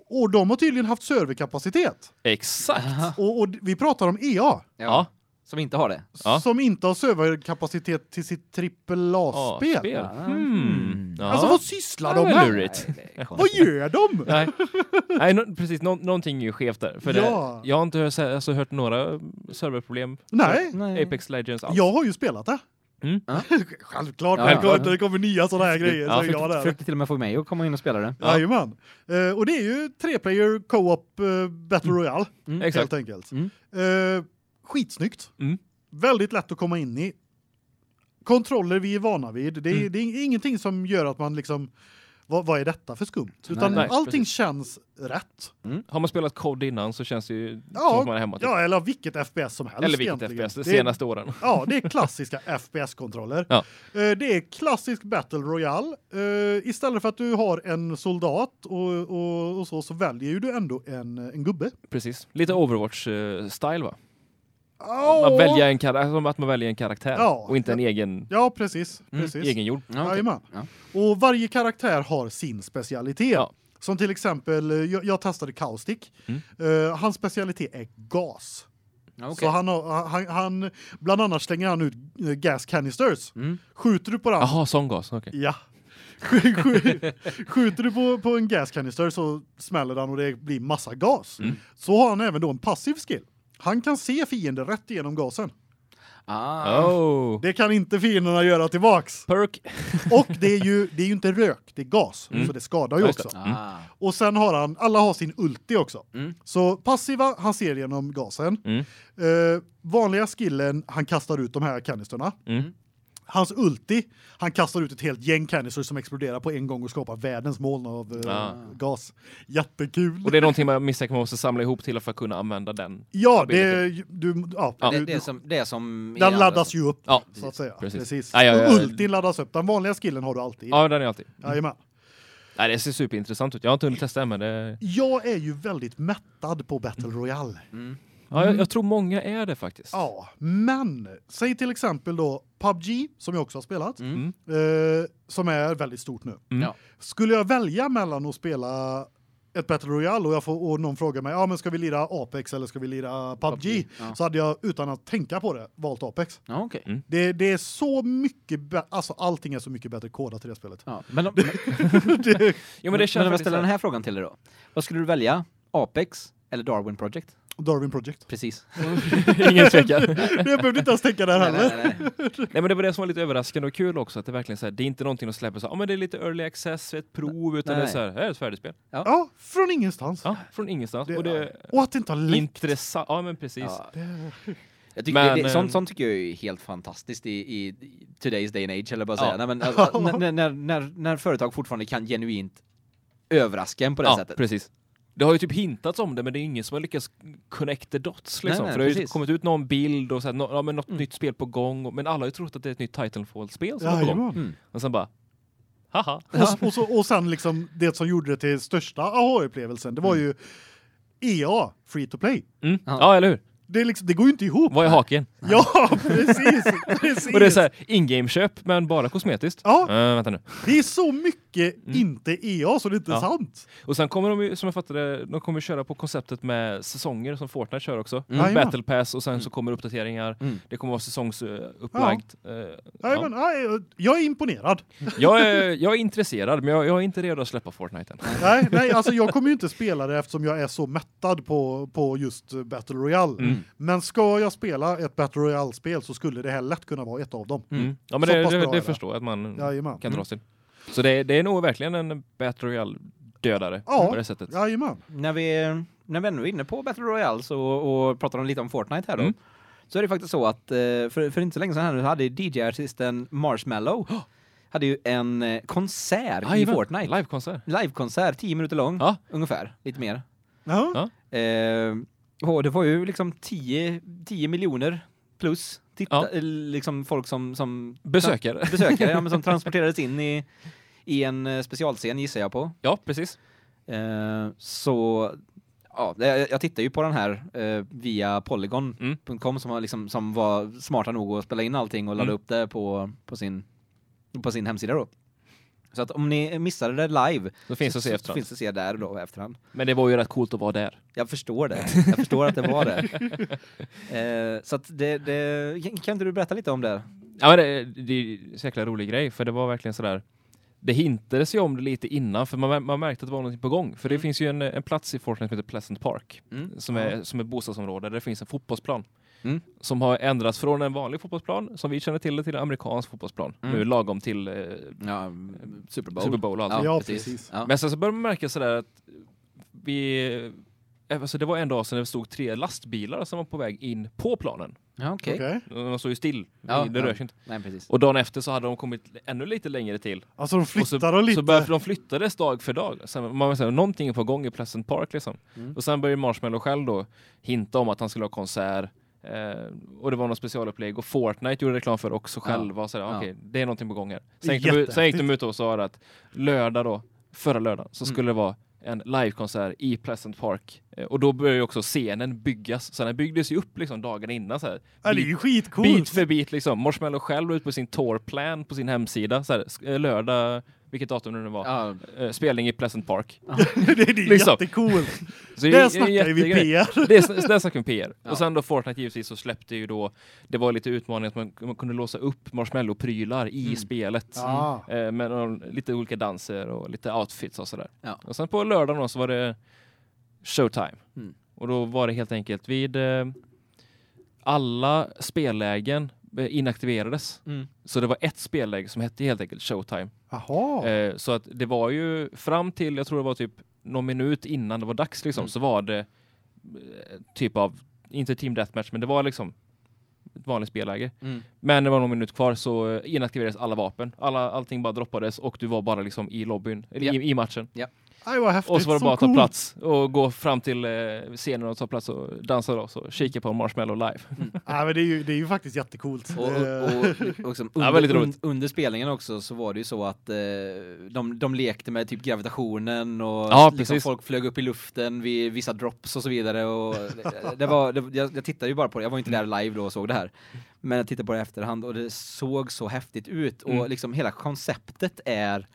Och de har tydligen haft serverkapacitet. Exakt. Och, och vi pratar om EA. Ja. Som inte har det. Ja. E Som inte har serverkapacitet till sitt AAA-spel. spel. Mm. Hmm. Ja. Alltså vad sysslar de Ja, med? lurigt. Right. Nej, det är Vad [LAUGHS] konstigt. gör de? [LAUGHS] Nej, Nej nå- precis. Nå någonting är ju skevt där. För Ja. det, jag har inte hört, alltså, hört några serverproblem. Nej. Nej. Apex Legends alls. Jag har ju spelat det. Mm. Ja. [LAUGHS] Självklart, Ja, självklart ja. när det kommer nya sådana här grejer så är jag försökte, där. försökte till och med få mig att komma in och spela det. Ja. Jajamän. Eh, och det är ju treplayer co-op eh, battle royale Mm. Exakt. helt enkelt. Mm. Eh, skitsnyggt. Mm. Väldigt lätt att komma in i. Kontroller vi är vana vid. Det är, Mm. det är ingenting som gör att man liksom vad, vad är detta för skumt? Utan nej, allting precis. känns rätt. Har man spelat Code innan så känns det ju Ja, som att man är hemma. Typ. Ja, eller vilket FPS som helst Eller vilket egentligen. FPS, de Det är- senaste åren. [LAUGHS] Ja, det är klassiska FPS-kontroller. Ja. Eh, Det är klassisk Battle Royale. Eh, Istället för att du har en soldat och, och, och så, så väljer ju du ändå en, en gubbe. Precis. Lite Overwatch-style va? Ja, Att, välja en kar- som att man väljer en karaktär Ja. och inte en egen, Ja, precis. mm, precis. egengjord. Ja, okej. Jajamän. Ja. Och varje karaktär har sin specialitet. Ja. Som till exempel, eh, jag, jag testade Kaustik. Mm. Eh, hans specialitet är gas. Ja, okej. Så han, har, han, han, bland annat slänger han ut eh, gas canisters. Mm. Skjuter du på den Jaha, sångas. Okej. Ja. Sk- sk- [LAUGHS] Skjuter du på, på en gaskanister så smäller den och det blir massa gas. Mm. Så har han även då en passiv skill. Han kan se fienden rätt igenom gasen. Ah. Oh. Det kan inte fienderna göra tillbaks. Perk. Och det är ju, det är ju inte rök, det är gas. Så det skadar ju Mm. Ja, just också. Ah. Och sen har han, alla har sin ulti också. Mm. Så passiva, han ser genom gasen. Mm. Eh, vanliga skillen, han kastar ut de här kanisterna. Mm. Hans ulti, han kastar ut ett helt gäng canisters som exploderar på en gång och skapar världens moln av eh, Ah. gas. Jättekul. Och det är någonting man misstänker man måste samla ihop till för att kunna använda den. ja, det är- du ja, Ja. du, Det, du, det är som... Det är som i Mm. den andra- laddas ju upp Ja, så att säga. Precis. precis. Ja, ja, ja, Och ja. ultin laddas upp. Den vanliga skillen har du alltid. Ja, den är alltid. Jajamän. Nej, det ser superintressant ut. Jag har inte hunnit testa än, men det... Jag är ju väldigt mättad på Battle Royale. ja, jag, jag tror många är det faktiskt. Ja, men säg till exempel då PubG som jag också har spelat. Mm. Eh, som är väldigt stort nu. Mm. Ja. Skulle jag välja mellan att spela ett Battle Royale och, jag får, och någon frågar mig, ja men ska vi lira Apex eller ska vi lira PubG? PUBG, ja. Så hade jag utan att tänka på det valt Apex. Ja, okej. Mm. Det, det är så mycket, bä- alltså allting är så mycket bättre kodat i det spelet. Ja. Men, om- men, Jo, men men, det känns om jag faktiskt... ställer den här frågan till dig då. Vad skulle du välja? Apex eller Darwin Project? Darwin [LAUGHS] Project. Precis. [LAUGHS] Ingen tvekan. jag behövde inte ens tänka där Nej, heller. nej, nej, nej. [LAUGHS] Nej men det var det som var lite överraskande och kul också att det verkligen så här, det är inte någonting de släpper så här, ja men det är lite early access, ett prov utan Nej. det är så här, här är ett färdigspel. Ja, från ingenstans. Ja, från ingenstans Det, och det är och att det inte har läckt. intressant. Ja men precis. Ja. Det- Jag tycker Men, det, det, sånt, eh, sånt tycker jag är helt fantastiskt i, i today's day and age, eller bara Ja. säga. Nej, men, alltså, när, när, när, när företag fortfarande kan genuint överraska en på det ja, sättet. precis. Det har ju typ hintats om det men det är ingen som har lyckats connect the dots liksom. Nej, nej, För det har ju precis. Mm. kommit ut någon bild och så här, nå- ja, men något nytt spel på gång och, men alla har ju trott att det är ett nytt Titanfall-spel som är på gång. Jajamän. Och sen bara [LAUGHS] haha. Och, och, så, och sen liksom det som gjorde det till största aha-upplevelsen, det var ju EA, free to play. Mm. Ja. Ja. eller hur? Det, är liksom, det går ju inte ihop. Vad är haken? Ja, precis. precis. [LAUGHS] Och det är så här in-game köp men bara kosmetiskt. Ja. Eh, vänta nu. Det är så mycket inte EA så det är inte Mm. Ja. sant. Och sen kommer de ju, som jag fattade, de kommer köra på konceptet med säsonger som Fortnite kör också. Jajamän. Battle pass och sen så kommer uppdateringar. Mm. Det kommer vara säsongsupplagt. Ja. Nej, men, Ja. nej, jag är imponerad. Jag, är, jag är intresserad men jag, jag är inte redo att släppa Fortnite än. Nej, nej, alltså jag kommer ju inte spela det eftersom jag är så mättad på, på just eh, Battle Royale. Mm. Men ska jag spela ett Battle Royale-spel så skulle det här lätt kunna vara ett av dem. Mm. Ja men Så det, pass det, bra är det det. förstår jag att man Jajamän. Mm. kan dras till. Så det, det är nog verkligen en Battle Royale dödare Ja. på det sättet. Jajamän. När, vi, när vi ändå är inne på Battle Royale så, och pratar om lite om Fortnite här då. Mm. Så är det faktiskt så att eh, för, för inte så länge sedan här nu hade DJ-artisten Marshmallow [GASPS] hade ju en eh, konsert i Jajamän. Fortnite. Livekonsert. Livekonsert, 10 minuter lång Ja. ungefär, lite mer. Ja. Ja. Eh, och det var ju liksom 10, 10 miljoner plus titta, Ja. eh, liksom folk som, som Besökare. besökare ja, men [LAUGHS] som transporterades in i, i en eh, specialscen gissar jag på. Ja precis. Eh, så ja, det- jag, jag tittar ju på den här eh, via Mm. polygon.com som, har liksom, som var smarta nog att spela in allting och ladda Mm. upp det på, på, sin, på sin hemsida då. Så att om ni missade det live Då finns det att se så- efterhand. finns det att se där då efterhand. Men det var ju rätt coolt att vara där. Jag förstår det. Jag förstår att det var [LAUGHS] det. Eh, så att det, det kan- kan inte du berätta lite om det? Ja, men det, det är en så jäkla rolig grej, för det var verkligen sådär. Det hintades ju om det lite innan, för man, man märkte att det var någonting på gång. För det Mm. finns ju en, en plats i Fortnite som heter Pleasant Park, Mm. som är, som är bostadsområde där det finns en fotbollsplan. Mm. Som har ändrats från en vanlig fotbollsplan, som vi känner till det, till en amerikansk fotbollsplan. Mm. Nu lagom till eh, Ja, Super Bowl. Super Bowl alltså. och allt Ja, sånt. precis. Ja. Men sen så började man märka sådär att vi... eh, Alltså det var en dag sedan det stod tre lastbilar som var på väg in på planen. ja okej. Okej. De stod ju still, Ja, det ja. rör sig inte. Nej, precis. Och dagen efter så hade de kommit ännu lite längre till. Alltså de Och så, flyttar och lite. så började de flyttades dag för dag. Sen, man var så här, någonting är på gång i Pleasant Park liksom. Mm. Och sen började Marshmallow själv då hinta om att han skulle ha konsert. Eh, och det var någon specialupplägg och Fortnite gjorde reklam för det också Ja. själva. Och så där, Ja. okej, det är någonting på gång här. Det är Sen gick, de, ut- sen gick de jättehäftigt. ut och sa att lördag då, förra lördagen, så Mm. skulle det vara en livekonsert i Pleasant Park. Eh, och då började ju också scenen byggas. Så den byggdes ju upp liksom dagen innan. Så här. ja, det är Bit- ju skitcoolt. Bit för bit liksom. Marshmallow själv ut på sin tourplan på sin hemsida. Så här, sk- eh, lördag, vilket datum det nu var, Ja, eh, spelning i Pleasant Park. [LAUGHS] det är det är Liksom. jättecoolt. Så det är- det är Där en snackar vi jättegrej. Mm. PR. Det är, så där snackar vi PR. Ja. Och sen då Fortnite givetvis så släppte ju då, det var lite utmaning att man, man kunde låsa upp marshmallow-prylar i Mm. spelet. Ja. Eh, med någon, lite olika danser och lite outfits och sådär. Ja. Och sen på lördagen då så var det showtime. Mm. Och då var det helt enkelt vid eh, alla spellägen eh, inaktiverades. Mm. Så det var ett spelläge som hette helt enkelt showtime. Jaha. Eh, så att det var ju fram till, jag tror det var typ någon minut innan det var dags liksom, Mm. så var det eh, typ av, inte team deathmatch, men det var liksom ett vanligt spelläge. Mm. Men det var någon minut kvar så eh, inaktiverades alla vapen. Alla, allting bara droppades och du var bara liksom i lobbyn, eller Ja. i, i matchen. Aj, vad häftigt. Och så var det bara att ta coolt. plats och gå fram till eh, scenen och ta plats och dansa då, så kika på Marshmallow live. Ja, men det, är ju, det är ju faktiskt jättecoolt. Och, och, Eh, och, och liksom Ja, under, väldigt roligt. un- under spelningen också så var det ju så att eh, de, de lekte med typ gravitationen och Ja, liksom precis. folk flög upp i luften vid vissa drops och så vidare. Och det, det var, det, jag, jag tittade ju bara på det, jag var ju inte där live då och såg det här. Men jag tittade på det i efterhand och det såg så häftigt ut och Mm. liksom hela konceptet är...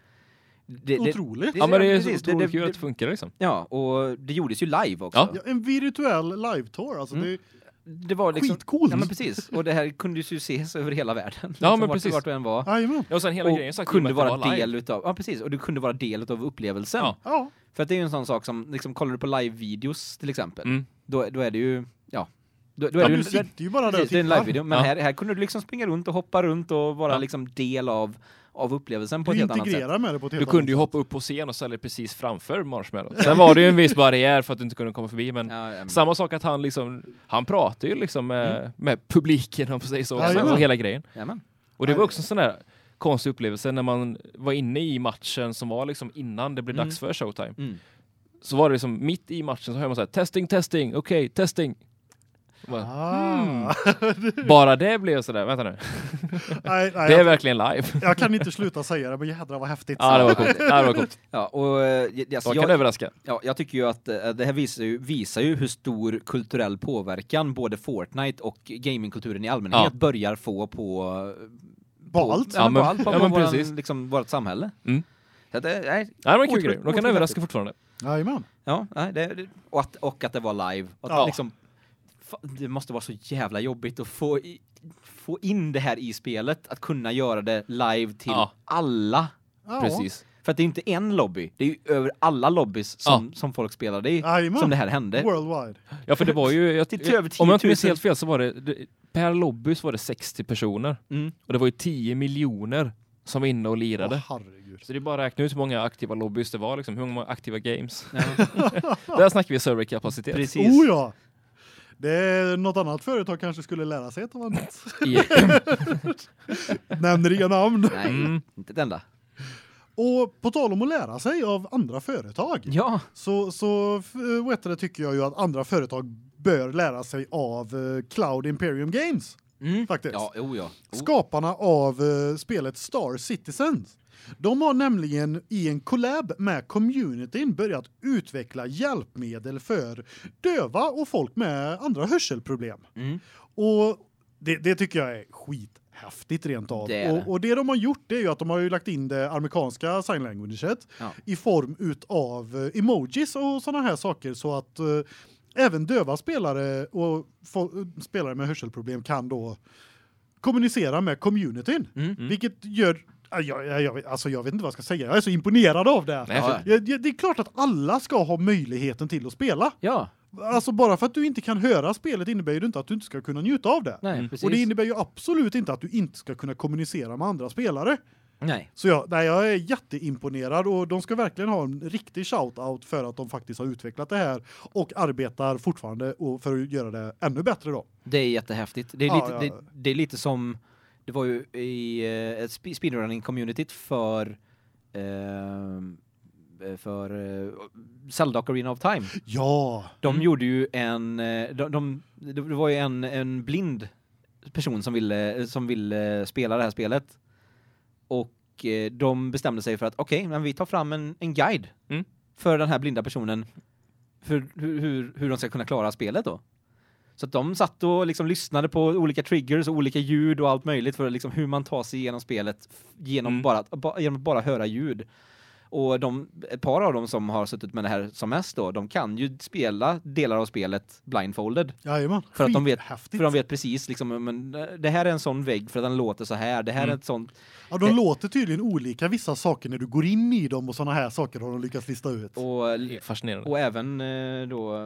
Det, det, Otroligt. det- Ja men det är så precis. otroligt kul att det funkar liksom. ja, och det gjordes ju live också. Ja. Ja, en virtuell live-tour. Alltså, Mm. det är Det var liksom... skitcoolt. Ja men precis, och det här kunde ju ses över hela världen. Liksom Ja, men vart- precis. Vart du än var. Jajamän. Ja, Och sen hela och grejen sagt, i och med kunde att vara det var live. del utav, ja precis, och du kunde vara del utav upplevelsen. Ja. Ja. För att det är ju en sån sak som, liksom kollar du på live-videos till exempel, Mm. då, då är det ju, ja. Då, då är Ja, det ju, du det, sitter ju bara där och precis, det är en tittar. live-video, men Ja. här, här kunde du liksom springa runt och hoppa runt och vara Ja. liksom del av, av upplevelsen på ett Du helt annat sätt. integrerar med det på ett helt Du kunde ju annat hoppa upp på scen och ställa dig precis framför Marshmallow. Sen var det ju en viss barriär för att du inte kunde komma förbi, men Ja, ja, men- samma sak att han liksom, han pratar ju liksom med, med publiken om man säger så, Jajamän. och hela grejen. Jajamän. Och det var också en sån där konstig upplevelse när man var inne i matchen som var liksom innan det blev Mm. dags för showtime. Mm. Så var det liksom mitt i matchen så hör man så här testing, testing, okej, testing. Och sätt. Bara, Mm. Ah. bara det blev sådär, vänta nu, nej, nej, det är jag, verkligen live. jag kan inte sluta säga det, men jädrar vad häftigt. Ja, det var coolt. Ja, det var coolt. Ja, och eh, alltså, Jag kan jag, överraska. ja, jag tycker ju att eh, det här visar ju, visar ju hur stor kulturell påverkan både Fortnite och gamingkulturen i allmänhet Ja. börjar få på På allt. Ja, Ja, men, men- på allt, på, ja, men på våran, precis. liksom, vårt samhälle. Mm. Så att, det- nej, Nej, det var en kul Otroligt- grej. De otroligt kan överraska häftigt. fortfarande. Jajamän. ja, nej, det, det- och, att, och att det var live. Och att Ja. liksom, fa- det måste vara så jävla jobbigt att få, i, få in det här i spelet, att kunna göra det live till Ja. alla. Ja. Precis. För att det är inte en lobby, det är ju över alla lobbys som, som folk spelade i, Jajamän. som det här hände. Worldwide. Ja, för det var ju... Jag, Det är över 10 000. om jag inte minns helt fel så var det, det... Per lobby så var det 60 personer. Mm. Och det var ju 10 miljoner som var inne och Åh, lirade. herregud. Så det är bara att räkna ut hur många aktiva lobbys det var, liksom. hur många aktiva games. [LAUGHS] Ja, Där snackar vi serverkapacitet. precis. Oh ja. Det är något annat företag kanske skulle lära sig att vara [LAUGHS] nytt. I- Nämner inga namn. Nej, Mm. inte ett enda. Och på tal om att lära sig av andra företag. Ja, Så så f- vet du, det tycker jag ju att andra företag bör lära sig av eh, Cloud Imperium Games mm. faktiskt. ja, oh, ja. Oh. Skaparna av eh, spelet Star Citizens. De har nämligen i en collab med communityn börjat utveckla hjälpmedel för döva och folk med andra hörselproblem. Mm. Och det, det tycker jag är skithäftigt. häftigt rent av. Det är det. och, och det de har gjort det är ju att de har ju lagt in det amerikanska sign languageet Ja. i form utav eh, emojis och såna här saker så att eh, även döva spelare och fo- spelare med hörselproblem kan då kommunicera med communityn. Mm. Vilket gör ja, jag, jag, jag, vet- alltså jag vet inte vad jag ska säga. Jag är så imponerad av det. Nej, Ja. för, Ja, ja, det är klart att alla ska ha möjligheten till att spela. Ja, Alltså bara för att du inte kan höra spelet innebär ju inte att du inte ska kunna njuta av det. nej, Mm. precis. Och det innebär ju absolut inte att du inte ska kunna kommunicera med andra spelare. nej. Så jag, nej, jag är jätteimponerad och de ska verkligen ha en riktig shout-out för att de faktiskt har utvecklat det här och arbetar fortfarande och för att göra det ännu bättre då. Det är jättehäftigt. Det är, Ja, lite, ja. Det, det är lite som, det var ju i eh, sp- speedrunning-communityt för, ehm, eh, för eh, Zelda Ocarina of Time. Ja, De Mm. gjorde ju en, eh, de, de, det var ju en, en blind person som ville, som ville spela det här spelet. Och eh, de bestämde sig för att okej, men vi tar fram en, en guide Mm. för den här blinda personen. För hur, hur, hur de ska kunna klara spelet då. Så att de satt och liksom lyssnade på olika triggers och olika ljud och allt möjligt för liksom hur man tar sig igenom spelet f- genom, Mm. bara, att- ba, genom att bara höra ljud. Och de, ett par av dem som har suttit med det här som mest då, de kan ju spela delar av spelet blindfolded. jajamän. För att de vet- Skithäftigt. För de vet precis liksom, men det här är en sån vägg för att den låter så här, det här är Mm. ett sånt... ja, de det- låter tydligen olika vissa saker när du går in i dem och såna här saker har de lyckats lista ut. Och, eh, det är fascinerande. och även eh, då...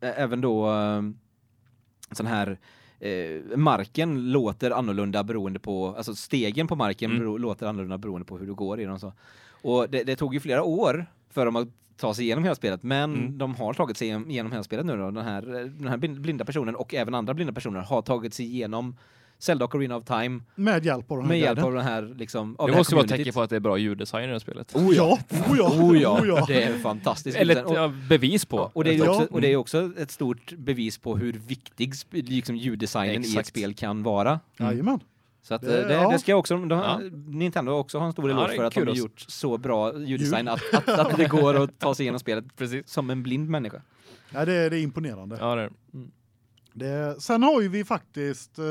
ä- Även då eh, sån här... Eh, marken låter annorlunda beroende på, alltså stegen på marken Mm. bero, låter annorlunda beroende på hur du går i den och så. Och det, det tog ju flera år för dem att ta sig igenom hela spelet, men Mm. de har tagit sig igenom- igenom hela spelet nu då. Den här, eh, den här blind- blinda personen och även andra blinda personer har tagit sig igenom Zelda Ocarina of Time Med hjälp av de här med hjälp guiden. av den här liksom av det här måste vara ett communityt. tecken på att det är bra ljuddesign i det här spelet. Oh ja, oh ja, Oh ja, oh ja. [LAUGHS] det är fantastiskt. Eller Och- ja, bevis på. Ja, och, det är ju Ja. Mm. också, och det är också ett stort bevis på hur viktig sp- liksom ljuddesignen i ett Exakt. spel kan vara. Jajamän. Så att, eh, Det- det, ja. det ska jag också, de, Ja. Nintendo har också ha en stor Ja, eloge det är för att de har kudos. gjort så bra ljuddesign att, att, att det går att ta sig igenom spelet Precis. som en blind människa. Ja, det, är- det är imponerande. Ja, det är. Det, sen har ju vi faktiskt, eh,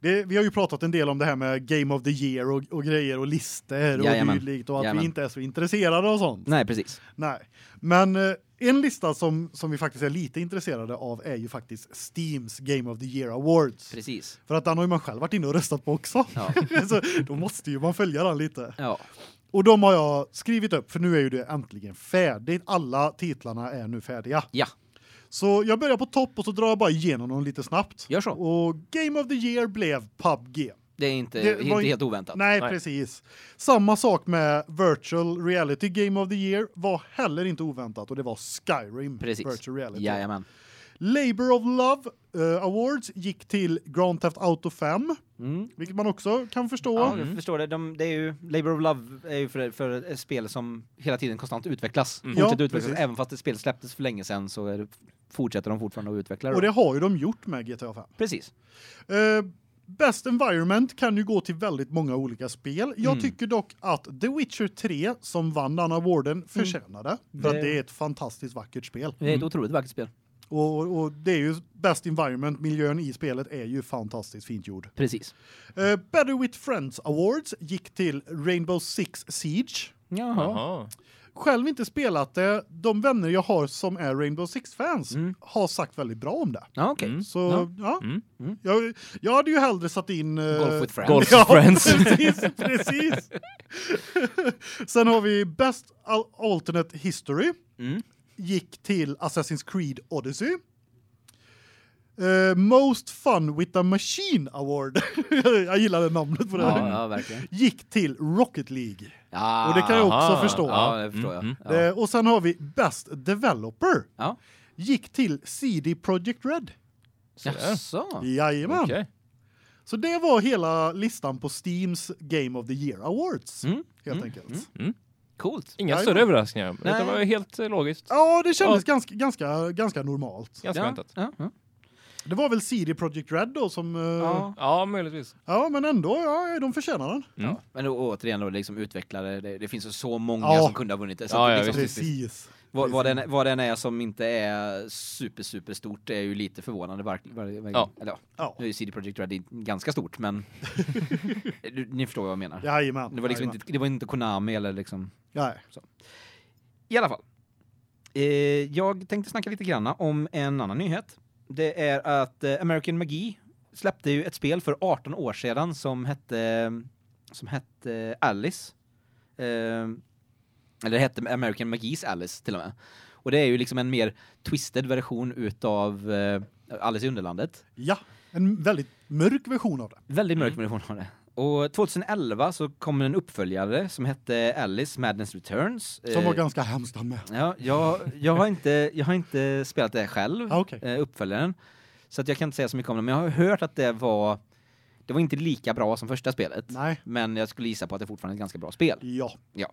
det, vi har ju pratat en del om det här med Game of the Year och, och grejer och listor och Jajamän. dylikt och att Jajamän. vi inte är så intresserade och sånt. Nej, precis. Nej. Men eh, en lista som, som vi faktiskt är lite intresserade av är ju faktiskt Steams Game of the Year Awards. Precis. För att den har ju man själv varit inne och röstat på också. Ja. [LAUGHS] så då måste ju man följa den lite. Ja. Och de har jag skrivit upp för nu är ju det äntligen färdigt. Alla titlarna är nu färdiga. ja, Så jag börjar på topp och så drar jag bara igenom dem lite snabbt. Gör så. Och Game of the Year blev PubG. det är inte, Det var inte ju- helt oväntat. Nej, Nej. precis. Samma sak med Virtual Reality Game of the Year var heller inte oväntat och det var Skyrim Precis. Virtual Reality. Jajamän. Labor of Love eh, Awards gick till Grand Theft Auto 5, Mm. vilket man också kan förstå. Ja, jag Mm. förstår det. De, det är ju, Labour of Love är ju för, för ett spel som hela tiden konstant utvecklas. Mm. Fortsätter Ja, utvecklas. precis. Även fast ett spel släpptes för länge sedan så är det, fortsätter de fortfarande att utveckla Och det. det har ju de gjort med GTA 5. Precis. Eh, Best Environment kan ju gå till väldigt många olika spel. Jag Mm. tycker dock att The Witcher 3, som vann den awarden, förtjänade. För Mm. Det- att det är ett fantastiskt vackert spel. Det är ett Mm. otroligt vackert spel. Och, och- och det är ju Best Environment, miljön i spelet är ju fantastiskt fint gjord. Precis. Eh, Better with Friends Awards gick till Rainbow Six Siege. Jaha. Jaha. Själv inte spelat det. De vänner jag har som är Rainbow Six-fans Mm. har sagt väldigt bra om det. Ja, okej. Mm. Så Ja. ja, Mm. Mm. Jag, jag hade ju hellre satt in... eh, Golf with friends. Golf [LAUGHS] Ja, Friends. precis, precis. [LAUGHS] Sen har vi Best Al- Alternate History. Mm. Gick till Assassin's Creed Odyssey. Eh, Most Fun with a Machine Award. [LAUGHS] jag gillar det namnet på det. Ja, ja, verkligen. Gick till Rocket League. Ja. Och det kan jag också Aha. förstå. Ja, det förstår Mm, jag. Ja. Eh, och sen har vi Best Developer. Ja. Gick till CD Projekt Red. Så där. Jaså? Jajamän. Okej. Så det var hela listan på Steams Game of the Year Awards. Mm. Helt Mm. enkelt. Coolt. Inga Jajamän. större överraskningar. Nej. Det var ju helt eh, logiskt. Ja, det kändes Ganska, ganska, ganska normalt. Ganska Ja, väntat. Ja, ja. Det var väl CD Projekt Red då som... eh, Ja. Ja, möjligtvis. ja, men ändå, ja, de förtjänar den. Mm. Ja, men då, återigen då, liksom utvecklare, det, det finns ju så många Ja. som kunde ha vunnit det. Så Ja, att det ja, liksom, Precis. Vad, vad, den, vad den är som inte är super, super stort är ju lite förvånande. Var, var, var, Ja. Eller, ja. Ja. Nu är ju CD Projekt Red ganska stort, men du, ni förstår vad jag menar. Jajamän. Det var liksom jajamän. inte, det var inte Konami eller liksom... Nej. I alla fall. Eh, jag tänkte snacka lite grann om en annan nyhet. Det är att eh, American Magi släppte ju ett spel för 18 år sedan som hette som hette Alice. Eh, eller hette American Magis Alice till och med. Och det är ju liksom en mer twisted version utav eh, Alice i Underlandet. Ja, en väldigt mörk version av det. Väldigt Mm. mörk version av det. Och 2011 så kom en uppföljare som hette Alice Madness Returns. Som var Eh, ganska hemskt den med. Ja, jag, jag, har inte, jag har inte spelat det själv, Ah, okej. eh, uppföljaren. Så att jag kan inte säga så mycket om det, men jag har hört att det var det var inte lika bra som första spelet. Nej. Men jag skulle gissa på att det fortfarande är ett ganska bra spel. Ja.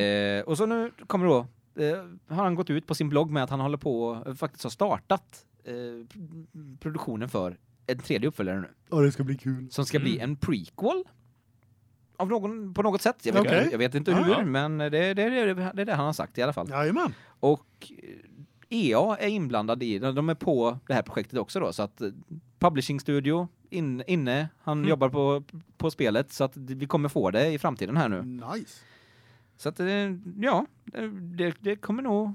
Eh, och så nu kommer då, eh, har han gått ut på sin blogg med att han håller på, eh, faktiskt har startat eh, pr- produktionen för en tredje uppföljare nu. Och det ska bli kul. Som ska bli Mm. en prequel. Av någon, på något sätt. Jag vet, Okej. Ah, jag vet inte Ja, hur, ja. men det, det, det, det är det han har sagt i alla fall. Jajamän. Och eh, EA är inblandad i, de är på det här projektet också då, så att eh, publishing studio in, inne, han Mm. jobbar på, på spelet så att det- vi kommer få det i framtiden här nu. Nice. Så att eh, ja, eh, det, det kommer nog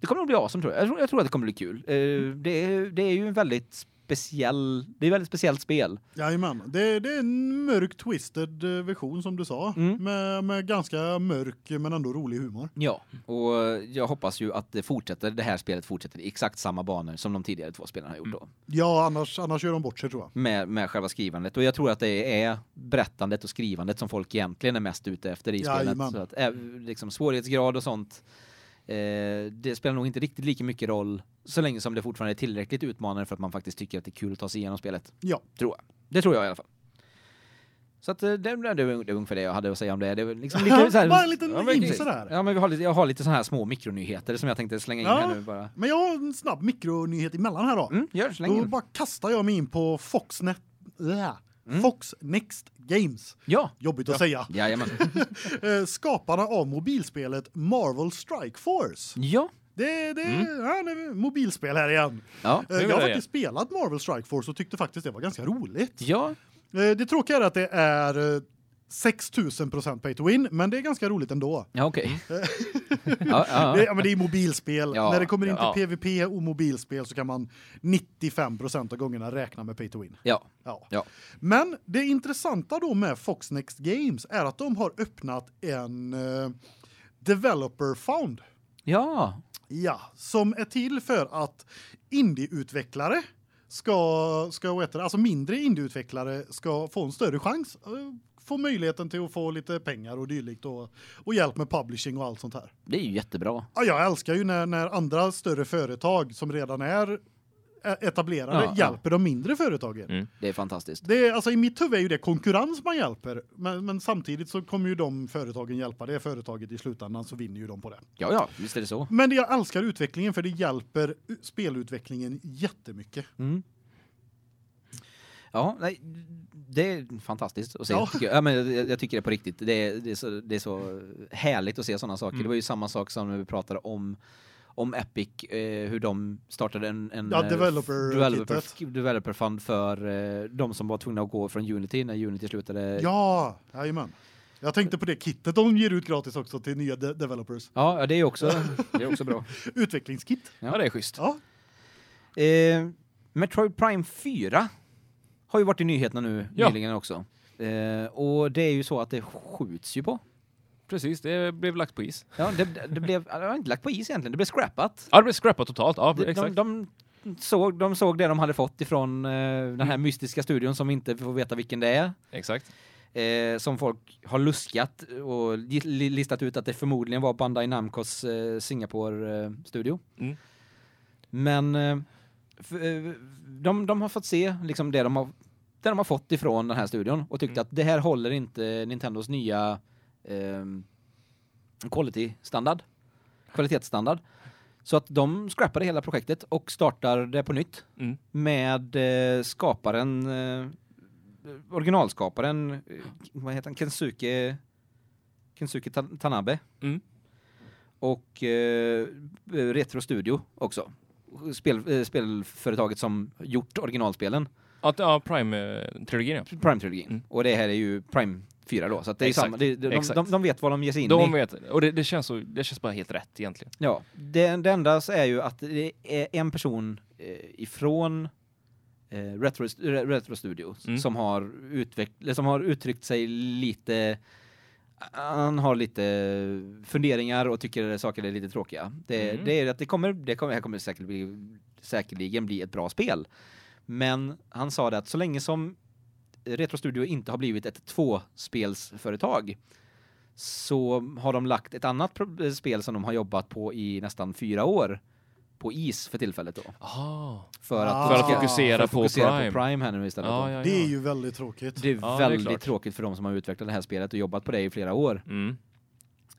det kommer nog bli awesome tror jag. Jag tror, jag tror att det kommer bli kul. Eh, Det är, det är ju en väldigt speciell, det är ett väldigt speciellt spel. Jajamän. Det, det är en mörk twisted eh, version som du sa. Mm. Med, med ganska mörk men ändå rolig humor. Ja. Och eh, jag hoppas ju att det fortsätter, det här spelet fortsätter i exakt samma banor som de tidigare två spelarna har gjort då. Ja, annars, annars gör de bort sig tror jag. med, med själva skrivandet. Och jag tror att det är berättandet och skrivandet som folk egentligen är mest ute efter i spelet. Jajamän. Så att, eh, liksom svårighetsgrad och sånt, eh, det spelar nog inte riktigt lika mycket roll så länge som det fortfarande är tillräckligt utmanande för att man faktiskt tycker att det är kul att ta sig igenom spelet. Ja. Tror jag. Det tror jag i alla fall. Så att eh, det, det, det var ungefär det jag hade att säga om det. Det var [LAUGHS] liksom lite så här, Bara en liten men in precis. sådär. Ja, men vi har lite, jag har lite sådana här små mikronyheter som jag tänkte slänga in Ja. här nu bara. Men jag har en snabb mikronyhet emellan här då. Mm, gör, släng Då in. bara kastar jag mig in på Foxnet, äh, Mm. Fox Next Games. Ja, Jobbigt att [LAUGHS] säga. [LAUGHS] jajamän. Eh, Skaparna av mobilspelet Marvel Strike Force. Ja. Det, det, ja, det är mobilspel här igen. Ja. Eh, Nu är Jag har det faktiskt spelat Marvel Strike Force och tyckte faktiskt det var ganska roligt. Ja, Eh, Det tråkiga är att det är eh, 6000 pay to win, men det är ganska roligt ändå. Ja, okej. [LAUGHS] ja, ja. Det, ja, men det är mobilspel. Ja, När det kommer in till ja. PVP och mobilspel så kan man 95 av gångerna räkna med pay to win. ja. Ja. Ja. Men det intressanta då med Fox Next Games är att de har öppnat en eh, developer fund. Ja. Ja, som är till för att indieutvecklare ska ska vad heter det, alltså mindre indieutvecklare ska få en större chans eh, få möjligheten till att få lite pengar och dylikt och, och hjälp med publishing och allt sånt här. Det är ju jättebra. Ja, jag älskar ju när, när andra större företag som redan är eh, etablerade Ja, ja. hjälper de mindre företagen. Mm. Det är fantastiskt. Det är, alltså, I mitt huvud är ju det konkurrens man hjälper. Men, men samtidigt så kommer ju de företagen hjälpa det företaget i slutändan så vinner ju de på det. Ja, ja, visst är det så. Men det- jag älskar utvecklingen för det hjälper u- spelutvecklingen jättemycket. Mm. Ja, nej, det är fantastiskt att se. Ja. Tycker jag. Ja, men jag, jag tycker det på riktigt. Det är, det är, så, det är så härligt att se sådana saker. Mm. Det var ju samma sak som när vi pratade om om Epic, eh, hur de startade en, en Ja, eh, developer- developer, developer fund för eh, de som var tvungna att gå från Unity när Unity slutade. Ja, jajamän. Jag tänkte på det kittet de ger ut gratis också till nya de developers. ja det är också, det är också bra. Utvecklingskit. Ja. Ja, det är schysst. Ja, Eh, Metroid Prime 4 har ju varit i nyheterna nu Ja. nyligen också. Eh, och det är ju så att det skjuts ju på. Precis, det blev lagt på is. Ja, det, det blev det var inte lagt på is egentligen, det blev scrappat. Ja, det blev scrappat totalt. Ja, De, de, exakt. de, såg, de såg det de hade fått ifrån eh, den här mystiska studion som vi inte får veta vilken det Exakt. är. Eh, som folk har luskat och gi- li- listat ut att det förmodligen var Bandai Namcos eh, Singapore-studio. Mm. Men eh, f- eh, de, de har fått se liksom det de har det de har fått ifrån den här studion och tyckte Mm. att det här håller inte Nintendos eh, nya ehm quality standard kvalitetsstandard. Så att de scrappade hela projektet och startar det på nytt Mm. med eh, skaparen eh, originalskaparen eh, vad heter han Kensuke Kensuke Tan- Tanabe. Mm. Och eh, Retro Studio också. Spel, eh, spelföretaget som gjort originalspelen Ja, t- ja Prime-trilogin ja. Prime-trilogin. Mm. Och det här är ju Prime 4 då så att det är Exakt. samma det, de, Exakt. de, de vet vad de ger sig in i. De vet, och det, det, känns så, det känns bara helt rätt egentligen. Ja, det, det enda så är ju att det är en person eh, ifrån eh, Retro, Re- Retro Studios Mm. som, har utveck- eller som har uttryckt sig lite han har lite funderingar och tycker saker är lite tråkiga. Det, Mm. Eh, det är att det kommer det kommer här kommer det säkert bli, säkerligen bli ett bra spel. Men han sa det att så länge som Retro Studio inte har blivit ett tvåspelsföretag så har de lagt ett annat pro- eh, spel som de har jobbat på i nästan fyra år på is för tillfället då. Aha. För att, Ah. de För att ska- fokusera, för att fokusera på Prime. Ah, på Prime här nu istället. Ja, då. ja, Det är ja. ju väldigt tråkigt. Det är Ja, det är väldigt klart. tråkigt för de som har utvecklat det här spelet och jobbat på det i flera år. Mm.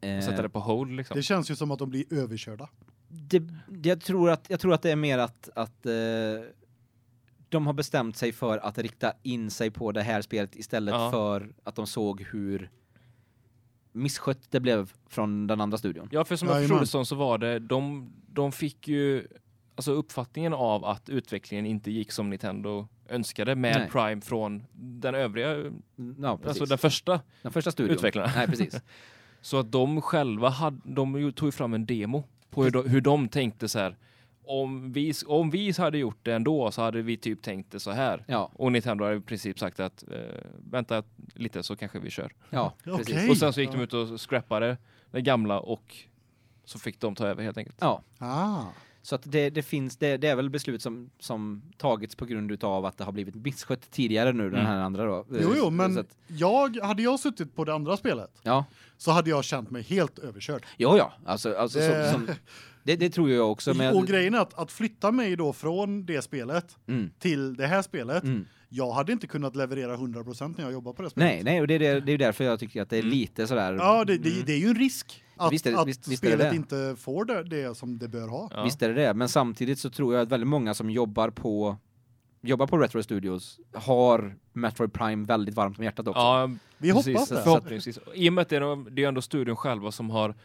Eh, Sätta det på hold liksom. Det känns ju som att de blir överkörda. det, det- jag, tror att, jag tror att det är mer att, att eh, de har bestämt sig för att rikta in sig på det här spelet istället Ja. för att de såg hur misskött det blev från den andra studion. Ja, för som jag Jajamän. förstod det som så var det, de, de fick ju alltså uppfattningen av att utvecklingen inte gick som Nintendo önskade med Nej. Prime från den övriga, Ja, precis. alltså den första. Den första studion. Utvecklarna. Nej, [LAUGHS] precis. Så att de själva hade, de ju- tog ju fram en demo på hur de, hur de tänkte så här. Om vi, om vi hade gjort det ändå så hade vi typ tänkt det så här. Ja, Och Nintendo har i princip sagt att eh, vänta lite så kanske vi kör. ja, precis. Okej. Och sen så gick de Ja. ut och scrappade det gamla och så fick de ta över helt enkelt. Ja, Ah. så att det, det finns det, det är väl beslut som som tagits på grund utav att det har blivit misskött tidigare nu den Mm. här andra då. Eh, Jo, jo, så men att, jag, hade jag suttit på det andra spelet ja. så hade jag känt mig helt överkörd. Jo, ja, alltså alltså Det- Som, som, det, det tror jag också men Eh. [LAUGHS] Och grejen är att, att flytta mig då från det spelet mm, till det här spelet, mm. jag hade inte kunnat leverera 100% när jag jobbar på det spelet. Nej, nej, och det är det Mm. det är ju därför jag tycker att det är lite sådär Ja, det, det, det är ju en risk att, Mm. Visst är det- att visst- visst är det spelet det. inte får det, det som det bör ha. Ja. Visst är det det, men samtidigt så tror jag att väldigt många som jobbar på jobbar på Retro Studios har Metroid Prime väldigt varmt om hjärtat också. Ja, Vi precis. hoppas det. Förhoppningsvis. I och med att det är, de- det är ändå studion själva som har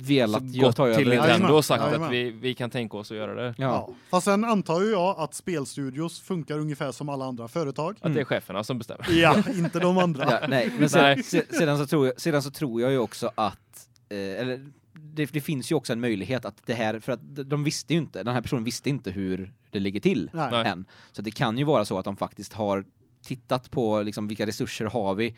Velat som jag gått tar över till Nintendo Jajamän. och sagt att Jajamän. vi, vi kan tänka oss att göra det. Ja. Ja. Fast sen antar ju jag att spelstudios funkar ungefär som alla andra företag. Att det är Mm. cheferna som bestämmer. Ja, inte de andra. [LAUGHS] [LAUGHS] Ja, nej, men sen, Nej. se- sedan så tror jag sedan så tror jag ju också att eh, eller det, det finns ju också en möjlighet att det här för att de- de visste ju inte den här personen visste inte hur det ligger till Nej. Nej. än. Så det kan ju vara så att de faktiskt har tittat på liksom vilka resurser har vi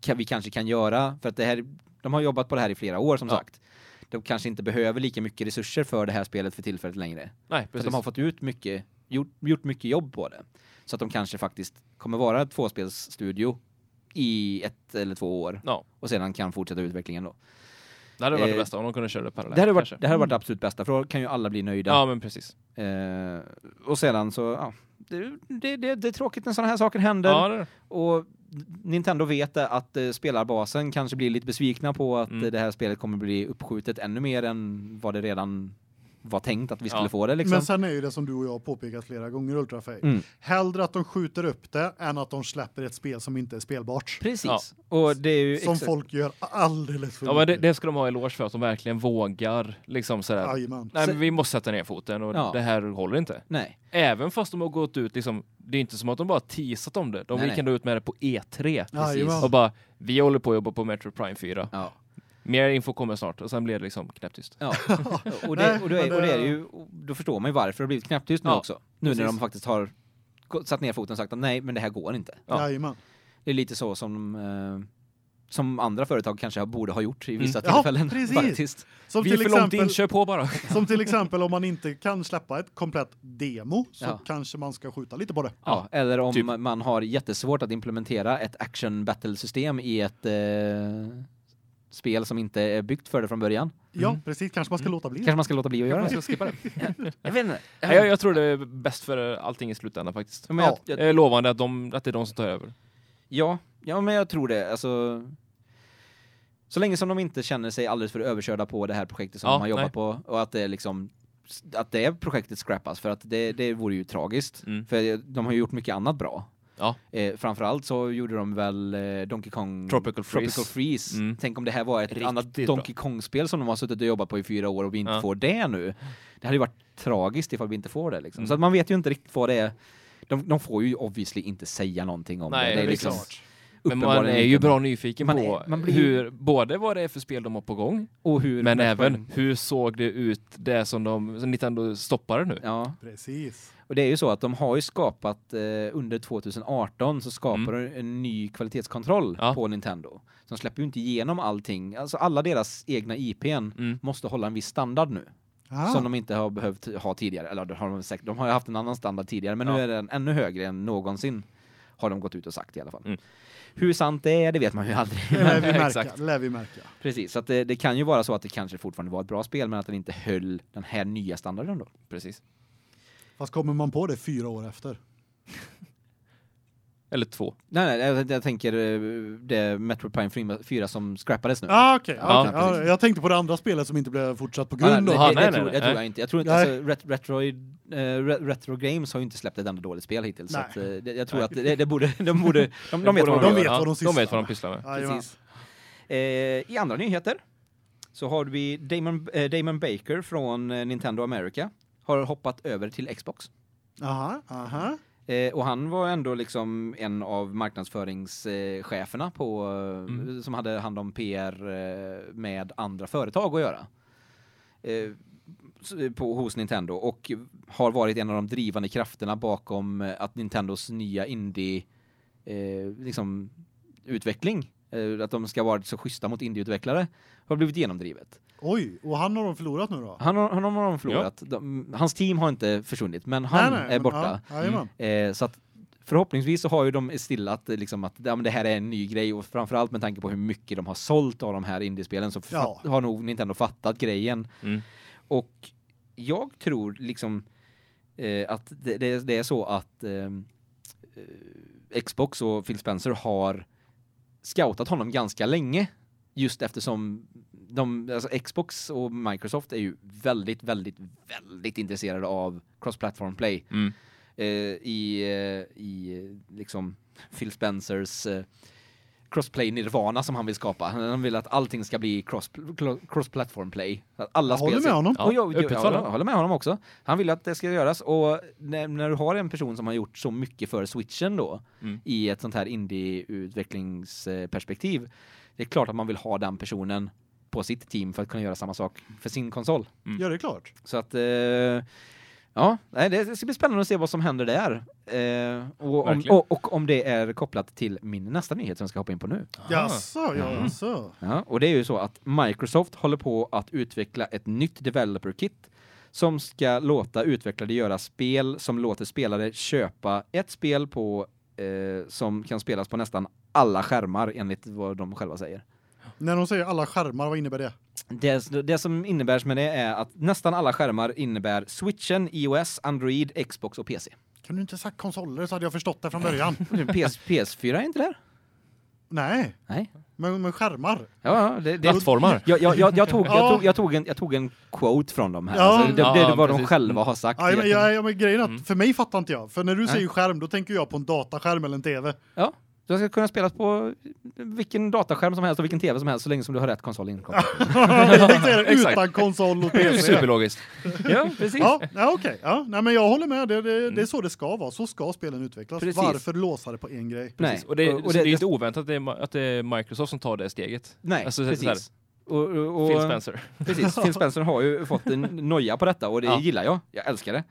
kan vi kanske kan göra för att det här de har jobbat på det här i flera år som Ja. sagt. De kanske inte behöver lika mycket resurser för det här spelet för tillfället längre. Nej, För att precis. de har fått ut mycket, gjort, gjort mycket jobb på det. Så att de kanske faktiskt kommer vara ett tvåspelsstudio i ett eller två år. Ja. Och sedan kan fortsätta utvecklingen då. Det hade varit det Eh, bästa om de kunde köra det parallellt. Det här har varit, kanske. det här har varit det absolut bästa, för då kan ju alla bli nöjda. Ja, men precis. Eh, och sedan så, ja. Det, det, det, det är tråkigt när sådana här saker händer. Ja, det, Och Nintendo vet det, att eh, spelarbasen kanske blir lite besvikna på att Mm. eh, det här spelet kommer bli uppskjutet ännu mer än vad det redan var tänkt att vi skulle Ja. få det liksom. Men sen är ju det som du och jag har påpekat flera gånger, Ultrafej. Mm. Hellre att de skjuter upp det än att de släpper ett spel som inte är spelbart. Precis. Ja. Och det är ju Som exakt- folk gör alldeles för ja, men det, det ska de ha eloge för, att de verkligen vågar liksom sådär. Jajamän. Nej, men Så- vi måste sätta ner foten och Ja. det här håller inte. Nej. Även fast de har gått ut liksom, det är inte som att de bara teasat om det. De Nej, gick nej. ändå ut med det på E3 Jajamän. och bara, vi håller på att jobba på Metro Prime 4. Ja. Mer info kommer snart och sen blev det liksom knäpptyst. [LAUGHS] Ja. Och det, och, då Nej, men är, och det är det- ju, och då förstår man ju varför det har blivit knäpptyst nu Ja, också. Nu när precis. de faktiskt har gå- satt ner foten och sagt att nej, men det här går inte. Ja. Jajamän. Det är lite så som, eh, som andra företag kanske har- borde ha gjort i vissa Ja, tillfällen. [LAUGHS] precis. faktiskt. Som vi är till, för långt in, exempel, kör på bara. som till exempel om man inte kan släppa ett komplett demo så Ja. kanske man ska skjuta lite på det. Ja, eller om typ. man har jättesvårt att implementera ett action battle-system i ett eh, spel som inte är byggt för det från början. Ja, Mm. precis. Kanske man ska låta bli Kanske man ska låta bli att [LAUGHS] göra det. Jag ska skippa det. Jag vet inte. Nej, Jag, jag tror det är bäst för allting i slutändan faktiskt. Men jag, Ja. jag, Jag är lovande att, de, att det är de som tar över. Ja, ja men jag tror det. Alltså Så länge som de inte känner sig alldeles för överkörda på det här projektet som Ja, de har jobbat nej. på och att det är liksom att det projektet scrappas för att det det vore ju tragiskt Mm. för de har ju gjort mycket annat bra. Ja. Eh, framförallt så gjorde de väl eh, Donkey Kong Tropical Freeze. Tropical Freeze. Mm. Tänk om det här var ett Riktigt annat bra. Donkey Kong-spel som de har suttit och jobbat på i fyra år och vi inte Ja. får det nu. Det hade ju varit tragiskt ifall vi inte får det liksom. Mm. Så att man vet ju inte riktigt vad det är. De, de får ju obviously inte säga någonting om Nej, det. det det är liksom klart. Men man uppenbarligen är ju inte- bra nyfiken Man på är- man blir ju- hur, både vad det är för spel de har på gång, Och hur men även hur såg det ut det som de som Nintendo stoppade nu? Ja, Precis. och det är ju så att de har ju skapat eh, under 2018 så skapar de en ny kvalitetskontroll Mm. Ja. på Nintendo. Så de släpper ju inte igenom allting. Alltså alla deras egna IPn Mm. måste hålla en viss standard nu. Ah. som de inte har behövt ha tidigare. Eller det har de, säkert, de har ju haft en annan standard tidigare, men nu Ja. är den ännu högre än någonsin. Har de gått ut och sagt i alla fall. Mm. Hur sant det är, det vet man ju [LAUGHS] aldrig. Det lär vi märka. Exakt. lär vi märka. Precis, så att det, det kan ju vara så att det kanske fortfarande var ett bra spel, men att den inte höll den här nya standarden då. Precis. Fast kommer man på det fyra år efter? Eller två. Nej, nej, jag, jag tänker eh, det Metroid Prime 4 4 som scrappades nu. Ah, okej. Ja, okej. Ja, precis. jag tänkte på det andra spelet som inte blev fortsatt på Ja, nej, grund det, av... Aha, det, det, tror, nej, nej, det tror nej. jag inte. Jag tror inte Nej. alltså, ret, retroid, eh, re- retro Games har ju inte släppt ett enda dåligt spel hittills. Så Nej. att, eh, det, jag tror att det, det borde, [LAUGHS] de borde, de, de vet vad de de gör. vet Ja, vad de de sysslar vet vad de med. pysslar med. Jajamän. Precis. Eh, I andra nyheter så har vi Damon, eh, Damon Baker från eh, Nintendo America har hoppat över till Xbox. Aha, aha. Eh, och han var ändå liksom en av marknadsföringscheferna på, eh, Mm. som hade hand om PR eh, med andra företag att göra. Eh, s- på, hos Nintendo och har varit en av de drivande krafterna bakom eh, att Nintendos nya indie eh, liksom, utveckling, eh, att de ska vara så schyssta mot indieutvecklare, har blivit genomdrivet. Oj, och han har de förlorat nu då? Han har, han har de förlorat. De, hans team har inte försvunnit, men Nej, han nej, är men- borta. Ja, jajamän. Eh, så att förhoppningsvis så har ju de stillat eh, liksom att ja, men det här är en ny grej och framförallt med tanke på hur mycket de har sålt av de här indiespelen så Ja. fatt, har nog Nintendo fattat grejen. Mm. Och jag tror liksom eh, att det, det, det är så att ehm, eh, Xbox och Phil Spencer har scoutat honom ganska länge just eftersom de, alltså Xbox och Microsoft är ju väldigt, väldigt, väldigt intresserade av cross-platform play Mm. eh, i, eh, i eh, liksom Phil Spencers eh, crossplay nirvana som han vill skapa. Han vill att allting ska bli cross, clo- cross-platform play. Att alla Jag håller spel med honom. Ja, och jag, jag, öppet jag, för det. håller med honom också. Han vill att det ska göras och när, när du har en person som har gjort så mycket för switchen då Mm. i ett sånt här indie-utvecklingsperspektiv det är klart att man vill ha den personen på sitt team för att kunna göra samma sak för sin konsol. Ja, det är klart. Så att eh, ja, nej, det ska bli spännande att se vad som händer där. Eh, och, om, Verkligen. och, och om det är kopplat till min nästa nyhet som jag ska hoppa in på nu. Jaså, Mm. jaså. Ja, och det är ju så att Microsoft håller på att utveckla ett nytt developer kit som ska låta utvecklare göra spel som låter spelare köpa ett spel på eh, som kan spelas på nästan alla skärmar enligt vad de själva säger. När de säger alla skärmar, vad innebär det? Det, det som innebärs med det är att nästan alla skärmar innebär switchen, iOS, Android, Xbox och PC. Kan du inte sagt konsoler så hade jag förstått det från [LAUGHS] början. Nu, PS, PS4 är inte där? Nej, Nej. men, men skärmar. Ja, ja, det, det, Plattformar. jag, jag, jag, jag, tog, jag, Ja. tog, jag, tog en, jag tog en quote från dem här. Ja. alltså, det, det är Ja, vad de precis. själva har sagt. Ja, men, Jag- ja, men grejen är att för mig fattar inte jag. För när du Mm. Nej. säger skärm, då tänker jag på en dataskärm eller en [LAUGHS] tv. ja. Du ska kunna spelas på vilken dataskärm som helst och vilken tv som helst så länge som du har rätt konsol inkopplad. [LAUGHS] jag tänkte säga det, Exakt. utan konsol och tv. Superlogiskt. ja, precis. Ja, ja okej. Ja, nej men jag håller med. Det, det, det är så det ska vara. Så ska spelen utvecklas. Mm. Precis. Varför låsa det på en grej? Nej. Precis. Och det, Och- och det- så det är ju inte oväntat att det, är, Ma- att det är Microsoft som tar det steget. Nej, Alltså, så- precis. sådär. Och, och, och, Phil Spencer. Precis, [LAUGHS] Phil Spencer har ju fått en noja på detta och det Ja. gillar jag. Jag älskar det.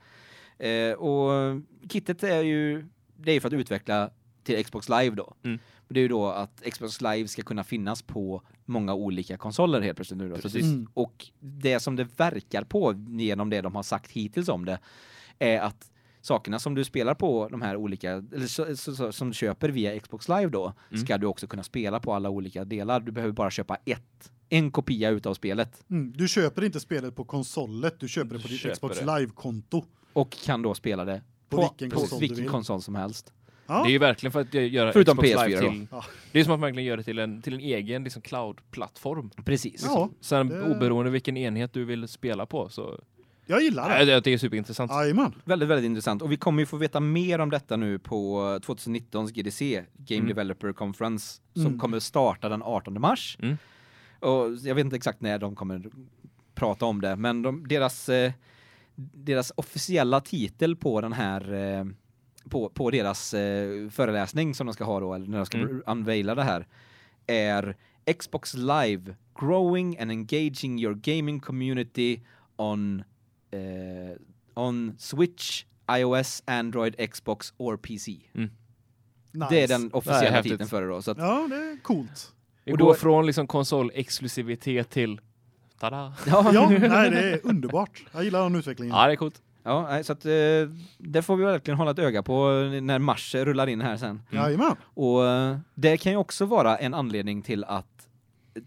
Eh, och kittet är ju det är ju för att utveckla till Xbox Live då. Mm. Det är ju då att Xbox Live ska kunna finnas på många olika konsoler helt plötsligt nu då. Så Precis. det- Mm. Och det som det verkar på genom det de har sagt hittills om det är att sakerna som du spelar på de här olika eller så, så, så, som du köper via Xbox Live då Mm. ska du också kunna spela på alla olika delar. Du behöver bara köpa ett en kopia utav spelet. Mm, du köper inte spelet på konsolet, du köper det på Du ditt köper Xbox det. Live-konto. och kan då spela det På vilken konsol du vilken vill. konsol som helst. Ja, Ja. Det är ju verkligen för att gö- göra Förutom Xbox PS4 Live då. till... Ja. Det är som att man verkligen gör det till en, till en egen liksom, cloud-plattform. Precis. Ja, Sen Det- oberoende vilken enhet du vill spela på så... jag gillar Nej, det. det, det är superintressant. Jajamän. Väldigt, väldigt intressant. Och vi kommer ju få veta mer om detta nu på 2019s GDC, Game Mm. Developer Conference, som Mm. kommer starta den 18 mars. Mm. Och jag vet inte exakt när de kommer prata om det, men de, deras, eh, deras officiella titel på den här eh, på, på deras eh, föreläsning som de ska ha då, eller när de ska Mm. unveila det här, är Xbox Live Growing and Engaging Your Gaming Community on eh, on Switch, iOS, Android, Xbox or PC. Mm. Nice. Det är den Det är officiella häftigt. titeln för det då. Så att, Ja, det är coolt. Vi och går då- från liksom konsolexklusivitet till... Tada! ja, Ja, ja. nej, det är underbart. Jag gillar den utvecklingen. Ja, det är coolt. nej, så att eh, det får vi verkligen hålla ett öga på eh, när mars rullar in här sen. Jajamän. Mm. Och eh, det kan ju också vara en anledning till att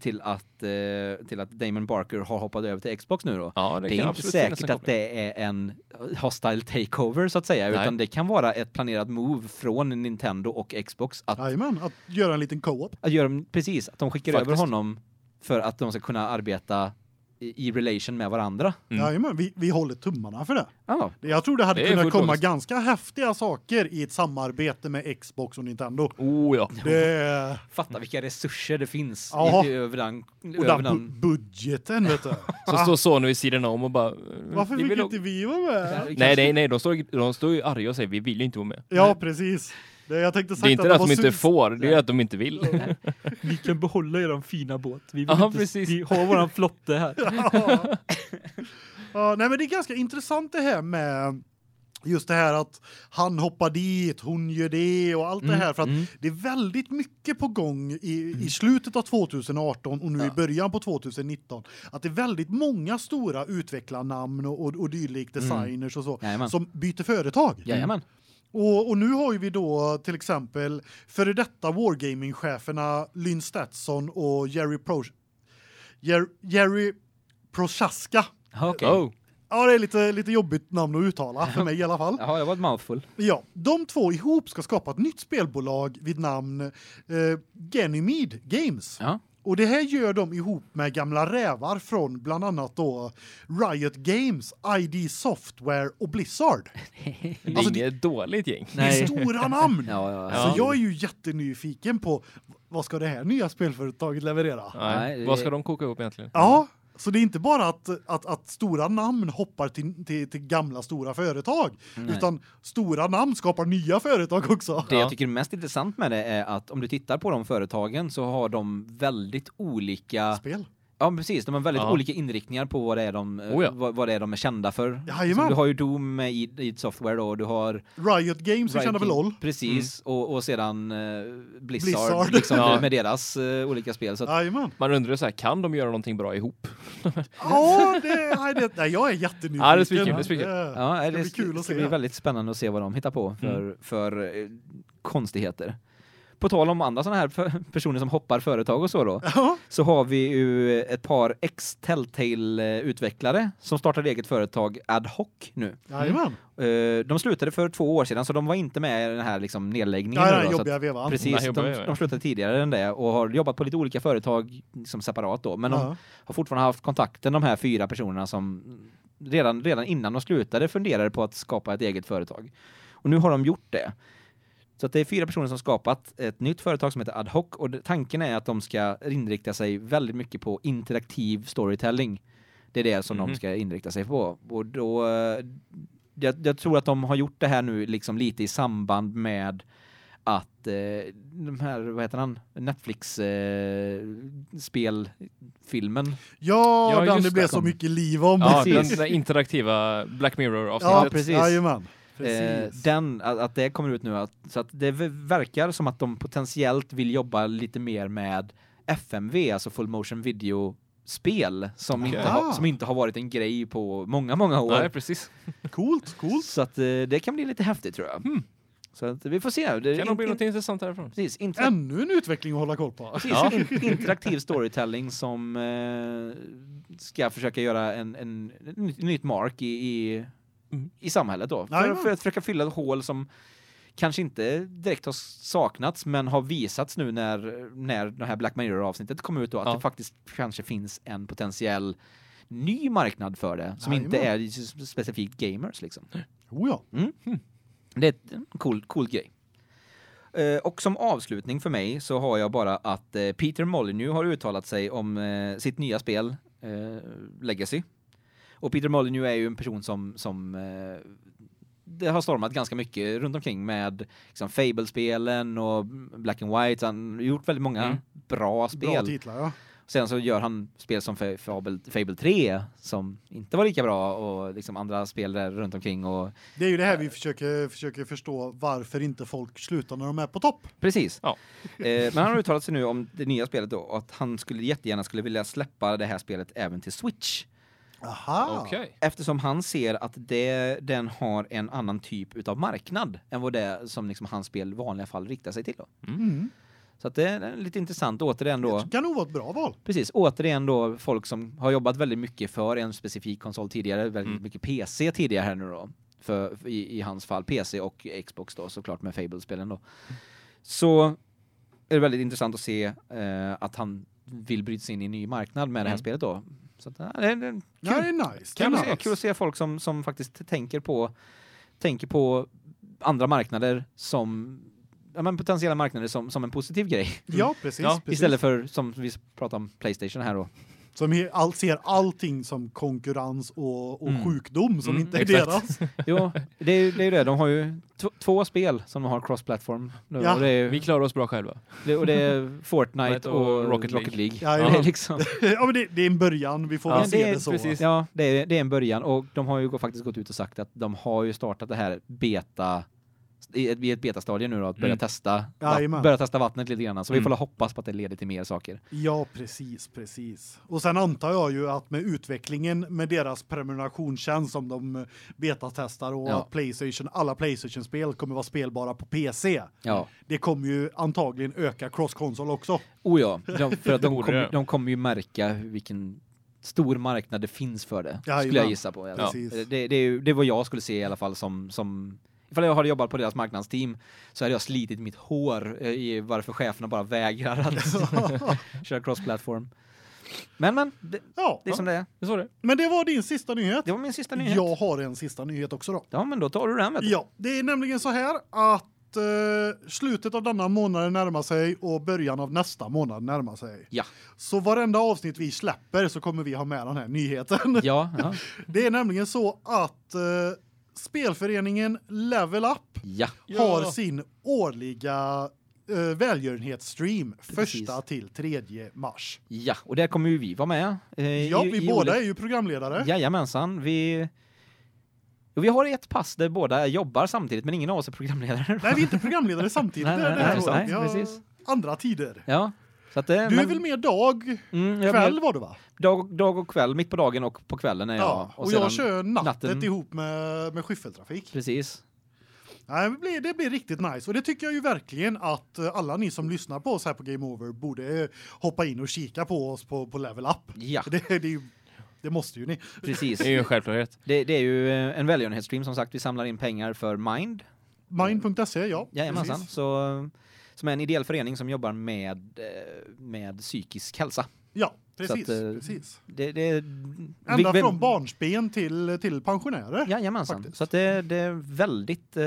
till att eh, till att Damon Barker har hoppat över till Xbox nu då. Ja, det, Det kan är inte absolut finnas en säkert att koppling. det är en hostile takeover så att säga, Nej. utan det kan vara ett planerat move från Nintendo och Xbox att Jajamän, att göra en liten co-op. att göra precis att de skickar över Faktiskt. honom för att de ska kunna arbeta i, i relation med varandra. Mm. Jajamän, vi, vi håller tummarna för det. Ja, Jag tror det hade Det är kunnat fullt komma logiskt. ganska häftiga saker i ett samarbete med Xbox och Nintendo. Oh ja. Det, fatta vilka resurser det finns Ja. i, över den och över den bu den. budgeten, vet du. [LAUGHS] Ah. Ah, Så står Sony vid sidan om och bara... Varför "Vi fick vill nog- inte vi vara med? Nej, nej, nej, de står, de står ju arga och säger vi vill ju inte vara med. Ja, precis. Det, jag tänkte sagt Det är inte att det det att var de inte sus- får, det är att de inte [LAUGHS] vill. Ni kan behålla er fina båt. Vi vill Ja, inte- precis. vi har våran flotte här. ja. ja, nej men det är ganska intressant det här med just det här att han hoppar dit, hon gör det och allt det här för att mm. det är väldigt mycket på gång i i slutet av 2018 och nu i Ja. början på 2019 att det är väldigt många stora utvecklarnamn och och, och dylikt designers och så Mm. Jajamän. som byter företag. Jajamän. Och och nu har ju vi då till exempel före detta Wargaming-cheferna Lynn Stetson och Jerry Pro Jer Jerry Prochaska. Okej. Oh. Ja, det är lite lite jobbigt namn att uttala för mig i alla [LAUGHS] fall. Jaha, det var ett mouthful. Ja, de två ihop ska skapa ett nytt spelbolag vid namn eh Ganymede Games. Ja. Och det här gör de ihop med gamla rävar från bland annat då Riot Games, ID Software och [LAUGHS] Blizzard. Det är Alltså, det- inget dåligt gäng. Det är stora namn. [LAUGHS] Ja, ja, Så ja. jag är ju jättenyfiken på vad ska det här nya spelföretaget leverera? Ja, Nej, Nej, det- Vad ska de koka ihop egentligen? så det är inte bara att att att stora namn hoppar till till, till gamla stora företag Nej. utan stora namn skapar nya företag också. Det Ja. jag tycker är mest intressant med det är att om du tittar på de företagen så har de väldigt olika Spel. Ja, men precis. De har väldigt Ja. olika inriktningar på vad det är de eh, Oh ja. vad, vad det är de är kända för. Jajamän. Så Du har ju Doom med id id Software då, och du har Riot Games vi Riot känner väl Games. LOL. Precis och och sedan eh, Blizzard, Blizzard. liksom Ja. med deras eh, olika spel så att, Ja, men. Man undrar ju så här, kan de göra någonting bra ihop? Ja, det nej, det nej, jag är jättenyfiken. Ja, det är spikkul, det är spikkul. Ja. ja, ska det bli kul ska, att se. ska Mm. bli väldigt spännande att se vad de hittar på för för eh, konstigheter. På tal om andra sådana här för- personer som hoppar företag och [LAUGHS] så då. Ja. så har vi ju ett par ex-Telltale-utvecklare som startade eget företag ad hoc nu. Jajamän. Eh, De slutade för två år sedan så de var inte med i den här liksom nedläggningen. Ja, det nu är då, så jobbiga vevan. att, precis, Nej, jobbar de, jag med. de slutade tidigare än det och har jobbat på lite olika företag liksom separat då. Men de Ja. har fortfarande haft kontakten de här fyra personerna som redan, redan innan de slutade funderade på att skapa ett eget företag. Och nu har de gjort det. Så att det är fyra personer som skapat ett nytt företag som heter Ad hoc och det- tanken är att de ska inrikta sig väldigt mycket på interaktiv storytelling. Det är det som Mhm. de ska inrikta sig på. Och då, eh, jag, jag tror att de har gjort det här nu liksom lite i samband med att eh, de här, vad heter han, Netflix eh, spelfilmen Ja, Ja, den just det det, blev så kom. mycket liv om. Ja, precis. den där interaktiva Black Mirror-avsnittet. ja precis. Jajamän. Eh, Precis. den, att, att det kommer ut nu. Att, så att det v- verkar som att de potentiellt vill jobba lite mer med FMV, alltså full motion video spel som, Okej. Ah. inte har, som inte har varit en grej på många, många år. Nej, precis. Coolt, coolt. så att eh, det kan bli lite häftigt tror jag. Hmm. Så att vi får se. Det, Kan in- nog bli in- något intressant härifrån. Precis, interak- Ännu en utveckling att hålla koll på. precis Ja. in- interaktiv storytelling som eh, ska försöka göra en, en, ett nytt- nytt mark i, i, Mm. i samhället då. För, Jajamän. för att försöka fylla ett hål som kanske inte direkt har saknats men har visats nu när när det här Black Mirror avsnittet kom ut då att Ja. det faktiskt kanske finns en potentiell ny marknad för det som inte är s- specifikt gamers liksom. Oh ja. Det är en cool, cool grej. Eh, Och som avslutning för mig så har jag bara att eh, Peter Molyneux har uttalat sig om eh, sitt nya spel eh, Legacy. Och Peter Molyneux är ju en person som, som eh, det har stormat ganska mycket runt omkring med liksom, Fable-spelen och Black and White. Han har gjort väldigt många Mm. bra spel. Bra titlar, ja. Sen så gör han spel som Fa- Fable, Fable 3 som inte var lika bra och liksom andra spel där runt omkring och Det är ju det här vi försöker, försöker förstå varför inte folk slutar när de är på topp. Precis. Ja. Eh, men han har uttalat sig nu om det nya spelet då, att han skulle jättegärna skulle vilja släppa det här spelet även till Switch. Aha! Okej. Eftersom han ser att det, den har en annan typ utav marknad än vad det som liksom hans spel i vanliga fall riktar sig till. Då. Mm. Så att det är lite intressant återigen då. Det kan nog vara ett bra val. Precis, återigen då folk som har jobbat väldigt mycket för en specifik konsol tidigare, väldigt Mm. mycket PC tidigare här nu då. För, för i, i hans fall PC och Xbox då såklart med Fable-spelen då. Så är det väldigt intressant att se eh, att han vill bryta sig in i en ny marknad med det här Mm. spelet då. Så att, ja, det är, det är kul, Ja, det är nice. kul, det att är se, nice. kul att se folk som, som faktiskt tänker på, tänker på andra marknader som Ja, men potentiella marknader som, som en positiv grej. Ja, precis. Ja, precis. Istället för, som vi pratade om, Playstation här då. Som he- all, ser allting som konkurrens och, och Mm. sjukdom som Mm, inte är exakt. deras. [LAUGHS] Jo, det är ju det, är ju det. De har ju t- två spel som de har cross-platform. nu. Ja. Och, det är, Vi klarar oss bra själva. det, och det är Fortnite och, Rocket, League. Ja, [LAUGHS] Det, ja. är liksom, ja, men det, det är en början. Vi får Ja, väl se det är det, så. precis. ja, det, är, det är en början. Och de har ju gå- faktiskt gått ut och sagt att de har ju startat det här beta i ett, i ett betastadie nu då, att börja, Mm. testa, Jajamän. va, börja testa vattnet lite grann. Så vi får Mm. väl hoppas på att det leder till mer saker. Ja, precis, precis. Och sen antar jag ju att med utvecklingen med deras prenumerationstjänst som de eh, betatestar och Ja. att PlayStation, alla PlayStation-spel kommer vara spelbara på PC. Ja. Det kommer ju antagligen öka cross-konsol också. Oh ja, de, för att de, Borde kommer, det. de kommer ju märka hur- vilken stor marknad det finns för det. skulle Jajamän. jag gissa på. i alla Ja. fall. Det, det, är ju- det är vad jag skulle se i alla fall som, som Ifall jag hade jobbat på deras marknadsteam så hade jag slitit mitt hår eh, i varför cheferna bara vägrar att [LAUGHS] [LAUGHS] köra cross-platform. Men men, det, Ja, det är som det är. Jag såg det. men det var din sista nyhet. Det var min sista nyhet. Jag har en sista nyhet också då. Ja men då tar du den vet du. Ja, det är nämligen så här att eh, slutet av denna månaden närmar sig och början av nästa månad närmar sig. Ja. Så varenda avsnitt vi släpper så kommer vi ha med den här nyheten. Ja, ja. Det är nämligen så att eh, spelföreningen Level Up ja. har sin årliga eh, välgörenhetsstream Precis. första till tredje mars. Ja, och där kommer ju vi vara med. eh, Ja, i- vi i båda olika- är ju programledare. Jajamensan, vi... Jo, Vi har ett pass där båda jobbar samtidigt men ingen av oss är programledare. Nej, vi är inte programledare samtidigt. [LAUGHS] Nej, det är nej, det här nej, året. nej, Vi har precis. andra tider. Ja. Så att det, Du är men- väl mer dag, mm, jag är kväll med var det va? Dag, och- dag och kväll, mitt på dagen och på kvällen är jag. Ja, och, sedan- jag kör nattet natten. ihop med med skiffeltrafik. Precis. Nej, det blir det blir riktigt nice och det tycker jag ju verkligen att eh, alla ni som lyssnar på oss här på Game Over borde eh, hoppa in och kika på oss på på Level Up. [LAUGHS] Ja, Det det är ju det måste ju ni. precis. Det är ju en självklarhet. Det, det är ju eh, en välgörenhetsstream som sagt. Vi samlar in pengar för Mind. Mind.se, ja. Jajamensan. precis. Så, eh, som är en ideell förening som jobbar med, eh, med psykisk hälsa. Ja, Så att, precis, eh, precis. Det, det, Ända vi- från barnsben till till pensionärer. Jajamensan. faktiskt. Så att det, det är väldigt... Eh,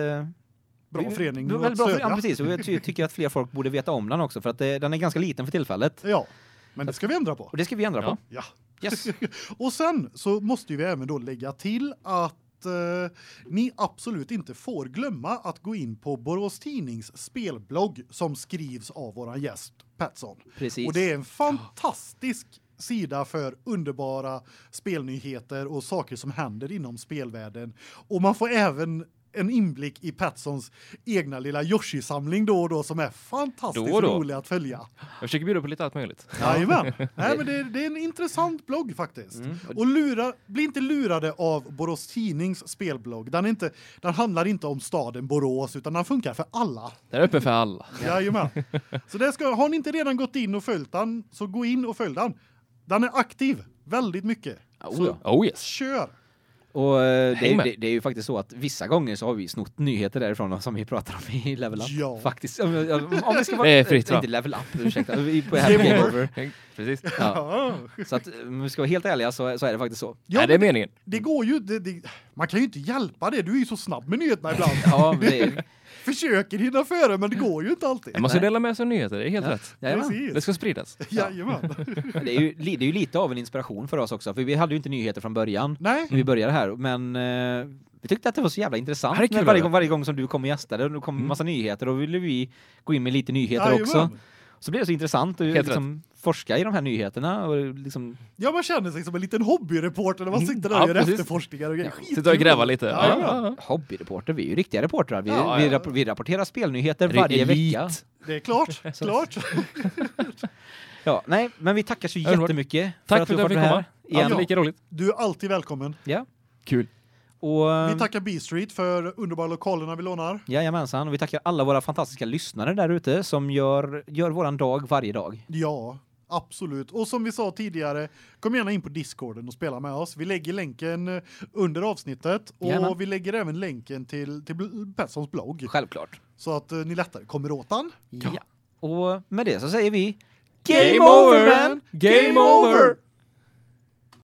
Bra vi- förening det är att väldigt bra förening, stödja. Ja, precis. Och jag ty tycker att fler folk borde veta om den också för att det, den är ganska liten för tillfället. Ja. Men det ska vi ändra på. Och det ska vi ändra Ja. Ja. på. Yes. [LAUGHS] [LAUGHS] Och sen så måste ju vi även då lägga till att eh, ni absolut inte får glömma att gå in på Borås Tidnings spelblogg som skrivs av våran gäst Patson. Precis. Och det är en fantastisk sida för underbara spelnyheter och saker som händer inom spelvärlden. Och man får även en inblick i Patsons egna lilla Yoshi-samling då och då som är fantastiskt Då och då. rolig att följa. Jag försöker bjuda på lite allt möjligt. [LAUGHS] Jajamän. Nej, men det, det är en intressant blogg faktiskt. Mm. Och lura, bli inte lurade av Borås Tidnings spelblogg. Den, är inte, den handlar inte om staden Borås, utan den funkar för alla. Det är öppen för alla. [LAUGHS] Jajamän. Så det ska, har ni inte redan gått in och följt den, så gå in och följ den. Den är aktiv väldigt mycket. Oh, ja. Oh yes. Kör! Och eh, Häng det, med. det, det är ju faktiskt så att vissa gånger så har vi snott nyheter därifrån som vi pratar om i Level Up. Ja. Faktiskt. Om, om, om vi [LAUGHS] ska vara... Det är fritt fram. Inte Level Up, ursäkta. Vi på här Game Game over. [LAUGHS] Over. Precis. Ja. Ja. Så att, om vi ska vara helt ärliga så, så är det faktiskt så. Ja, Nej, det är meningen. Det går ju det, det, man kan ju inte hjälpa det. Du är ju så snabb med nyheterna ibland. [LAUGHS] Ja, [LAUGHS] det är, Försöker hinna före men det går ju inte alltid. Man ska Nej. dela med sig av nyheter, det är helt rätt. jajamän. Precis. Det ska spridas. Jajamän. det, är ju, li- det är ju lite av en inspiration för oss också, för vi hade ju inte nyheter från början Nej. Mm. när vi började här, men eh, vi tyckte att det var så jävla intressant. Det här är kul när Mm. att varje, höra. gång, varje gång som du kom och gästade, och det kom massa nyheter, och ville vi gå in med lite nyheter Jajamän. också. Så blir det så intressant att Helt liksom, forska i de här nyheterna och liksom Ja, man känner sig som en liten hobbyreporter när man sitter där och Mm. Ja, gör precis. efterforskningar och grejer. Skitkul. Sitta och gräva lite. Ja, Ja, ja. ja, hobbyreporter, vi är ju riktiga reportrar. Vi, Ja, vi, ja. rapp- vi rapporterar spelnyheter ja. varje Elit. vecka. Det är [LAUGHS] klart. klart. Ja, nej, men vi tackar så Underbart. jättemycket Tack för du att jag har fick varit här komma. Igen. Alltid lika roligt. Du är alltid välkommen. Ja. Kul. Och, eh, Vi Um. tackar B Street för underbara lokalerna vi lånar. Jajamensan, och vi tackar alla våra fantastiska lyssnare där ute som gör, gör våran dag varje dag. Ja, absolut. Och som vi sa tidigare, kom gärna in på Discorden och spela med oss. Vi lägger länken eh, under avsnittet och Gärna. vi lägger även länken till till bl- Petssons blogg Självklart. så att eh, ni lättare kommer åt den. Ja. Och med det så säger vi Game over, man! Game over!